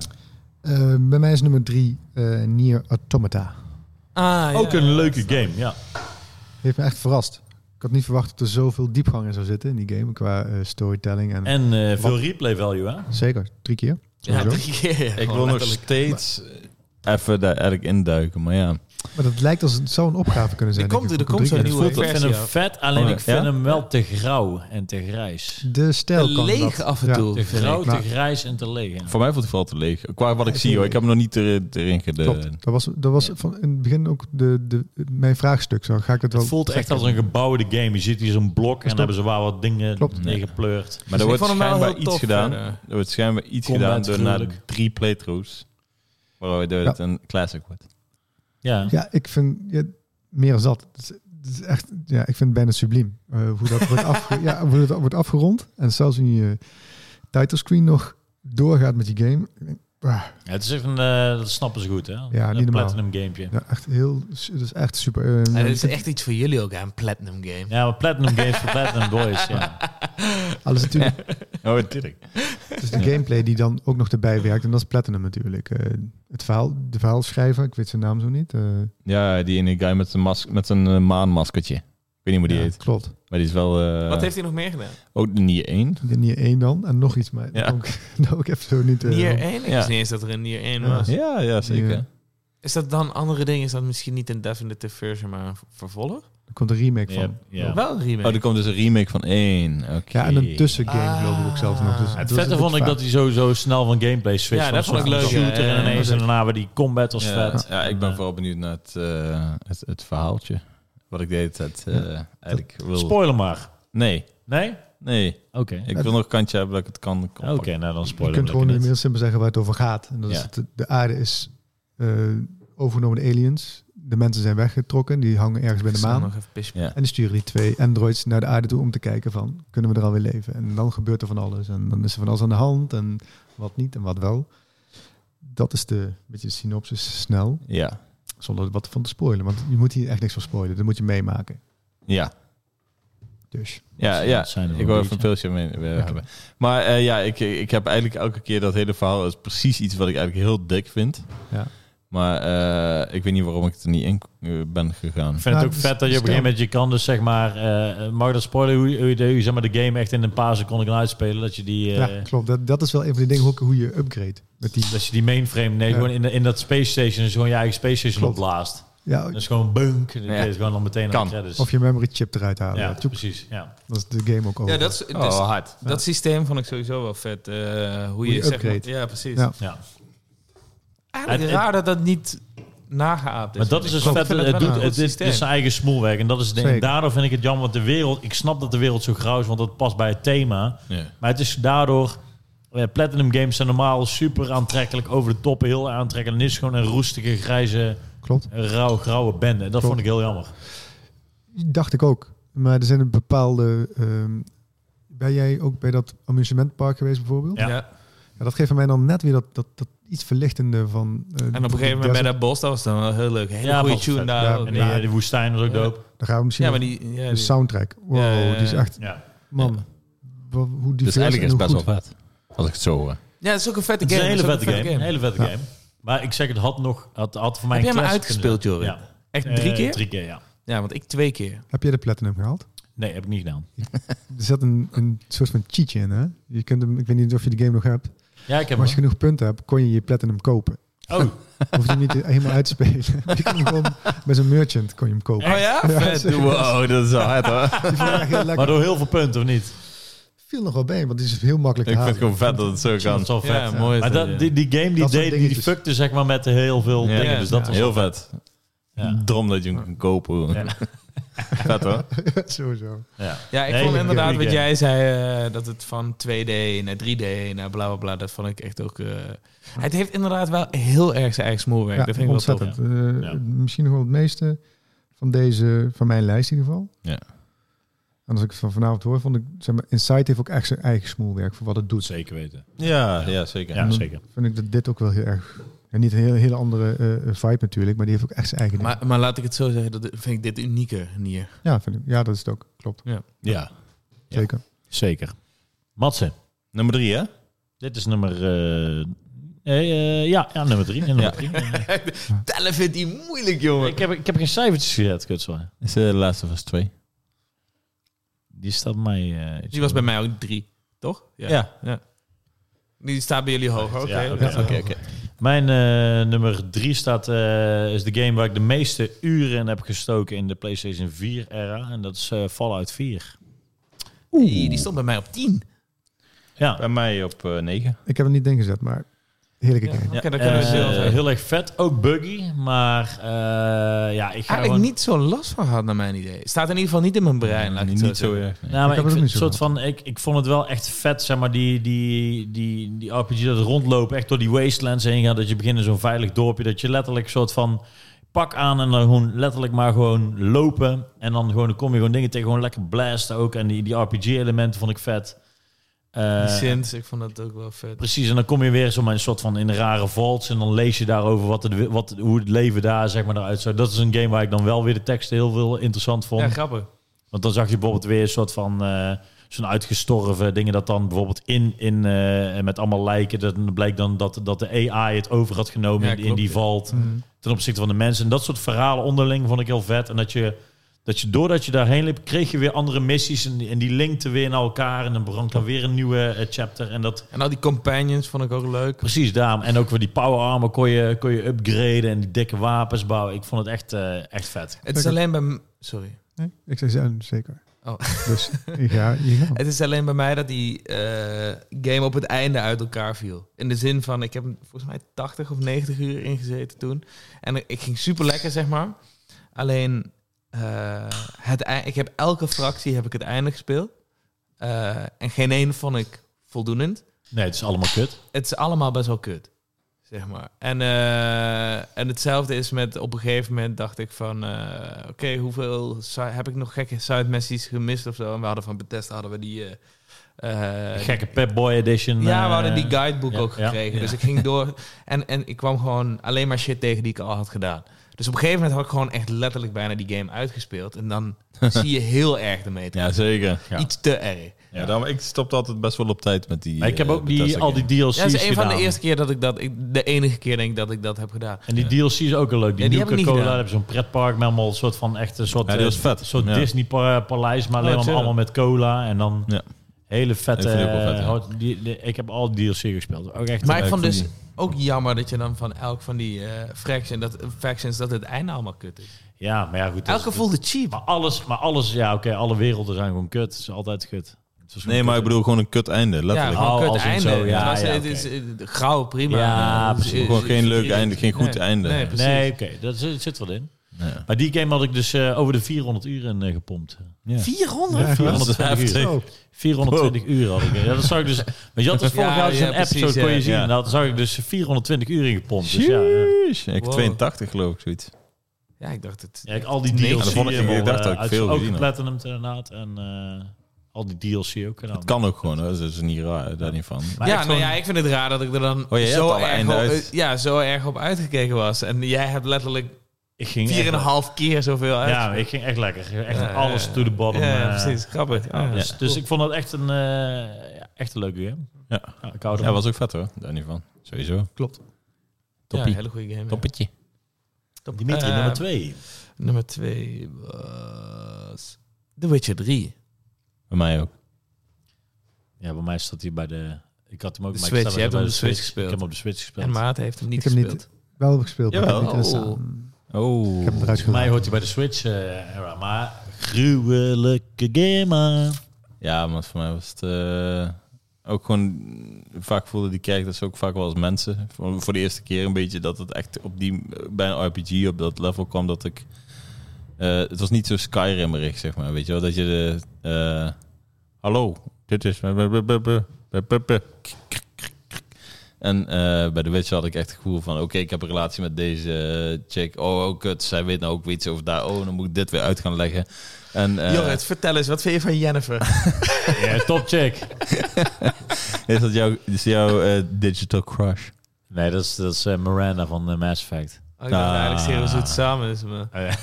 Eh, bij mij is nummer drie eh Nier Automata.
Ah, ja.
Ook een leuke game, ja.
Heeft me echt verrast. Ik had niet verwacht dat er zoveel diepgang in zou zitten in die game. Qua eh, storytelling en,
En eh, veel replay value, hè?
Zeker, drie keer.
Ja,
Sowieso.
drie keer.
Ik
Gewoon
wil nog
letterlijk.
steeds even daar eigenlijk induiken, maar ja.
Maar dat lijkt als het zou een opgave kunnen zijn.
Er komt-
denk ik,
er
om
komt
drie
zo'n
keer-
nieuwe
Ik vind
versie
hem
af.
vet, alleen
Oh,
ik vind
ja?
hem wel te grauw en te grijs.
De stijl kan
leeg
dat.
af en
Ja.
toe.
Te
vind
grauw,
ik.
te
Maar-
grijs en te leeg. ja.
Voor mij voelt het vooral te leeg. Qua wat ik
Ja,
zie hoor, ik heb hem nog niet er- erin
Klopt.
gedaan.
Dat was, dat was van in het begin ook de, de, mijn vraagstuk. Zo, ga ik dat wel...
Het voelt echt als een gebouwde game. Je ziet hier zo'n blok en
Klopt.
dan hebben ze waar wat dingen
Klopt.
neergepleurd.
Maar er
ik
wordt
vond hem wel
schijnbaar
heel
iets
tof
gedaan.
verder.
Er wordt schijnbaar iets
Combat
gedaan door na
gruwelijk.
drie playthroughs. Waardoor het een classic wordt.
Ja.
Ja, ik vind ja, meer als dat. Het is, het is echt, ja, ik vind het bijna subliem. eh, hoe dat wordt, afge- (laughs) ja, hoe dat wordt afgerond. En zelfs in je title screen nog doorgaat met die game. Ik denk, wauw,
Ja, het is echt een, eh, dat snappen ze goed, hè?
niet
een
normaal.
platinum gamepje.
ja, echt heel, dat is echt super. eh,
Ja, dit is echt iets voor jullie ook, hè, een platinum game.
Ja, maar platinum games voor
(laughs)
platinum boys, ja.
alles natuurlijk.
Oh, natuurlijk.
Het is de gameplay die dan ook nog erbij werkt. En dat is Platinum natuurlijk. Eh, het verhaal, de verhaalschrijver, ik weet zijn naam zo niet. eh,
Ja, die ene guy met zijn, mas met zijn eh, maanmaskertje. Ik weet niet hoe die
Ja,
heet.
Klopt.
Maar die is wel... eh, oh,
Wat heeft hij nog meer gedaan?
Ook de Nier 1.
De Nier 1 dan. En nog iets, maar
Ja.
dat kan ik, (laughs) dat kan ik even zo niet... eh,
Nier 1? Ik
Ja.
wist niet eens dat er een Nier 1
Ja.
was.
Ja, ja, zeker.
Ja.
Is dat dan andere ding? Is dat misschien niet een definitive version, maar een vervolg?
Er komt een remake van.
Ja, ja.
Wel een remake.
Oh, er komt dus een remake van 1. Oké.
Ja, en een tussengame geloof ik ook zelf nog. Dus
Ah.
Het
was
vette
een
vond ik
beetje
dat hij sowieso snel van gameplay switcht.
Ja,
van
dat vond ik
een soort
leuk,
Shooter
ja, ja,
en
ja,
ineens
dat
en daarna weer die combat was
ja,
vet.
ja, ik ben vooral benieuwd naar het, eh, het, het verhaaltje. Wat ik deed, het eh, eigenlijk wil...
Spoiler maar.
nee,
Nee?
nee.
Oké.
Ik wil nog een kantje hebben dat ik het kan. kan
Oké, nou dan
Je
spoiler
kunt gewoon
niet.
heel simpel zeggen waar het over gaat. En dat
Ja.
is dat de- de aarde is eh, overgenomen door aliens. De mensen zijn weggetrokken, die hangen ergens bij de
Ik zal
maan.
nog even pissen.
En die sturen die twee androids naar de aarde toe om te kijken van, kunnen we er alweer leven? En dan gebeurt er van alles. En dan is er van alles aan de hand en wat niet en wat wel. Dat is de beetje de synopsis snel,
Ja,
zonder wat van te spoilen. Want je moet hier echt niks van spoilen, dat moet je meemaken.
ja.
Dus
Ja,
Dus
ja.
dat zijn er wel
ik wil
een
even een
beetje.
pilsje mee eh,
Oké.
hebben. Maar eh, ja, ik, ik heb eigenlijk elke keer dat hele verhaal... is precies iets wat ik eigenlijk heel dik vind.
Ja.
Maar eh, ik weet niet waarom ik het er niet in eh, ben gegaan.
Ik vind het
Nou,
ook
dus-
vet dat je
dus
op een gegeven
kan.
moment je kan dus zeg maar, eh, mag ik dat spoilen, hoe, je- hoe je de, zeg maar, de game echt in een paar seconden kan uitspelen. Dat je die, eh,
ja, klopt. Dat, dat is wel een van die dingen ook hoe je upgrade. Met die,
dat je die mainframe, nee,
Ja.
gewoon in, de- in dat space station, dus gewoon je eigen space station
Klopt.
opblaast.
ja,
Dat is gewoon bunk. Dat
Ja.
is gewoon dan meteen aan
Kan.
de credits.
of je memory chip eruit halen.
ja,
Ja, tjoep.
precies. Ja.
dat is de game ook over.
Ja, dat, is, dus
Oh, hard.
dat systeem vond ik sowieso wel vet. eh, hoe,
je
je, zeg maar-
upgrade.
Ja, precies.
Ja.
Ja.
Eigenlijk
Het- het-
raar dat dat niet nageaapt is.
Maar dat is
vind
dus
ik.
vet.
Ik vind
Het
wel
doet
een
het,
goed
dit- dit
systeem.
is zijn eigen smoelwerk. En dat is denk,
Zeker.
daardoor vind ik het jammer. Want de wereld, ik snap dat de wereld zo grauw is, want dat past bij het thema.
Ja.
Maar het is daardoor. eh, Platinum games zijn normaal super aantrekkelijk, over de top heel aantrekkelijk. En dit is gewoon een roestige, grijze,
Klopt.
rauw, grauwe bende. En dat
Klopt.
vond ik heel jammer.
Dacht ik ook. Maar er zijn een bepaalde... ehm, ben jij ook bij dat amusementpark geweest bijvoorbeeld?
Ja.
Ja.
Ja, dat geeft voor mij dan net weer dat, dat, dat iets verlichtende van... eh,
En op een gegeven moment bij dat bos, dat was dan wel heel leuk. Hele
Ja,
goede
was
tune
vet.
daar.
Ja,
ook.
En
Ja,
die, eh, die woestijn was ook
Ja.
dope.
Daar gaan we misschien...
maar die... Ja,
de
die-
soundtrack. Wow,
Ja, ja, ja.
die is echt...
Ja.
Man,
Ja.
wa- hoe die
Dus eigenlijk is het best wel vet. Als ik het zo hoor.
ja, dat is ook een vette
Het is
game.
een hele
dat ook
vette game. Een hele vette
Ja.
game. Maar ik zeg, het had nog, had, had voor mij
Heb jij
een
hem
classic kunnen
uitgespeeld,
zijn.
Jorik?
Ja.
Echt drie
Eh,
keer?
Drie keer, ja.
Ja, want ik twee keer.
Heb jij de Platinum gehaald?
Nee, heb ik niet gedaan.
Er zat een, een soort van cheatje in, hè? Je kunt hem, ik weet niet of je de game nog hebt.
Ja, ik heb
Maar als je
hem.
genoeg punten hebt, kon je je Platinum kopen.
Oh,
Hoef je hem niet (laughs) helemaal uit te spelen. Maar je kon hem gewoon met zo'n merchant kon je hem kopen.
Oh ja?
Ja,
Vet.
zeker.
Wow, dat is wel
(laughs)
hard hoor.
Die vond ik echt heel lekker.
maar door heel veel punten, of niet?
viel nog wel bij, want die is heel makkelijk
Ik
te
vind het
halen.
gewoon vet dat het zo
Dat
kan.
is wel vet.
Ja, mooi. is
Maar
dat,
dat,
ja.
die, die game die
Dat soort
deed, die
dingetjes.
fuckte zeg maar met heel veel
Ja.
dingen. Dus dat
Ja.
was
Heel vet.
Ja.
Drom dat je hem kan kopen. hoor.
Ja.
(laughs) Vet hoor.
(laughs) Sowieso.
Ja.
Ja, ik
Nee,
vond
goeie
inderdaad
game.
wat jij zei, eh, dat het van 2D naar 3D naar bla bla bla, dat vond ik echt ook... eh, het heeft inderdaad wel heel erg zijn eigen smoelwerk.
Ja,
dat vind ik wel tof.
ontzettend. Eh,
Ja.
Misschien nog wel het meeste van deze, van mijn lijst in ieder geval.
Ja.
En als ik het van vanavond hoor, vond ik, zeg maar, Insight heeft ook echt zijn eigen smoelwerk voor wat het doet.
Zeker weten.
Ja, ja zeker.
Ja, zeker.
Vind ik dat dit ook wel heel erg, en niet een hele, hele andere eh, vibe natuurlijk, maar die heeft ook echt zijn eigen ding.
Maar, maar laat ik het zo zeggen, dat vind ik dit unieker hier.
Ja, vind ik, ja, dat is het ook. Klopt.
Ja. Ja.
Zeker.
Zeker. Matsen,
Nummer drie hè?
dit is nummer... eh, eh, eh, ja, ja, nummer drie. ja, nummer
Ja.
drie.
(laughs) Tellen vindt hij moeilijk, jongen.
ik, heb, ik heb geen cijfertjes gezet, kutsel.
Is de laatste was twee.
Die staat bij mij... eh, iets
Die was bij mij ook drie, toch?
Ja.
Die staat bij jullie hoog, oké.
Ja, oké.
oké.
Oké, oké.
Mijn eh, nummer 3 staat, eh, is de game waar ik de meeste uren in heb gestoken in de PlayStation 4-era. En dat is eh, Fallout 4.
Hey, die stond bij mij op tien.
Ja,
Bij mij op eh, negen.
Ik heb er niet in gezet, maar heerlijke
Ja,
game.
Oké, dan kunnen we
Eh,
zelf hebben.
heel erg vet. Ook buggy, maar eh, ja, ik ga
Eigenlijk
gewoon...
niet zo last van gehad, naar mijn idee. Staat in ieder geval niet in mijn brein, laat ik het
niet,
zo
niet zo eh,
zeggen.
erg. nee.
Nou, maar
Ik
ik,
heb het ook
vind
niet
een
zo
soort van, ik, ik vond het wel echt vet, zeg maar, die, die, die, die RPG dat rondlopen, echt door die wastelands heen gaat, dat je begint in zo'n veilig dorpje, dat je letterlijk een soort van pak aan en dan gewoon letterlijk maar gewoon lopen. En dan gewoon dan kom je gewoon dingen tegen, gewoon lekker blasten ook. En die, die RPG-elementen vond ik vet. Eh,
Die Sins, ik vond dat ook wel vet.
Precies, en dan kom je weer zo maar een soort van in rare vaults en dan lees je daarover wat het, wat, hoe het leven daar zeg maar eruit zou. Dat is een game waar ik dan wel weer de teksten heel veel interessant vond.
Ja, grappig.
Want dan zag je bijvoorbeeld weer een soort van eh, zo'n uitgestorven dingen dat dan bijvoorbeeld in, in eh, met allemaal lijken, dat bleek dan dat, dat de AI het over had genomen
Ja,
in- in
klopt, Mm.
die
ja.
valt ten opzichte van de mensen. En dat soort verhalen onderling vond ik heel vet. En dat je Dat je doordat je daarheen liep, kreeg je weer andere missies. En, die- en die linkte weer naar elkaar. En dan begon dan weer een nieuwe eh, chapter. En dat
En al die companions vond ik ook leuk.
precies daarom. En ook weer die power armor kon je, kon je upgraden. En die dikke wapens bouwen. Ik vond het echt, eh, echt vet.
Het is
Lekker.
alleen bij... m- Sorry.
Nee, ik zei ze- eh, zeker.
Oh.
Dus ja, je gaat.
Het is alleen bij mij dat die eh, game op het einde uit elkaar viel. In de zin van, ik heb volgens mij 80 of 90 uur ingezeten toen. En ik ging super lekker, zeg maar. Alleen, eh, het, ei- ik heb elke fractie heb ik het einde gespeeld. Eh, en geen één vond ik voldoenend.
Nee, het is allemaal kut.
Het is allemaal best wel kut, zeg maar. En, eh, en hetzelfde is met, op een gegeven moment dacht ik van... eh, Oké, hoeveel si- heb ik nog gekke side messages gemist of zo? En we hadden van Bethesda hadden we die... eh, eh,
Gekke Pep Boy Edition.
ja, we
eh,
hadden die guidebook
ja,
ook
ja,
gekregen.
ja.
Dus ik
(laughs)
ging door en, en ik kwam gewoon alleen maar shit tegen die ik al had gedaan. Dus op een gegeven moment had ik gewoon echt letterlijk bijna die game uitgespeeld.
(laughs)
En dan zie je heel erg de meter.
Ja, zeker.
Ja.
Iets te erg.
Ja, daarom, ik stopte altijd best wel op tijd met die.
Maar ik heb
eh,
ook die,
Bethesda
al die DLC's
games.
Ja, dat is een
gedaan.
van de eerste keer dat ik dat... Ik, de enige keer denk ik dat ik dat heb gedaan.
En die DLC is ook heel leuk. Die,
Ja, die heb
Nuka
ik niet
Cola
gedaan.
hebben zo'n pretpark met allemaal een soort van echt een soort,
Ja, die was
eh,
vet.
soort
Ja.
Disney pa- paleis, maar
Oh,
alleen maar
chill.
allemaal met cola en dan
Ja.
hele vette.
Ik vind die ook wel
eh,
vet, ja.
hot- die, die- ik heb al die DLC gespeeld. Ook echt.
Maar ik
Ja, ik
vond
vond
dus
die-
ook jammer dat je dan van elk van die eh, fraction, dat, factions dat het einde allemaal kut is.
ja, maar ja, goed. dat
Elke
is-
voelde cheap.
Maar alles, maar alles, ja, oké, alle werelden zijn gewoon kut. Het is altijd kut. Het was gewoon
Nee, maar ik
kut.
bedoel gewoon een kut einde.
Ja,
Letterlijk.
Oh,
gewoon kut
als in
einde.
zo, ja,
het, was,
ja,
het
oké.
is eh, gauw, prima. Eh,
Ja,
Het is-
precies.
Gewoon geen leuk
Nee.
einde, geen goed
Nee.
einde.
Nee, precies.
Nee, oké, dat zit, zit wat in.
Ja.
Maar die game had ik dus eh, over de 400 uur in eh, gepompt.
Ja.
400?
Ja, echt waar?
420 uur.
Zo.
420 uur had ik. Ja, dat zag ik dus. Maar je had dus vorig
(laughs) Ja,
jaar zo'n
ja,
app, zo
precies,
kon
ja,
je zien.
ja.
En daar zag ik dus 420 uur in gepompt. Dus ja, ja.
Jeez, Ik
Wow.
82 geloof ik zoiets.
Ja, ik dacht het.
Ja, ik, al die
Nee,
DLC.
dat
vond ik- ik
helemaal,
dacht
eh,
dat ik
uit-
veel
Ook
gezien had.
Platinum inderdaad. En eh, al die DLC ook gedaan.
Het kan ook gewoon, hè. dat is niet raar, daar niet van.
Maar
ja,
echt
nou ja, ik vind het raar dat ik er dan
Oh, jij hebt
zo, erg
alle
op, eh,
einden uit.
ja, zo erg op uitgekeken was. En jij hebt letterlijk
Ik ging echt-
4,5 keer zoveel uit.
Ja, ik ging echt lekker. Echt
Ja,
alles
ja.
to the bottom.
Ja,
eh,
precies. Grappig. Ja,
Dus,
ja.
dus ik vond dat echt een, eh, ja, echt een leuke game.
Ja.
ik hou
Ja,
ervan.
was ook vet hoor, daar niet van. Sowieso.
Klopt.
Ja,
Toppie.
hele goede game. ja.
Toppetje.
Top.
Dimitri,
Eh,
nummer twee.
Nummer 2 was The Witcher 3.
Bij mij ook.
Ja, bij mij staat hij bij de... Ik had hem ook
De
bij
Switch,
staat
je hebt
bij
hem op de Switch gespeeld.
Ik heb hem op de Switch gespeeld.
En Maarten heeft hem niet
Ik heb hem niet-
gespeeld.
Wel heb ik gespeeld, maar ik heb
Jawel.
niet in de
Oh.
zaal.
Oh.
Ik heb hem eruit
Voor mij
gedaan.
hoort hij bij de Switch. eh, era, maar gruwelijke gamer.
(laughs)
Ja, maar voor mij was het eh, ook gewoon... Vaak voelde die characters ook vaak wel als mensen. Voor, voor de eerste keer een beetje dat het echt op die, bij een RPG op dat level kwam dat ik... eh, het was niet zo Skyrim-erig, zeg maar. Weet je wel, dat je de... eh, Hallo, dit is... En eh, bij de Witcher had ik echt het gevoel van... Oké, ik heb een relatie met deze chick. Oh, oh, kut. Zij weet nou ook weer iets over daar. Oh, dan moet ik dit weer uit gaan leggen. En, eh,
Jorrit, vertel eens, wat vind je van (laughs) Jennifer?
Ja, top check.
Is dat jouw, is jouw eh, digital crush?
Nee, dat is, dat is eh, Miranda van eh, Mass Effect.
(laughs) Oh, ik dacht
Ah.
eigenlijk serieus hoe het samen is. Maar...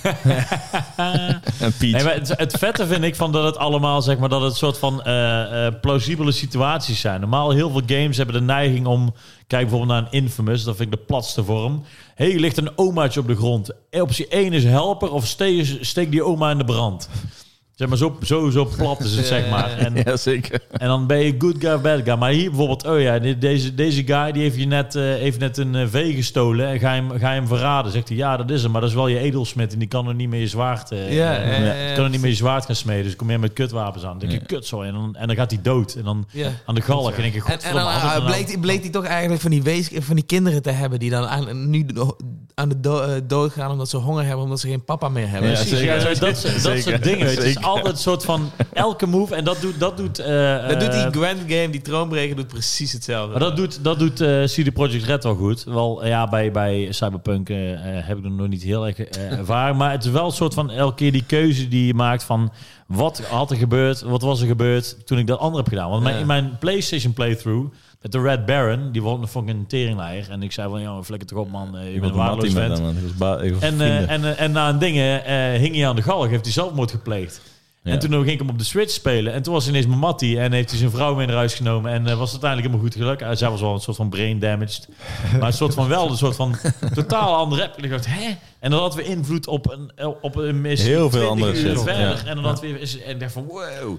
En Piet.
Nee, maar het, het vette vind ik van dat het allemaal, zeg maar, dat het soort van eh, eh, plausibele situaties zijn. Normaal heel veel games hebben de neiging om, kijk bijvoorbeeld naar een Infamous, dat vind ik de platste vorm. Hé, hey, ligt een omaatje op de grond. Eh, Optie 1 is helper of steek, steek die oma in de brand. Zeg maar, zo, zo, zo plat is het, zeg maar. En,
(laughs)
ja, zeker.
En dan ben je good guy, bad guy. Maar hier bijvoorbeeld, oh ja, de- deze, deze guy die heeft, je net, eh, heeft net een eh, vee gestolen. En ga je hem, ga je hem verraden? Zegt hij, ja, dat is hem. Maar dat is wel je edelsmid en die kan er niet meer je zwaard... eh,
Ja,
eh,
ja, ja,
kan
ja,
er niet meer je zwaard gaan smeden. Dus kom je met kutwapens aan. Dan denk je, kut zo. En dan, en dan gaat hij dood. En dan
Ja.
aan de galg. En dan denk je,
En, en
godverdomme,
dan
had ik
ah,
er nou-
bleek, bleek hij toch eigenlijk van die, wees, van die kinderen te hebben die dan aan, nu do- aan de do- eh, dood gaan omdat ze honger hebben, omdat ze geen papa meer hebben.
Ja,
Dus-
Precies, ja,
zeker.
zo- dat, soort- dat
Zeker.
soort dingen. weet je. Het is
Zeker.
altijd een soort van elke move. En dat doet... Dat doet, eh,
dat doet
eh,
die Grand Game, die troonbreker, doet precies hetzelfde.
Maar dat doet, dat doet eh, CD Projekt Red wel goed. Wel, eh, ja, bij, bij Cyberpunk eh, eh, heb ik hem nog niet heel erg
(laughs)
eh, ervaren. Maar het is wel een soort van elke keer die keuze die je maakt van... Wat had er gebeurd? Wat was er gebeurd toen ik dat andere heb gedaan? Want mijn,
Ja.
in mijn PlayStation playthrough met de Red Baron... Die vond vond ik een teringleier. En ik zei van, joh, flikker toch op man. eh, Je bent een waardeloos vent.
man. Ik was ba- ik was
En, eh,
vrienden.
en, eh, en na een ding eh, eh, hing hij aan de galg. Heeft hij zelfmoord gepleegd. En
Ja.
toen ging ik hem op de Switch spelen. En toen was ineens mijn mattie. En heeft hij zijn vrouw mee naar huis genomen. En eh, was uiteindelijk helemaal goed gelukt. Eh, zij was wel een soort van brain
(laughs)
damaged. Maar een soort van wel. Een soort van totaal andere app. En ik dacht, hè? En dan hadden we invloed op een, eh, op een missie.
Heel veel
20
andere
uur
shit,
verder.
ja.
En dan had we weer... En ik dacht van, wow.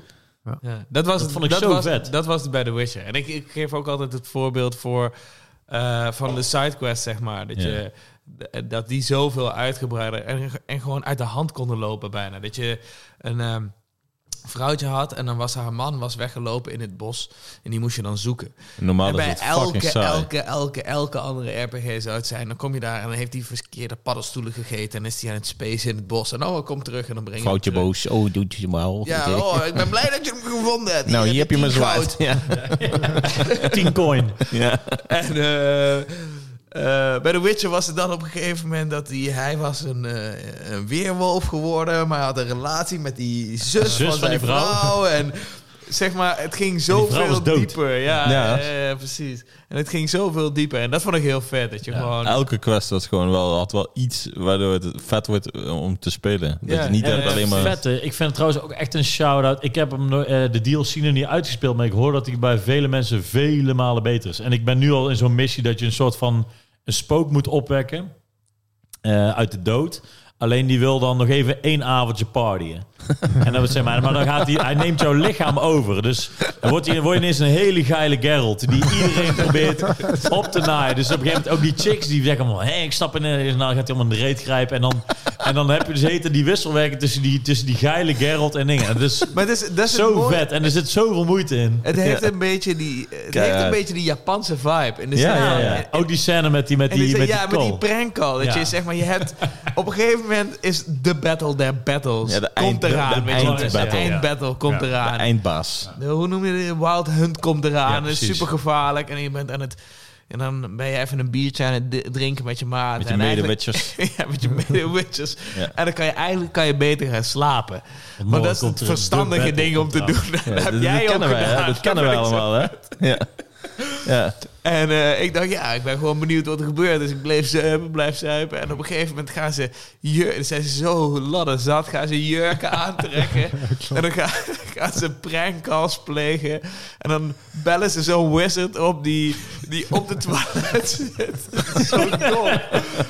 Ja, dat was
Dat
het,
vond ik
dat
zo
was,
vet.
Dat was het bij The Witcher. En ik, ik geef ook altijd het voorbeeld voor eh, van de sidequest, zeg maar. Dat,
Ja.
je, d- dat die zoveel uitgebreider en, en gewoon uit de hand konden lopen bijna. Dat je een ehm, vrouwtje had en dan was haar man was weggelopen in het bos. En die moest je dan zoeken.
Normaal
en
is
bij
het fucking
elke,
saai.
elke, elke, elke andere RPG zou het zijn. Dan kom je daar en dan heeft hij verkeerde paddenstoelen gegeten. En is hij aan het spacen in het bos. En oh, kom terug en dan breng je hem
Foutje
terug.
boos. Oh, doet je wel.
Ja, oh, ik ben blij dat je hem gevonden hebt.
nou, hier heb je mijn
tien
zwaard.
goud.
Ja.
(laughs)
10 coin.
Ja.
En eh, eh, bij The Witcher was het dan op een gegeven moment dat hij, hij was een, eh, een weerwolf geworden, maar hij had een relatie met die zus,
Zus
van,
van die
die vrouw. En zeg maar, het ging
die vrouw was
zoveel
dood.
dieper. Ja,
Ja.
eh, precies. En het ging zoveel dieper. En dat vond ik heel vet, dat je gewoon...
Elke quest was gewoon wel, had wel iets waardoor het vet wordt eh, om te spelen. Dat
Ja,
je niet
En,
hebt
eh,
alleen maar...
vette. Ik vind het trouwens ook echt een shout-out. Ik heb hem no- eh, de DLC nog niet uitgespeeld, maar ik hoor dat hij bij vele mensen vele malen beter is. En ik ben nu al in zo'n missie dat je een soort van een spook moet opwekken eh, uit de dood. Alleen die wil dan nog even één avondje partyen. en dan zeg maar, maar dan gaat hij, hij neemt jouw lichaam over. Dus dan wordt hij, word je ineens een hele geile Geralt die iedereen probeert op te naaien. Dus op een gegeven moment ook die chicks die zeggen van, hé, ik stap in, en dan gaat hij om een reet grijpen. En dan, en dan heb je dus heten die wisselwerking tussen die, tussen die geile Geralt en dingen. En dat is
Maar het is, (laughs) dat is het
zo
mooie.
vet en er zit zoveel moeite in.
Het heeft,
Ja.
een beetje die, het
Keihard.
heeft een beetje die Japanse vibe. In de
Ja,
zin
ja,
van-
ja.
en-
Ook die scène met die, met
En die,
die, met die
ja, met die
kool.
prank call. Dat
Ja.
je zeg maar, je hebt... Op een gegeven moment is de battle der battles.
Ja, de eind-
komt
de-
eraan.
de
weet je wel.
eindbattle.
De eindbattle komt
Ja.
de
eraan.
eindbaas.
De- hoe noem je dit? Wild Hunt komt eraan.
Ja,
dat is
precies.
super gevaarlijk. En je bent aan het... En dan ben je even een biertje aan het di- drinken met je maat.
Met je
En eigenlijk-
medewitchers.
(laughs) ja, met je mede-witches.
Ja.
En dan kan je eigenlijk kan je beter gaan slapen. Maar
morgen
dat is
komt
het
er een
verstandige
battle
ding om te
komt
doen. (laughs) Dat
Ja,
heb
dat-
jij
dat
ook
kennen wij, hè?
gedaan.
Dat
(laughs)
kennen wij
ben ik zo-
allemaal, hè? Ja. ja.
En eh, ik dacht, ja, ik ben gewoon benieuwd wat er gebeurt. Dus ik bleef zuipen, blijf zuipen. En op een gegeven moment gaan ze jurken... Zijn ze zo ladder zat, gaan ze
(laughs)
jurken aantrekken. en dan gaan, (laughs) gaan ze prankcalls plegen. En dan bellen ze zo'n wizard op die, die op de toilet (laughs) zit. Het is zo dom.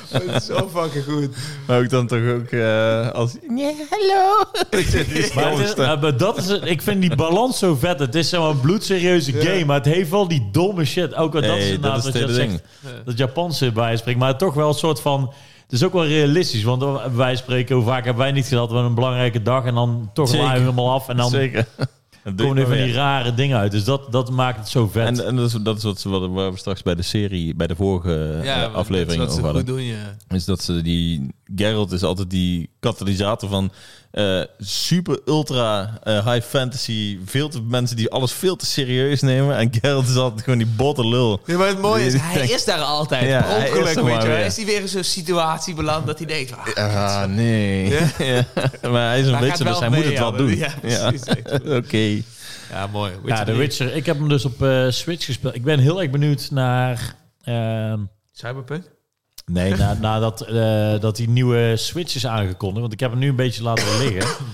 Het is zo fucking goed.
Maar ook dan toch ook eh, als...
Nee, hallo.
(laughs)
Maar, het is- eh, maar dat is, het. ik vind die balans zo vet. Het is zo'n bloedserieuze game, maar het heeft wel die domme shit. Ook al dat
Hey,
is inderdaad
dat is
wat
het
je
hele
zegt. Dat Japanse bij wijze van spreken, maar toch wel een soort van... Het is ook wel realistisch, want wij spreken... Hoe vaak hebben wij niet gehad, we hebben een belangrijke dag... en dan toch
Zeker.
waaien we helemaal af en dan (laughs)
Zeker. Dat doe je
komen er
maar
van
weer.
die rare dingen uit. Dus dat, dat maakt het zo vet.
En, eh, en dat, is, dat is wat ze, wat- waar we straks bij de serie, bij de vorige eh,
Ja,
aflevering
dat is wat
over
ze goed
hadden.
doen, ja.
Is dat ze die. Geralt is altijd die katalysator van eh, super ultra eh, high fantasy. Veel te mensen die alles veel te serieus nemen. En Geralt is altijd gewoon die botte lul.
Ja, maar het mooie is,
Die- (laughs)
hij is daar altijd.
Ja,
Ja,
hij is
ongeluk,
er
weet je
maar
wel.
weer.
Is hij weer in zo'n situatie beland dat hij denkt... ah,
Ah, nee. Ja. (laughs) Maar hij is een
Maar hij gaat
witcher,
wel
dus hij moet
mee,
het wel
ja.
doen.
Ja,
Ja. (laughs)
precies.
Oké.
Ja, mooi. Witcher
ja, The
drie.
Witcher. Ik heb hem dus op eh, Switch gespeeld. Ik ben heel erg benieuwd naar... ehm,
Cyberpunk?
Nee, na- nadat eh, dat die nieuwe Switch is aangekondigd. Want ik heb hem nu een beetje laten
(coughs)
liggen.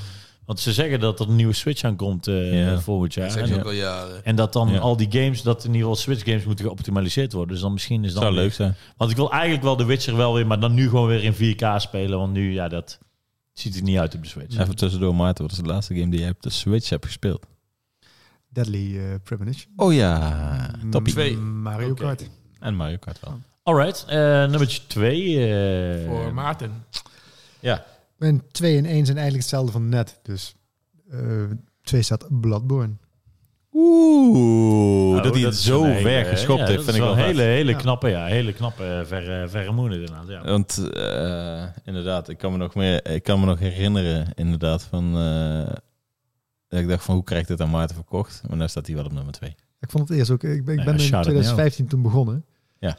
Want ze zeggen dat er een nieuwe Switch aankomt eh
Ja.
volgend jaar.
Dat zeg
En,
je ook al jaren.
en dat dan
Ja.
al die games, dat in ieder geval Switch games moeten geoptimaliseerd worden. Dus dan misschien is dat
Zou
weer-
leuk zijn.
Want ik wil eigenlijk wel de Witcher wel weer, maar dan nu gewoon weer in 4K spelen. Want nu, ja, dat ziet er niet uit op de Switch.
Even tussendoor, Maarten. Wat is de laatste game die jij op de Switch hebt gespeeld?
Deadly eh, Premonition.
Oh ja.
Mm,
Toppie.
Twee.
Mario
Oké.
Kart.
En Mario Kart wel.
Alright, eh nummertje eh, 2.
Voor Maarten.
En 2 en 1 zijn eigenlijk hetzelfde van net. Dus 2 staat Bloodborne.
Oeh,
Oh,
dat hij het
is
zo
een hele-
ver geschopt
ja, dat
heeft, vind
is
ik wel vet.
hele, hele
Ja.
knappe, ja. Hele knappe, eh, verre, verre moeder inderdaad, ja.
Want eh, inderdaad, ik kan me nog meer, ik kan me nog herinneren inderdaad van, eh, dat ik dacht van hoe krijg ik dit aan Maarten verkocht? Maar nu staat hij wel op nummer twee.
Ik vond het eerst ook. Ik ben, ik
Ja,
ben in
shout out
2015 toen begonnen.
Ja.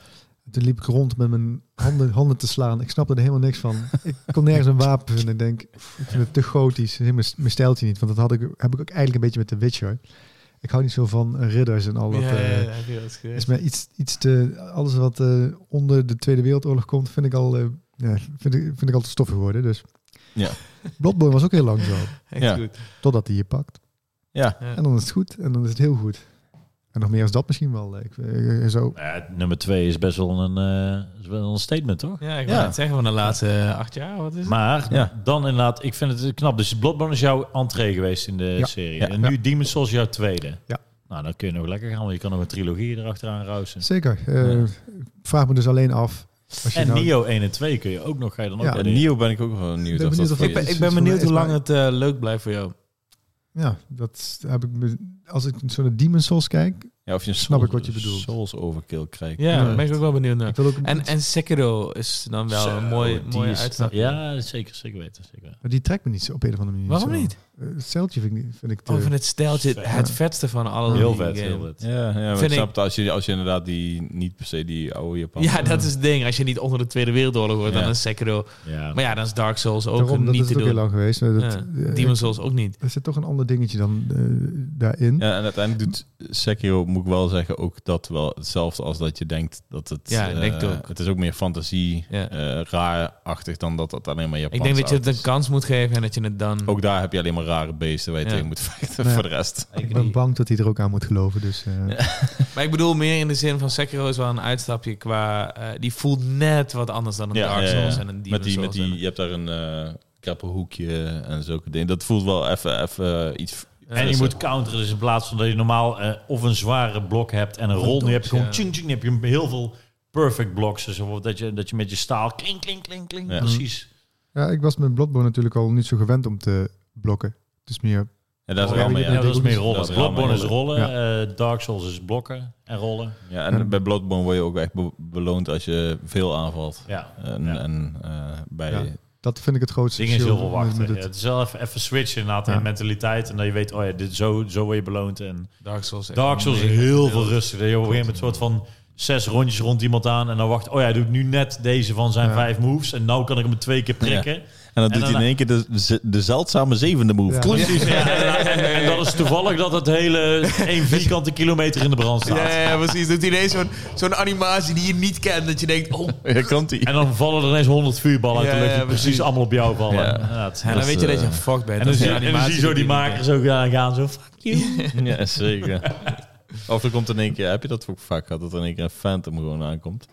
Toen liep ik rond met mijn handen, handen te slaan. Ik snapte er helemaal niks van. Ik kon nergens een wapen vinden. Ik denk, ik vind het te gotisch. Helemaal mijn, mijn stijltje niet. Want dat had ik, heb ik ook eigenlijk een beetje met de Witcher. Ik hou niet zo van eh, ridders en al dat.
ja,
eh,
ja, ja, heb je dat eens
is
gezegd?
mij iets, iets te... Alles wat eh, onder de Tweede Wereldoorlog komt, vind ik al... eh, ja, vind, ik, vind ik al te stoffig worden. Dus
Ja.
Bloodborne was ook heel lang zo.
Echt
Ja.
goed.
Totdat hij je pakt.
Ja.
Ja.
En dan is het goed. En dan is het heel goed. En nog meer als dat misschien wel. Ik, eh, zo.
Ja, nummer twee is best wel een, eh, is wel een statement, toch?
Ja, ik
Ja.
wou net zeggen van de laatste eh, acht jaar. Wat is het?
Maar
Ja.
dan inderdaad, ik vind het knap. Dus Bloodborne is jouw entree geweest in de
Ja.
serie.
Ja.
En nu Demon's Souls jouw tweede.
Ja.
Nou, dan kun je nog lekker gaan, want je kan nog een trilogie erachteraan rousen.
Zeker. Eh,
Ja.
Vraag me dus alleen af. Als je
En
nou-
Nio 1 en 2 kun je ook nog, ga je dan ook
Ja.
weer
En
in.
Nio ben ik ook wel
Ik
benieuwd.
ben
of
benieuwd
dat
of
voor
Ik
ik
je
ben,
is.
ik ben
Is-
benieuwd
is-
hoe
is-
lang het eh, leuk blijft voor jou.
Ja, dat heb ik me, als ik zo'n Demon's Souls kijk,
Ja, of je een
Snap
Souls-
ik wat je bedoelt.
Souls overkill krijgt.
Ja,
Ja.
daar ben ik ook wel benieuwd naar.
ik wil ook
En, en Sekiro is dan wel een mooie, mooie uitstap.
Ja, zeker, zeker weten. Zeker. weten.
Maar die trekt me niet zo op een of andere manier.
Waarom
zo.
niet? Oh,
Eh, Het steltje vind ik, niet- vind ik te...
Over het stijltje,
Vet.
het vetste van alle
Heel
drie
vet,
games.
heel vet.
Ja, ja maar
Vind
ik
ik-
snap het als je, als je inderdaad die niet per se die oude Japan.
Ja, dat is het ding. Als je niet onder de Tweede Wereldoorlog wordt,
Ja.
dan is Sekiro.
Ja.
Maar ja, dan is Dark Souls ook
Daarom, dat
niet
is
te
het ook heel
doen.
lang geweest. maar Dat,
Ja.
eh,
Demon Souls ook niet.
Er zit toch een ander dingetje dan eh, daarin.
Hm?
Ja, en uiteindelijk doet Sekiro, moet ik wel zeggen, ook dat wel hetzelfde als dat je denkt dat het...
Ja, ik
eh,
denk het ook.
Het is ook meer fantasie,
Ja.
eh, raar-achtig dan dat dat alleen maar Japans
Ik denk dat je het
oud
een
is.
kans moet geven en dat je het dan...
Ook daar heb je alleen maar rare beesten waar je
Ja.
tegen moet vechten
Nee.
voor de rest.
ik ben bang dat hij er ook aan moet geloven. Dus, eh,
Ja.
Maar ik bedoel meer in de zin van Sekiro is wel een uitstapje qua... eh, die voelt net wat anders dan een
Ja,
Dark
ja, ja.
Souls en een Demon
Met die, met
Souls.
die, je hebt daar een eh krappenhoekje en zulke dingen. Dat voelt wel even even eh, iets...
en-
En je
frisser.
moet counteren, dus in plaats van dat je normaal eh, of een zware blok hebt en een rol, nu heb je gewoon
Ja.
ching ching, heb je heel veel perfect blocks. Dus bijvoorbeeld dat je, dat je met je staal klink, klink, klink, klink,
Ja.
precies.
(laughs) ja, ik was met Bloodborne natuurlijk al niet zo gewend om te blokken. Dus meer...
Ja, daar is
Ja,
het wel
je
mee,
hebt
Ja, dat is meer rollen.
Dat is rammen,
Bloodborne is rollen,
rollen.
eh, Dark Souls is blokken en rollen.
Ja, en bij Bloodborne word je ook echt be- beloond als je veel aanvalt.
Ja,
En,
Ja.
en eh, bij...
Ja. Dat vind ik het
het
grootste
ding is heel veel
verschil met-
wachten.
met
Ja,
het-
het is wel even, even switchen inderdaad
Ja.
in mentaliteit. En dat je weet, oh ja, dit, zo, zo word je beloond. En
Dark Souls, is echt
Dark Souls is
mega
heel
geduld.
veel rustiger. Dat je op een gegeven moment soort van zes rondjes rond iemand aan. En dan wacht, oh ja, hij doet nu net deze van zijn
Ja.
vijf moves. En nou kan ik hem twee keer prikken.
En dan
En
doet hij
dan-
in één keer de, ze- de zeldzame zevende move.
Ja.
(laughs)
Precies, ja. En, en dat is toevallig dat het hele één vierkante kilometer in de brand staat.
Ja, ja, ja, precies. Doet hij ineens zo'n zo'n animatie die je niet kent. Dat je denkt, oh.
Daar komt hij.
En dan vallen er ineens honderd vuurballen uit de
Ja,
lucht die
ja,
precies
precies.
allemaal op jou vallen.
Ja.
Ja, het is-
En
en
dan
Dat is,
weet je dat je
eh,
fucked bent.
dan
Dat
zie-
is
en
een
dan zie je
animatie
zo die
die je niet
makers ook aan gaan, zo fuck you.
(laughs) Ja, zeker. Of er komt in één keer, heb je dat ook vaak gehad, dat er in één keer een Phantom gewoon aankomt?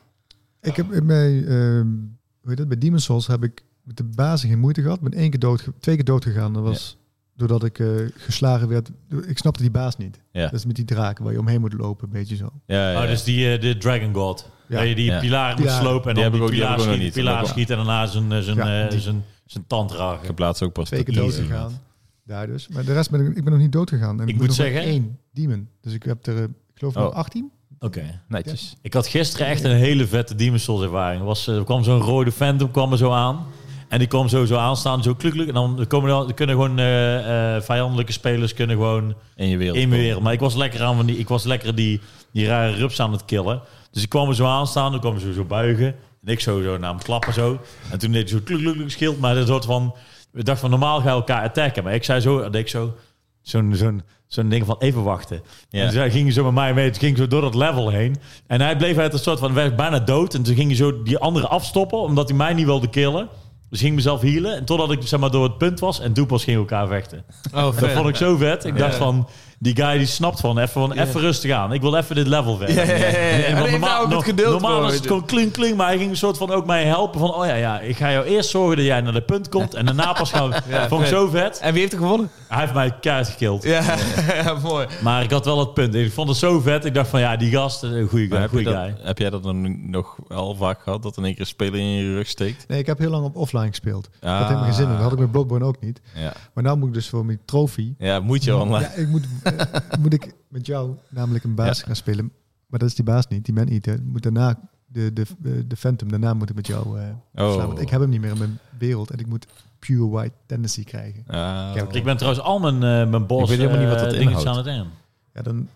Ik heb in mijn, ehm, hoe heet dat, bij Demon's Souls heb ik met de basis geen moeite gehad. Ben één keer dood, ge- twee keer dood gegaan. Dat was doordat ik eh, geslagen werd. Ik snapte die baas niet.
Ja.
Dat is met die draken waar je omheen moet lopen, een beetje zo.
Ja, ja.
Oh, dus die eh, de Dragon God.
Ja.
Dat je die
Ja.
pilaar moet
Ja.
slopen en dan
Die heb
die
ik ook- die heb
pilaar
ik ook
schiet,
nog
die
niet.
pilaar
Ja.
schiet en daarna zijn, zijn,
Ja,
eh,
die-
zijn, zijn tand ragen.
Ik heb laatst ook pas
Twee keer
dat
dood
easy.
gegaan. Daar dus. Maar de rest ben ik, ik ben nog niet dood gegaan. En
Ik
moet
moet
nog maar
zeggen-
één demon. Dus ik heb er, eh, ik geloof
Oh.
nog 18.
Oké.
Netjes.
Ik had gisteren echt een hele vette Demon's Souls ervaring. Er Was, eh, er kwam zo'n rode Phantom kwam er zo aan. En die kwam zo, zo aanstaan, zo kluk, kluk. En dan komen er, kunnen gewoon eh, eh, vijandelijke spelers kunnen gewoon
In je wereld.
in mijn wereld. Maar ik was lekker aan van die, ik was lekker die, die rare rups aan het killen. Dus ik kwam er zo aanstaan, dan kwam ze zo buigen. En ik zo, zo naar hem klappen zo. En toen deed hij zo kluk, kluk, kluk, schild. Maar dat soort van, we dachten van normaal gaan we elkaar attacken. Maar ik zei zo, dat ik zo, zo'n, zo'n, zo'n ding van even wachten.
Ja.
En zij ging zo met mij mee, het ging zo door dat level heen. En hij bleef uit een soort van, werd bijna dood. En toen ging hij zo die andere afstoppen, omdat hij mij niet wilde killen. Dus ging ik mezelf healen. En totdat ik zeg maar, door het punt was. En toen pas gingen we elkaar vechten.
kent. Oh,
Dat
vet.
vond ik zo vet. Ik dacht
Ja.
van, die guy die snapt van, even, van,
Ja.
even rustig aan. Ik wil even dit level verder.
Ja, ja, ja, ja.
En- en
Maar
want
heeft nou ook het geduld
normaal
voor,
was
weet
het
je.
gewoon klink, klink. Maar hij ging een soort van ook mij helpen van, oh ja, ja, ik ga jou eerst zorgen dat jij naar de punt komt. En daarna pas gaan we-
(laughs) Ja,
Vond ik
vet.
zo vet.
En wie heeft er gewonnen?
Hij heeft mij keihard gekild.
Ja, (laughs) ja, mooi.
Maar ik had wel het punt. Ik vond het zo vet. Ik dacht van, ja, die gast, eh, een goede
Maar
guy.
heb, je
Goeie
dat-
guy.
heb jij dat dan nog wel vaak gehad, dat in één keer een speler in je rug steekt?
Nee, ik heb heel lang op offline gespeeld.
Ah.
Dat heeft me geen zin in. Dat had ik met Bloodborne ook niet.
Ja,
Maar nu moet ik dus voor mijn trofee...
ja moet je online.
Ja, ik moet, eh, (laughs) moet ik met jou namelijk een baas
Ja.
gaan spelen. Maar dat is die baas niet, die man eater. Moet daarna de, de, de, de Phantom, daarna moet ik met jou eh
Oh.
verslaan, Want ik heb hem niet meer in mijn wereld en ik moet pure white tendency krijgen.
Ah.
Ik heb-
Ik ben trouwens al mijn, eh mijn boss
Ik weet helemaal niet wat dat
eh, dingetjes
inhoudt.
aan het einde.
Ja, dan...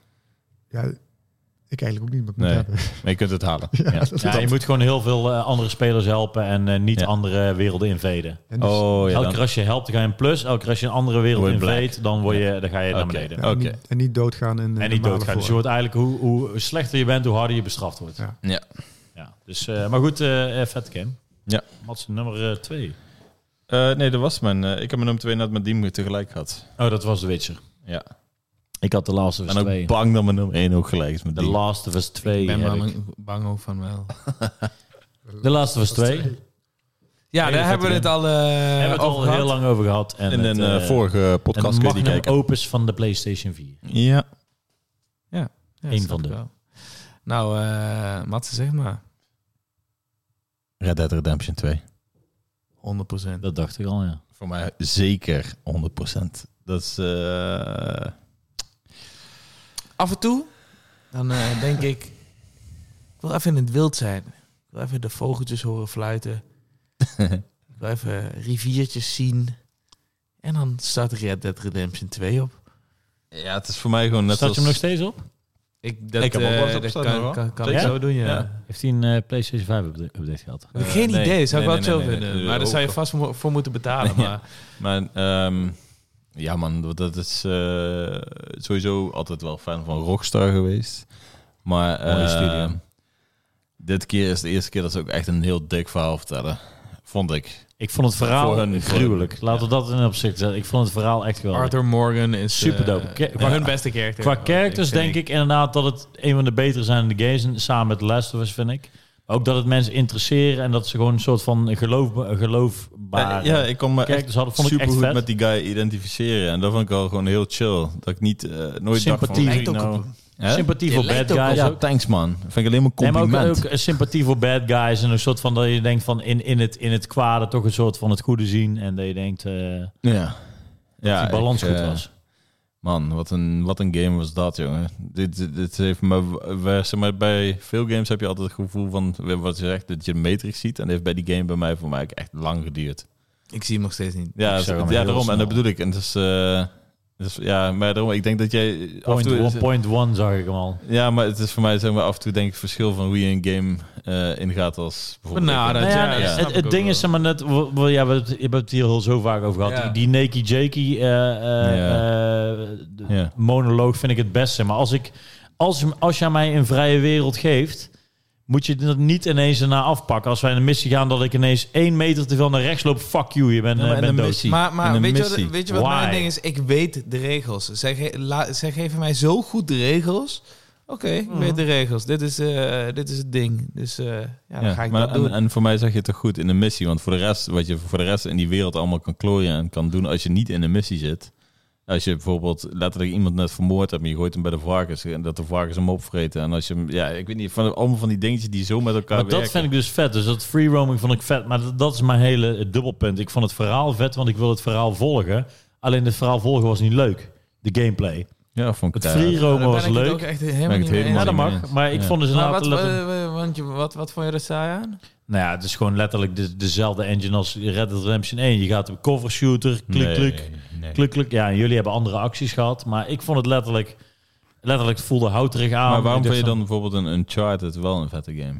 Ja, ik eigenlijk ook niet, maar ik moet
Nee.
hebben. (laughs)
Maar je kunt het halen.
Ja,
Ja.
dat-
(laughs)
Ja, je moet gewoon heel veel eh, andere spelers helpen en eh, niet
Ja.
andere werelden inveden.
En dus-
Oh, ja,
elke
dan-
keer als je helpt, ga je een plus. Elke keer als je een andere wereld
Word je black.
inveet, dan, word je, dan ga je naar
Oké.
beneden.
ja, en
oké.
niet- En niet doodgaan in
En niet doodgaan. Dus je wordt eigenlijk, hoe, hoe slechter je bent, hoe harder je bestraft wordt.
Ja.
Ja.
Ja, dus, eh, maar goed, eh eh, vet game.
Ja.
Mats, nummer eh, twee.
Eh, nee, dat was mijn. eh, ik heb mijn nummer 2 net met Diem tegelijk gehad.
Oh, dat was The Witcher.
Ja.
Ik had The Last of
Ik
Us
ben ook
2.
bang dat mijn nummer 1 ook gelijk is met
The
Diem.
Last of Us 2.
Ik ben
heb
bang,
ik.
bang ook van wel.
The Last of Us 2.
Ja,
Hele
daar hebben we
vette
het al eh
Hebben we het
over
al heel
gehad.
lang over gehad. En
In
het,
een
eh,
eh, vorige
en
podcast kun je
magnum
die kijken.
opus van de PlayStation 4.
Ja.
Ja,
Eén
snap
van
ik
de.
wel. Nou, eh Matze, zeg maar.
Red Dead Redemption 2.
100 procent.
Dat dacht ik al, ja.
Voor mij zeker 100%. Dat is... eh,
Af en toe, dan eh, denk ik... Ik wil even in het wild zijn. Ik wil even de vogeltjes horen (laughs) fluiten. ik wil even riviertjes zien. En dan staat Red Dead Redemption 2 op.
ja, het is voor mij gewoon net
Staat
als...
je hem nog steeds op?
Ik, dat,
Ik heb ook wel
eh,
eens
dat
opstaan,
kan,
hoor.
kan, kan
Ja?
ik zo doen, ja.
Ja.
Heeft hij een eh, PlayStation 5 upda- update gehad?
Heb ik
Eh,
geen
nee.
idee, zou ik
Nee,
wel
nee,
chill
nee, nee,
vinden.
nee.
maar daar zou je
Ook.
vast mo- voor moeten betalen.
Ja.
Maar
Maar ehm, ja man, dat is eh, sowieso altijd wel fan van Rockstar geweest. Maar
Mooie
eh,
studio.
dit keer is de eerste keer dat ze ook echt een heel dik verhaal vertellen. Vond ik.
Ik vond het verhaal
Voor hun-
gruwelijk.
voor-
Laten we dat in opzicht zetten. Ik vond het verhaal echt geweldig.
Arthur Morgan is
Superdope.
eh,
Ke-
ja,
qua-
hun beste character.
Qua
Wat
characters
vind
denk ik inderdaad dat het een van de betere zijn in de games. en Samen met The Last of Us vind ik. Maar Ook dat het mensen interesseren en dat ze gewoon een soort van geloof, geloofbaar...
Eh, ja, ik kon me echt
characters hadden, vond ik
super
echt
goed
vet.
met die guy identificeren. En dat vond ik al gewoon heel chill. Dat ik niet, eh, nooit
Sympathie.
dacht
Lijkt
van...
ook
wie nou-
op
Hè?
Sympathie
Je
voor
lijkt
bad
ook wel
guys.
Ja,
ook.
thanks man. Vind ik alleen maar
Nee, maar
compliment.
ook, ook een sympathie voor bad guys. En een soort van dat je denkt van in, in, het, in het kwade toch een soort van het goede zien. En dat je denkt eh,
Ja. Ja,
die balans
ik,
goed
eh,
was.
Man, wat een, wat een game was dat, jongen. Dit, dit, dit heeft me, we- zeg maar, bij veel games heb je altijd het gevoel van, wat je zegt, dat je de matrix ziet. En dat heeft bij die game bij mij voor mij ook echt lang geduurd.
ik. Ik zie hem nog steeds niet.
zag
Ja, het-
hem
ja
heel
daarom. En
snel.
dat bedoel ik. En het is, eh, het is- ja, maar daarom, ik denk dat jij... af en
Point
toe,
one, point one zag ik hem al.
Ja, maar het is voor mij zeg maar, af en toe denk ik het verschil van hoe je een game eh, ingaat als bijvoorbeeld...
Nou, dat-
Nou ja,
ja,
het-
ja.
het, het ding is zeg maar net, we, we- ja, we, we hebben het hier al zo vaak over gehad.
Ja.
Die, die Nakey Jakey eh, eh, eh, de
Ja.
monoloog vind ik het beste. Maar als, ik, als, je- als jij mij een vrije wereld geeft, moet je dat niet ineens erna afpakken. Als wij in een missie gaan, dat ik ineens één meter te veel naar rechts loop. Fuck you, je bent,
Ja, maar
eh,
in
bent
een
dood.
missie.
Maar,
in
maar
een
weet, je
missie.
wat, weet je wat mijn
Why?
ding is? Ik weet de regels. Zij, ge- la- zij geven mij zo goed de regels. Oké, ik weet de regels. Dit is, eh, dit is het ding. Dus eh, ja, dan
Ja,
ga ik
maar
dat
en,
doen.
en voor mij zeg je het toch goed in een missie. Want voor de rest, wat je voor de rest in die wereld allemaal kan klooien en kan doen als je niet in een missie zit. Als je bijvoorbeeld letterlijk iemand net vermoord hebt, maar je gooit hem bij de varkens en dat de varkens hem opvreten. En als je hem, ja, ik weet niet, van allemaal van die dingetjes die zo met elkaar
Maar dat
werken.
vind ik dus vet. Dus dat free roaming vond ik vet. Maar dat, dat is mijn hele eh, dubbelpunt. Ik vond het verhaal vet, want ik wil het verhaal volgen. Alleen het verhaal volgen was niet leuk. De gameplay.
ja, vond ik
Het
daar-
free
Ja,
roamen
daar
was
ben ik het ook
leuk.
echt
Ben
helemaal
ik
niet
het
mee eens.
Ja,
helemaal
dat
niet
mag. Maar ik
Ja.
vond dus
Maar
inderdaad...
wat,
dat het-
eh, eh, want je, wat, wat vond je er saai aan?
Nou ja, het is gewoon letterlijk de- dezelfde engine als Red Dead Redemption 1. Je gaat op cover shooter, klik,
Nee,
klik,
nee.
klik, klik. Ja, en jullie hebben andere acties gehad. Maar ik vond het letterlijk... Letterlijk het voelde houterig aan.
Maar waarom
Ik
vind
dacht
je
van,
dan bijvoorbeeld een Uncharted wel een vette game?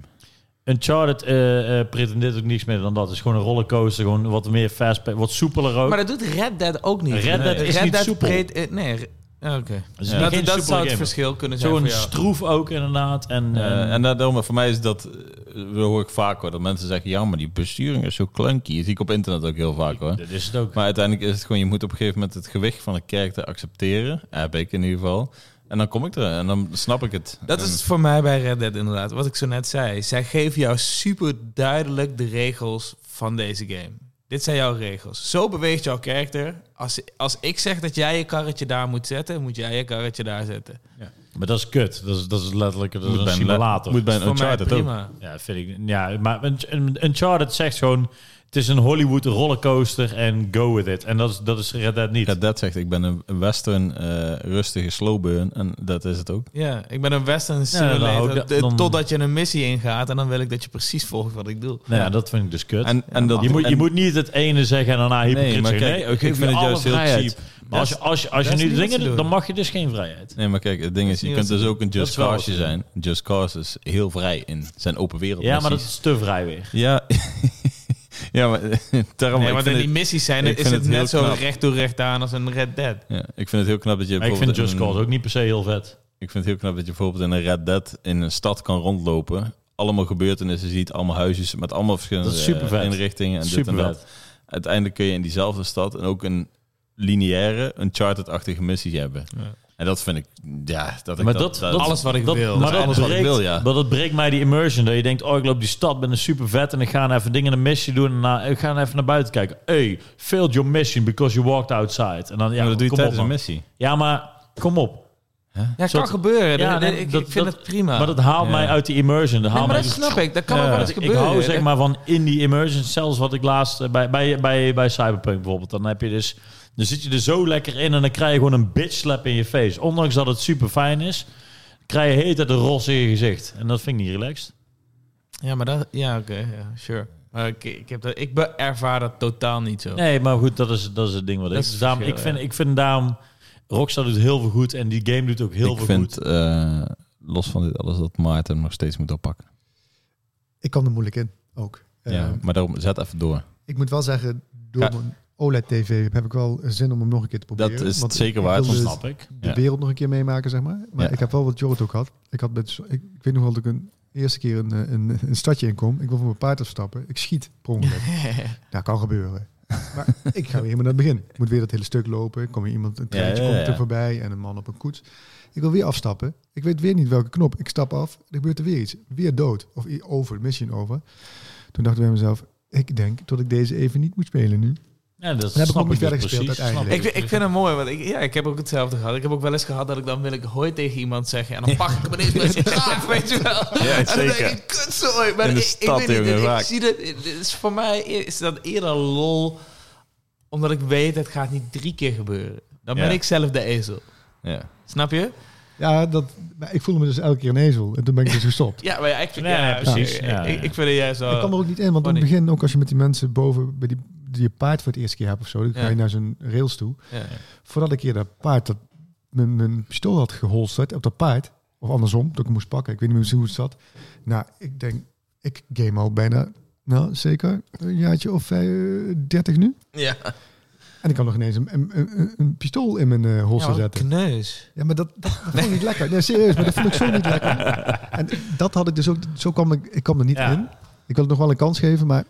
Uncharted eh, eh, pretendeert ook niks meer dan dat. Het is gewoon een rollercoaster. Gewoon wat meer fast... Wat soepeler ook.
Maar dat doet Red Dead ook niet.
Red Dead
Nee.
is niet soepel.
breed- eh, nee, re- ah, oké.
is
Ja,
niet
Dat,
geen
dat
soepele
zou het
game.
verschil kunnen zijn
Zo'n
voor jou.
stroef ook inderdaad. En, en-
Eh, en daarom, voor mij is dat, eh, dat hoor ik vaak hoor, dat mensen zeggen, ja, maar die besturing is zo clunky. Dat zie ik op internet ook heel vaak hoor.
dat is het ook.
Maar uiteindelijk is het gewoon, je moet op een gegeven moment het gewicht van een kerk accepteren. Heb ik in ieder geval. En dan kom ik er en dan snap ik het.
Dat
En-
is het voor mij bij Red Dead inderdaad. Wat ik zo net zei. Zij geven jou super duidelijk de regels van deze game. Dit zijn jouw regels. Zo beweegt jouw karakter. Als, als ik zeg dat jij je karretje daar moet zetten, moet jij je karretje daar zetten.
Maar dat is kut. Dat is, dat is letterlijk dat is
moet
een
bij een
simulator.
Moet bij
Dat
een
is voor mij
Uncharted ook.
prima.
Ja, vind ik. Ja, maar een- een- Uncharted zegt gewoon: het is een Hollywood rollercoaster en go with it. En dat is, dat is Red Dead niet.
Red Dead zegt, ik ben een western, eh, rustige slowburn. En dat is het ook.
Ja, ik ben een western
dan hou
simulator.
ik dat-
De-
dan-
Totdat je een missie ingaat en dan wil ik dat je precies volgt wat ik doe.
nou ja, dat vind ik dus kut.
En, en dat,
je, moet, je
en-
moet niet het ene zeggen en daarna hypocriet
maar
zeggen.
kijk,
Nee,
ik
geef
vind
je
het
alle
juist heel
vrijheid.
cheap.
Maar als je, als je, als je
dat is
nu
niet wat
dingen
ze
doet, dan
doen.
mag je dus geen vrijheid.
Nee, maar kijk, het ding is, je
niet
kunt
wat
dus ook een
Dat
Just
is wel
Cause
wat ze
zijn. Just Cause is heel vrij in zijn open wereld.
Ja, maar dat
missies.
is te vrij weer.
Ja, (laughs) ja maar (laughs) daarom...
Nee,
ik
want
vind
in
het-
die missies zijn,
ik
is
vind
het
het heel
net zo
knap.
recht toe recht aan als een Red Dead.
Ja, ik vind het heel knap dat je
Maar ik vind
bijvoorbeeld
Just
een-
Cause ook niet per se heel vet.
Ik vind het heel knap dat je bijvoorbeeld in een Red Dead in een stad kan rondlopen. Allemaal gebeurtenissen ziet, allemaal huisjes met allemaal verschillende
Dat is supervet.
eh, inrichtingen en dit en
Super
dat.
vet.
uiteindelijk kun je in diezelfde stad en ook een lineaire, een charted-achtige missie hebben.
Ja.
En dat vind ik, ja, dat ik
Maar dat- dat-
Alles wat ik
Dat-
wil.
dat
maar
is
dat,
alles wat ik
breekt,
wil, ja.
maar dat breekt mij die immersion. Dat je denkt, oh, ik loop die stad, ben een super vet en ik ga even dingen een missie doen. En na, ik ga even naar buiten kijken. Hey, failed your mission because you walked outside. En dan, ja,
ja, dat doe
kom
je
op,
tijdens een
man.
missie.
Ja, maar kom op.
Ja, kan
Soort-
gebeuren.
Ja,
Dat-
nee,
dat- ik,
dat-
ik vind
dat-
het prima.
Maar dat haalt
Ah. Ja.
mij uit die immersion. Dat
nee,
haalt
maar
mij
dat snap ik. Dat kan
Ja,
wel
dat
eens
Eh, ik
gebeuren.
hou
Dat-
zeg maar van in die immersion. Zelfs wat ik laatst eh, bij, bij, bij, bij Cyberpunk bijvoorbeeld. Dan heb je dus. Dan zit je er zo lekker in en dan krijg je gewoon een bitch slap in je face. Ondanks dat het super fijn is, krijg je heet het een ros in je gezicht. En dat vind ik niet relaxed.
Ja, maar dat... Ja, oké. ja, sure. Maar ik, ik, heb dat, ik be- ervaar dat totaal niet zo.
Nee, maar goed, dat is, dat is het ding wat
Dat
ik.
is het
daarom, ik,
verschil,
vind, ik vind daarom. Rockstar doet heel veel goed en die game doet ook heel
ik
veel goed.
vind, eh, los van dit alles, dat Maarten hem nog steeds moet oppakken.
Ik kan er moeilijk in, ook.
ja,
Ehm,
maar daarom, zet even door.
ik moet wel zeggen, door
Ja.
mijn OLED-tv heb ik wel zin om hem nog een keer te
Dat
proberen.
is
want
het zeker
ik
waard.
wil dus de-
Snap ik.
de
Ja.
wereld nog een keer meemaken, zeg maar. Maar
Ja.
ik heb wel wat Jorrit ook had. Ik, had met, ik, ik weet nog wel dat ik een eerste keer een, eh, een, een stadje inkom. Ik wil van mijn paard afstappen. Ik schiet per ongeluk.
(laughs)
Dat kan gebeuren. Maar (laughs) ik ga weer helemaal naar het begin. Ik moet weer dat hele stuk lopen. Ik Kom weer iemand, een treintje
ja,
komt er
ja.
voorbij en een man op een koets. Ik wil weer afstappen. Ik weet weer niet welke knop. Ik stap af. Er gebeurt er weer iets. Weer dood. Of i- over, mission over. Toen dacht ik bij mezelf, ik denk dat ik deze even niet moet spelen nu.
Ja, dat
ik
snap
ook niet
ik dus
verder gespeeld
precies.
uiteindelijk.
Snap
Ik, ik vind het mooi, want ik, ja, ik heb ook hetzelfde gehad. Ik heb ook wel eens gehad dat ik dan wil ik hoi tegen iemand zeggen. En dan pak ik hem ineens bij (laughs) zijn kraag, weet je wel.
Ja,
en dan
zeker.
denk ik, kutzooi. Maar
In de
ik,
stad,
ik, weet niet,
jongen,
ik
vaak.
zie dat, het is voor mij e- is dat eerder lol. Omdat ik weet, het gaat niet drie keer gebeuren. Dan ben
Ja.
ik zelf de ezel.
Ja.
Snap je?
Ja, dat, maar ik voelde me dus elke keer een ezel. En toen ben ik dus gestopt.
Ja, maar ja, ik vind,
Nee,
ja,
nee, precies.
Ik,
Ja, ja.
ik, ik vind het juist wel...
Ik kan er ook niet in, want in het
Eh, funny.
begin, ook als je met die mensen boven bij die, die je paard voor het eerste keer hebt of zo, dan ga
Ja.
je naar zo'n rails toe.
Ja.
Voordat ik hier dat paard, dat, mijn, mijn pistool had geholsterd op dat paard, of andersom, dat ik hem moest pakken, ik weet niet meer hoe het zat. Nou, ik denk, ik game al bijna, nou zeker, een jaartje of eh, 30 nu.
Ja.
En ik kan nog ineens een, een, een, een pistool in mijn eh,
Ja,
holster
wat een
zetten.
kneus.
Ja, maar dat, dat, dat vond ik niet lekker. Nee, serieus, maar dat vond ik zo niet
(laughs)
lekker. En dat had ik dus ook, zo kwam ik, ik kwam er niet
Ja.
in. Ik wil het nog wel een kans geven, maar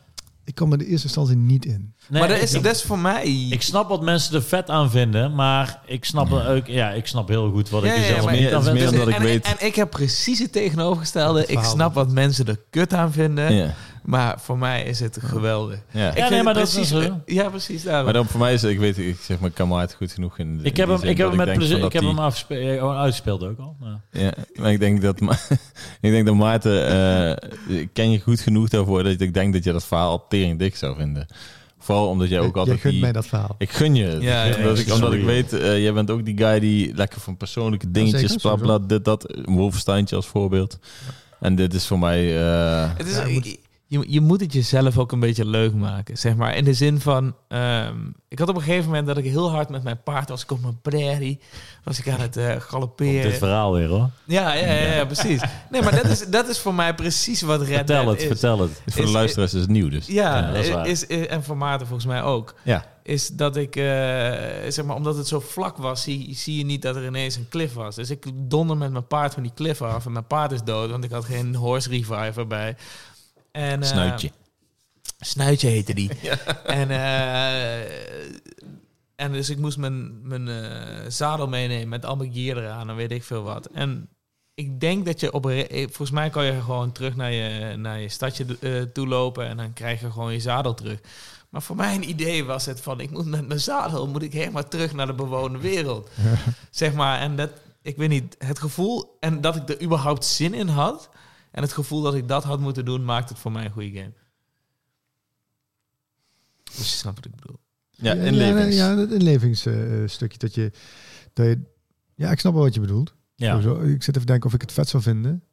ik kwam er in de eerste instantie niet in.
Nee,
maar dat
ik-
is, dat is voor mij...
Ik snap wat mensen er vet aan vinden, maar ik snap er ook, ja, ik snap heel goed wat
Ja,
ik er
ja,
zelf
maar
niet
het
aan
is
vind.
meer
Dus-
omdat ik
en,
weet-
En, ik heb precies het tegenovergestelde. Ik
verhaal.
snap wat mensen er kut aan vinden.
Ja.
Maar voor mij is het geweldig.
Ja.
Ik vind
nee, maar
het
dat is
precies,
wel zo.
Ja, precies daarom.
Maar dan voor mij is, ik weet, ik zeg, mijn kameraad goed genoeg in. in
Ik heb
die
hem,
zin
ik heb
dat
hem met
denk van
plezier,
dat
ik heb
die-
hem afgespe- eh, gewoon uitgespeeld ook al. maar-
Ja, maar ik denk dat, Ma- (laughs) ik denk dat Maarten, eh, ik ken je goed genoeg daarvoor dat ik denk dat je dat verhaal al tering dik zou vinden. Vooral omdat jij ook
Eh, Jij
altijd.
gunt
die-
mij dat verhaal.
Ik gun je. het.
Ja, ja,
omdat
ja,
ik, omdat
sorry.
ik weet, eh, jij bent ook die guy die lekker van persoonlijke dingetjes,
zeker,
bla bla, dit, dat. Een Wolfensteintje als voorbeeld. En dit is voor mij. eh,
het is,
Ja, je moet-
je, je moet het jezelf ook een beetje leuk maken, zeg maar. In de zin van... ehm, ik had op een gegeven moment dat ik heel hard met mijn paard was. Ik op mijn prairie was ik aan het eh
Op dit
galopperen.
verhaal weer hoor.
Ja, ja, ja, ja, precies. Nee, maar dat is, dat is voor mij precies wat Red
Vertel
Dead
het,
is.
vertel het.
voor
is-
de luisteraars is het nieuw, dus.
Ja,
Ja,
dat is waar.
is, is- en voor Maarten volgens mij ook.
Ja.
Is dat ik, eh, zeg maar, omdat het zo vlak was, zie, zie je niet dat er ineens een cliff was. Dus ik donder met mijn paard van die cliff af en mijn paard is dood, want ik had geen horse reviver bij. En, eh,
Snuitje.
Snuitje heette die. En, eh, en dus ik moest mijn, mijn eh, zadel meenemen met al mijn gear eraan en weet ik veel wat. En ik denk dat je op... een re- eh, Volgens mij kan je gewoon terug naar je, naar je stadje eh, toe lopen en dan krijg je gewoon je zadel terug. Maar voor mijn idee was het van, ik moet met mijn zadel moet ik helemaal terug naar de bewoonde wereld. zeg maar, en dat, ik weet niet, het gevoel en dat ik er überhaupt zin in had en het gevoel dat ik dat had moeten doen, maakt het voor mij een goede game. Dus je snapt wat ik bedoel.
Ja,
Ja,
inlevings.
Ja, dat inlevingsstukje. dat, je, dat je... Ja, ik snap wel wat je bedoelt.
Ja.
Sowieso. Ik zit even te denken of ik het vet zou vinden.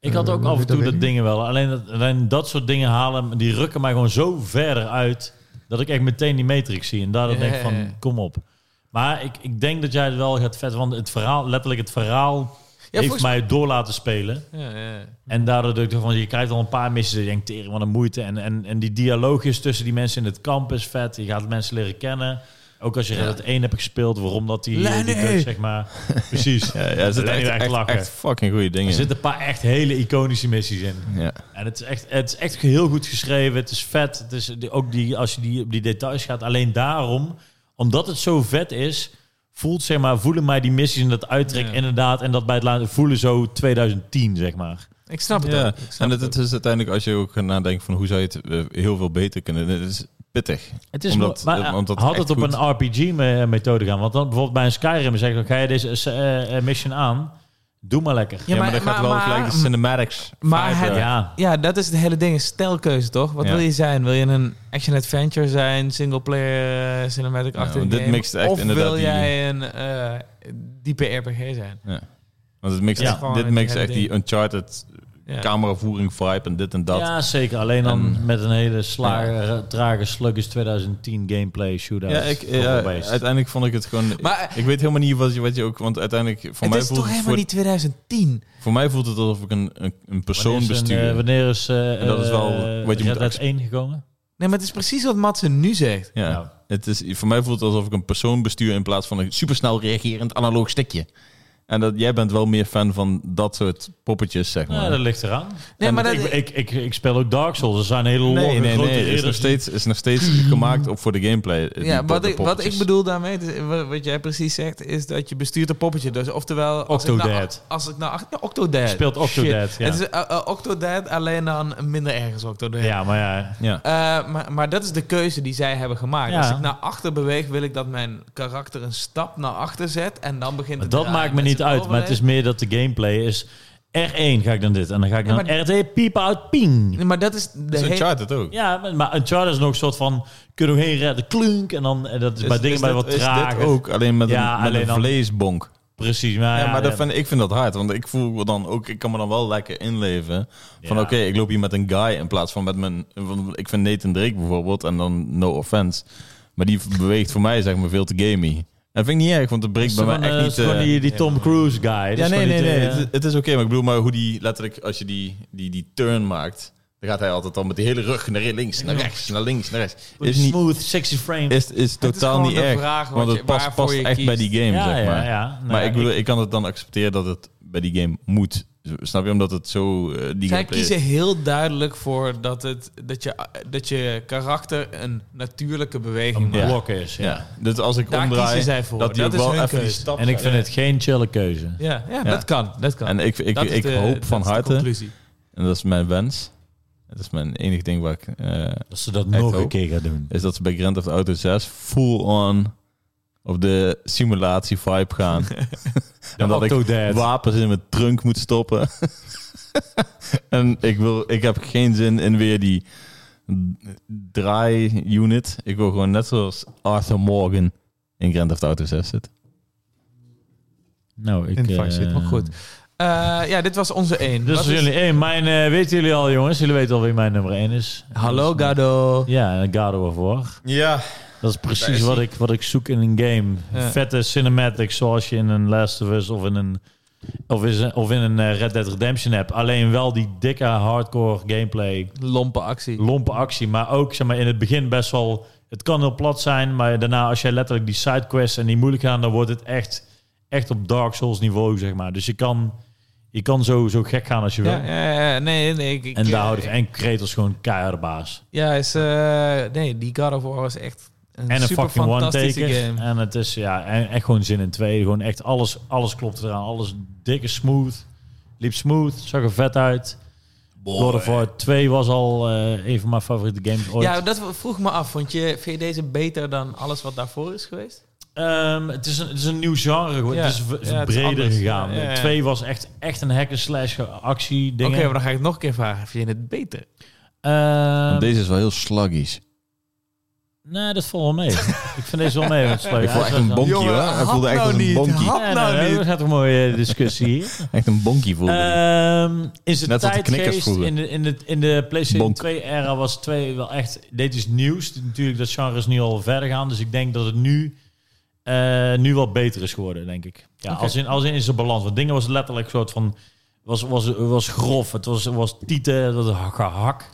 Ik had ook
Eh,
af en
dat
toe
weet
dat
ik
dingen wel. Alleen dat, alleen dat soort dingen halen, die rukken mij gewoon zo verder uit dat ik echt meteen die matrix zie. En daardoor
Ja,
denk ik
ja, ja.
van, kom op. Maar ik, ik denk dat jij het wel gaat vet, want het verhaal, letterlijk het verhaal,
Ja,
heeft mij door laten spelen.
Ja, ja.
En daardoor dacht ik van, je krijgt al een paar missies en je denkt, tering, wat een moeite. En, en, en die dialoogjes tussen die mensen in het kamp is vet. Je gaat mensen leren kennen. Ook als je Red 1 hebt gespeeld, waarom dat die,
Lenny!
die kut, zeg
(laughs)
maar. Precies.
Ja, ja, er zitten
Lenny
echt,
werkt
echt,
lachen.
echt fucking goede dingen
Er
in.
zitten een paar echt hele iconische missies in.
Ja.
En het is echt, het is echt heel goed geschreven. Het is vet. Het is die- ook die, als je die, op die details gaat. Alleen daarom, omdat het zo vet is, voelt, zeg maar, voelen mij die missies en dat uittrek
Ja.
inderdaad. En dat bij het laten voelen zo 2010, zeg maar.
Ik snap het
Ja,
ook. Ik snap
En het, het is uiteindelijk, als je ook gaat nadenken van hoe zou je het eh, heel veel beter kunnen, het is pittig.
Het is
Omdat-
maar,
eh, omdat
had
echt
het op
goed-
een RPG-methode gaan. Want dan bijvoorbeeld bij een Skyrim zeg ik, ga je deze eh, eh, mission aan, doe maar lekker.
Ja, maar, dat gaat wel
maar-
gelijk de cinematics.
maar
vibe,
het-
eh,
Ja,
Ja, dat is het hele ding. een Stijlkeuze, toch? Wat
Ja.
wil je zijn? Wil je een action-adventure zijn? Single-player, eh, cinematic-achtige
Ja, want dit
game?
mixt echt
of
inderdaad
wil
die-
jij een eh, diepe RPG zijn?
Want het mixt,
Ja.
echt- dit mixt echt die
Ja.
Uncharted
Ja.
cameravoering vibe en dit en dat. Ja,
ja, zeker. Alleen dan
En-
met een hele slage, trage sluggish 2010 gameplay shootout.
ik,
Voor
ja,
de beest.
uiteindelijk vond ik het gewoon...
Maar
ik weet helemaal niet wat je, wat je ook... Want uiteindelijk, voor,
het
mij
is
voelt
toch
het,
helemaal
voor,
niet 2010?
voor mij voelt het alsof ik een, een, een persoon
Wanneer is een,
bestuur.
eh, wanneer is, eh
En dat is wel
eh,
wat
Red
je moet
Dead
acce-
1 gekomen?
Nee, maar het is precies wat Matsen nu zegt.
ja.
Nou,
Het is, voor mij voelt het alsof ik een persoon bestuur in plaats van een supersnel reagerend analoog stikje. En dat, jij bent wel meer fan van dat soort poppetjes, zeg maar.
nou, dat ligt eraan.
Nee,
En
maar dat,
ik, ik, ik, ik speel ook Dark Souls. Er zijn hele
nee,
lange
nee, nee,
grote
Is nog
ridders.
steeds, is nog
(clears throat)
steeds gemaakt op voor de gameplay. eh, die
ja,
pop-
wat,
de
ik, wat ik
poppetjes.
bedoel daarmee, het is- wa- wat jij precies zegt, is dat je bestuurt een poppetje. Dus oftewel... als ik nou-
Octodad.
Als ik nou... ach- Ja, Octodad.
Speelt Octodad,
Shit.
ja.
Het is eh, eh, Octodad, alleen dan minder ergens Octodad.
Ja, maar ja.
Ja.
Eh, maar, maar dat is de keuze die zij hebben gemaakt.
Ja.
Als ik naar achter beweeg, wil ik dat mijn karakter een stap naar achter zet. En dan begint
Maar
het
dat
draaien
maakt me
met
niet
zijn
uit. Maar het is
overleven.
meer dat de gameplay is... R1 ga ik dan dit. En dan ga ik
Ja,
dan R2 piepen uit ping.
Nee, maar dat is de
Dat is
hele...
Uncharted ook.
Ja, maar- maar Uncharted is nog een soort van... Kunnen we heen redden, klunk. En dan en dat is, bij dingen bij
dit-
wat
is dit
trager.
ook, alleen met
Ja,
een, met
alleen
een
dan-
vleesbonk.
Precies, maar,
ja, maar
ja,
dat vind, ik vind dat hard, want ik voel me dan ook, ik kan me dan wel lekker inleven. Van
Ja.
oké, ik loop hier met een guy in plaats van met mijn, want ik vind Nathan Drake bijvoorbeeld, en dan no offense, maar die beweegt voor mij zeg maar veel te gamey. En dat vind ik niet erg, want het breekt bij mij
Gewoon, eh,
echt
het
niet...
is gewoon
eh,
die, die Tom Cruise guy. Dat is
ja, nee,
gewoon niet,
nee,
eh,
nee. Het, is- het is oké, maar ik bedoel maar hoe die letterlijk, als je die, die, die turn maakt, dan gaat hij altijd dan met die hele rug naar links, naar rechts, naar links, naar rechts. Is niet,
smooth, sexy frame.
is, is totaal
gewoon
niet
de
erg,
vraag wat
want
je-
het past,
waarvoor
past
je
echt bij
kiest.
die game,
ja,
zeg maar.
ja, ja. Nou,
maar ik, bedoel, ik kan het dan accepteren dat het bij die game moet. Snap je? Omdat het zo... eh,
Zij
die gameplay is.
kiezen heel duidelijk voor dat, het, dat, je, dat je karakter een natuurlijke beweging
een
maakt.
Ja.
blok is. Ja.
Ja. Dus als ik
Daar kiezen
omdraai,
zij voor.
dat eh, die
Dat
ook
is
wel
hun
even die
keuze.
stap...
En ik vind het geen chille keuze.
Ja, ja, dat kan. Dat kan.
En ik, ik,
Dat
ik,
is de-
hoop van
dat is de
harte,
conclusie.
en dat is mijn wens, dat is mijn enige ding waar ik... eh,
Dat ze dat
Echt
nog een
hoop.
keer gaan doen.
is dat ze bij Grand Theft Auto 6 full on op de simulatie vibe gaan. en dat ik
Octodad.
wapens in mijn trunk moet stoppen. (laughs) en ik, wil, ik heb geen zin in weer die draai-unit. Ik wil gewoon net zoals Arthur Morgan in Grand Theft Auto 6 zitten.
Nou, ik...
In Vice City,
eh,
maar goed.
Eh, ja, dit was onze één.
Dus
Wat
voor
is-
jullie één. Mijn, eh, weten jullie al, jongens? Jullie weten al wie mijn nummer één is.
Hallo,
Dat is-
Gado.
Ja, en God of War.
Ja.
Dat is precies
Daar is
wat,
hij.
ik, wat ik zoek in een game.
Ja.
Vette cinematics zoals je in een Last of Us of in een, of is, of in een eh, Red Dead Redemption hebt. Alleen wel die dikke hardcore gameplay.
Lompe actie.
lompe actie. Maar ook zeg maar, in het begin best wel... Het kan heel plat zijn, maar daarna als jij letterlijk die sidequests en die moeilijk gaan... dan wordt het echt, echt op Dark Souls niveau, zeg maar. Dus je kan, je kan zo, zo gek gaan als je
Ja,
wil.
ja, ja, nee, nee. Ik, ik-
En daar
eh,
houden en Kratos gewoon keiharde baas.
Ja, is, eh, nee, die God of War was echt een,
En een
super
fucking
fantastische
one-taker.
game.
En het is ja, en echt gewoon zin in twee. Gewoon echt alles, alles klopt eraan. Alles dikke smooth. Liep smooth, zag er vet uit. Lord of War 2 was al eh, een van mijn favoriete games ooit.
Ja, dat vroeg me af. Vond je, vind je deze beter dan alles wat daarvoor is geweest?
Ehm, het, is een, het is een nieuw genre. geworden.
Ja.
Het is v-
Ja, het is
breder
anders.
gegaan.
Ja, ja, ja.
Twee was echt, echt een hack and slash actie
Oké,
dingen.
maar dan ga ik het nog een keer vragen. Vind je het beter?
Ehm,
deze is wel heel sluggish.
Nee, dat valt wel
(laughs)
mee. ik vind deze wel mee. want het is leuk.
Ik voel
Ja,
echt
dat is
een
dan-
bonkie
Jongen,
hoor. Hij
hap
voelde echt
nou
als een
niet,
bonkie.
hap.
Ja,
nou
nee,
niet.
dat gaat een mooie discussie hier.
Echt een bonkie voelde
Eh,
hij.
Ehm in zijn
Net als de knikkers
tijdgeest,
vroeger.
in de, in, de, in de PlayStation
Bonk.
2-era was 2 wel echt... Dit is nieuws. Natuurlijk, dat genre is nu al verder gaan. Dus ik denk dat het nu, eh, nu wat beter is geworden, denk ik. Ja, als, in, als in is zijn balans. Want dingen was letterlijk een soort van... Was, was, was grof. Het was, was tieten, dat was gehak.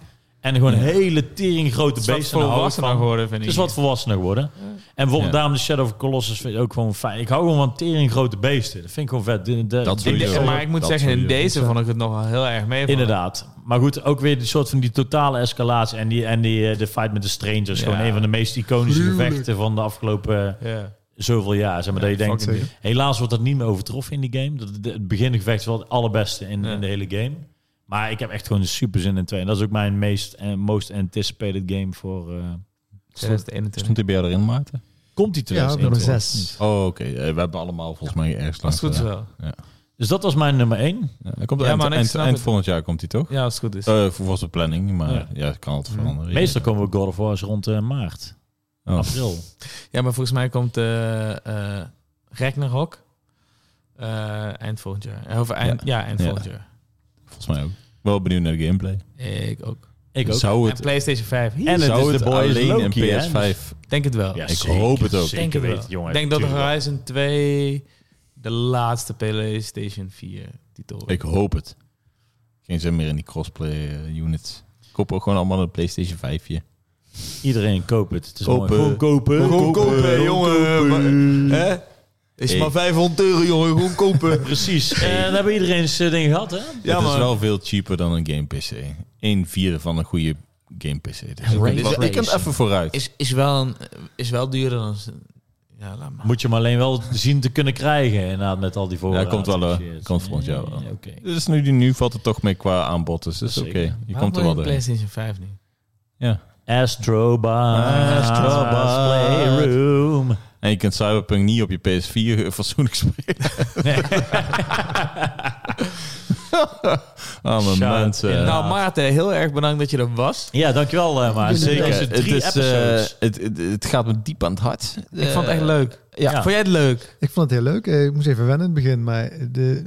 En gewoon
Ja.
hele tering grote
Het is wat
beesten. daar hou ik
volwassener
van.
geworden, vind ik.
Het is wat volwassener geworden. En bijvoorbeeld
Ja.
daarom de Shadow of the Colossus vind ik ook gewoon fijn. Ik hou gewoon van tering grote beesten. Dat vind ik gewoon vet. De- de-
Dat
de-
Ik
sowieso.
de-
denk, maar ik moet
Dat
zeggen, in
sowieso.
deze vond ik het nog wel heel erg mee.
Inderdaad. Maar goed, ook weer een soort van die totale escalatie. En, die, en die, eh, de fight met de Strangers.
Ja.
Gewoon een van de meest iconische
Gruwelijk.
gevechten van de afgelopen eh,
Ja.
zoveel jaar. Zeg maar, dat je
fuck
denkt,
zeker.
it.
helaas wordt dat niet meer overtroffen in die game. Dat, de- het begingevecht is wel het allerbeste in,
Ja.
in de hele game. Maar ik heb echt gewoon super zin in twee. En dat is ook mijn meest en most anticipated game voor... eh,
2021.
Stond hij Dus bij jou erin, Maarten?
komt die
Ja,
2021?
nummer zes.
Oh, oké. Eh, We hebben allemaal volgens mij ergens
Als
langs.
het goed is
gedaan.
wel.
Dus dat was mijn nummer 1.
Ja, hij komt
Ja,
eind,
maar ik
eind,
snap
eind
het.
volgend jaar komt hij toch?
Ja, Mhm. als het goed is.
Eh volgens de planning, maar
Ja.
ja, het kan altijd
Ja.
veranderen.
Meestal komen we God of War's rond eh, maart,
Oh.
april.
Ja, maar volgens mij komt eh eh Ragnarok eh, eind volgend jaar. Eh, Of eind, ja. eind
Ja.
volgend jaar.
Volgens mij ook. Wel benieuwd naar de gameplay.
Ik ook.
Ik ook.
Dus Zou
en
het,
PlayStation 5.
En het
zou
is
het
de boy is
alleen
Loki, hè?
een PS5?
Denk het wel.
Ja,
ik hoop het ook.
Denk
Zeker
het wel.
weten, jongen.
Denk dat eh,
tuurlijk.
Horizon 2 de laatste PlayStation 4 titel
dus-
wordt.
Ik hoop het. Geen zin meer in die crossplay eh, units. Koop ook gewoon allemaal een PlayStation 5 hier.
Iedereen koopt het. Het is
Kopen.
mooi. Gewoon kopen.
Gewoon kopen,
eh,
jongen. eh.
Hè?
Is
maar
500 euro, jongen. Gewoon kopen.
Precies. En dan Eh, hebben we iedereen zijn ding gehad, hè?
het
maar-
is wel veel cheaper dan een game PC. Een vierde van een goede game PC. Dus ik kan-
Ray
ik kan
tracing.
even
(laughs)
vooruit.
Is, is, wel een, is wel duurder dan... Ja, laat maar.
Moet je hem alleen wel zien te kunnen krijgen, inderdaad, met al die voorraad.
Ja, komt wel, eh,
en shit.
komt volgend jaar wel.
Ja, Oké.
Dus nu, nu valt het toch mee qua aanbod. Dus dat is
Dat
oké.
zeker.
Je
Waarom
komt er
wil
wel
je een
doorheen.
PlayStation 5 niet?
Astroba.
Astrobaas.
Playroom. (laughs)
En je kunt Cyberpunk niet op je PS4 eh, fatsoenlijk
(laughs)
spelen. Arme
Shout
mensen.
in.
Nou Maarten, heel erg bedankt dat je er was.
ja, dankjewel, eh maar.
Jullie
Zeker
wel.
is het
het,
drie
is, eh,
episodes.
het, het, het gaat me diep aan het hart.
ik vond het echt leuk.
ja.
Eh, Vond jij het leuk?
Ik vond het heel leuk. Eh, Ik moest even wennen in het begin, maar, de,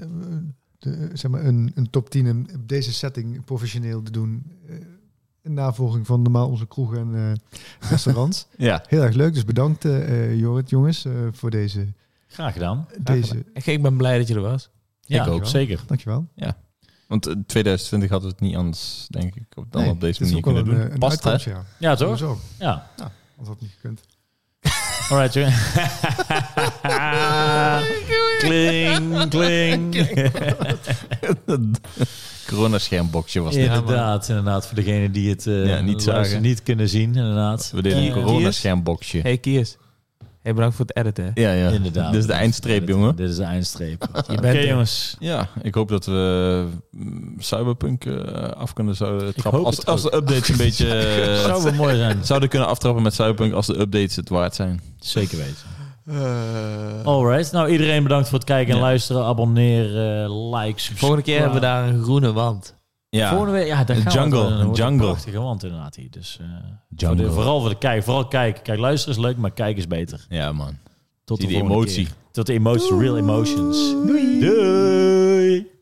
de, zeg maar een, een top 10 in, op deze setting professioneel te doen. eh, In navolging van normaal onze kroegen en eh,
(laughs)
restaurants.
Ja.
heel erg leuk, dus bedankt eh eh, Jorrit, jongens, eh, voor deze,
Graag gedaan.
deze.
Ik- Ik ben blij dat je er was.
Ja,
ook.
Zeker.
Dankjewel.
Want eh, 2020 hadden we het niet anders, denk ik, op- dan
Nee,
op deze
dit is
manier
ook wel
kunnen doen.
een, eh, een
Past, hè?
uitkomst, ja.
Ja, toch?
Zo,
Ja.
anders had het niet gekund.
Alright,
(laughs)
jongen. kling, kling.
(laughs) Corona-schermbokje was dit.
Inderdaad, inderdaad. Voor degenen die het eh,
Ja, niet
luisteren,
zagen.
niet kunnen zien, inderdaad.
We deden
Ja.
een corona-schermbokje.
Hey Kiers. Hey, bedankt voor het editen. hè.
Ja, ja.
Inderdaad.
Dit is de eindstreep, jongen.
Dit is de (laughs) eindstreep. Oké,
er.
jongens.
Ja, ik hoop dat we mm, Cyberpunk eh, af kunnen zouden trappen.
hoop
Als,
het
als de updates een beetje...
(laughs)
eh,
Zou wel mooi zijn.
zouden kunnen aftrappen met Cyberpunk als de updates het waard zijn.
Zeker weten. Alright. Nou, iedereen bedankt voor het kijken en
Ja.
luisteren. Abonneer, eh, like, subscribe.
Volgende keer hebben we daar een groene wand.
Ja.
Volgende week, ja, daar
Een
gaan we.
jungle,
Dan wordt
een
het
jungle.
prachtige wand inderdaad hier. Dus, eh, voor
Jungle.
de- vooral voor de kijk. Vooral kijken. Kijk, luisteren is leuk, maar kijken is beter.
Ja, man.
Tot
Zie
de
die
volgende
emotie.
keer. Tot de emotie. Real emotions. Doei. Doei.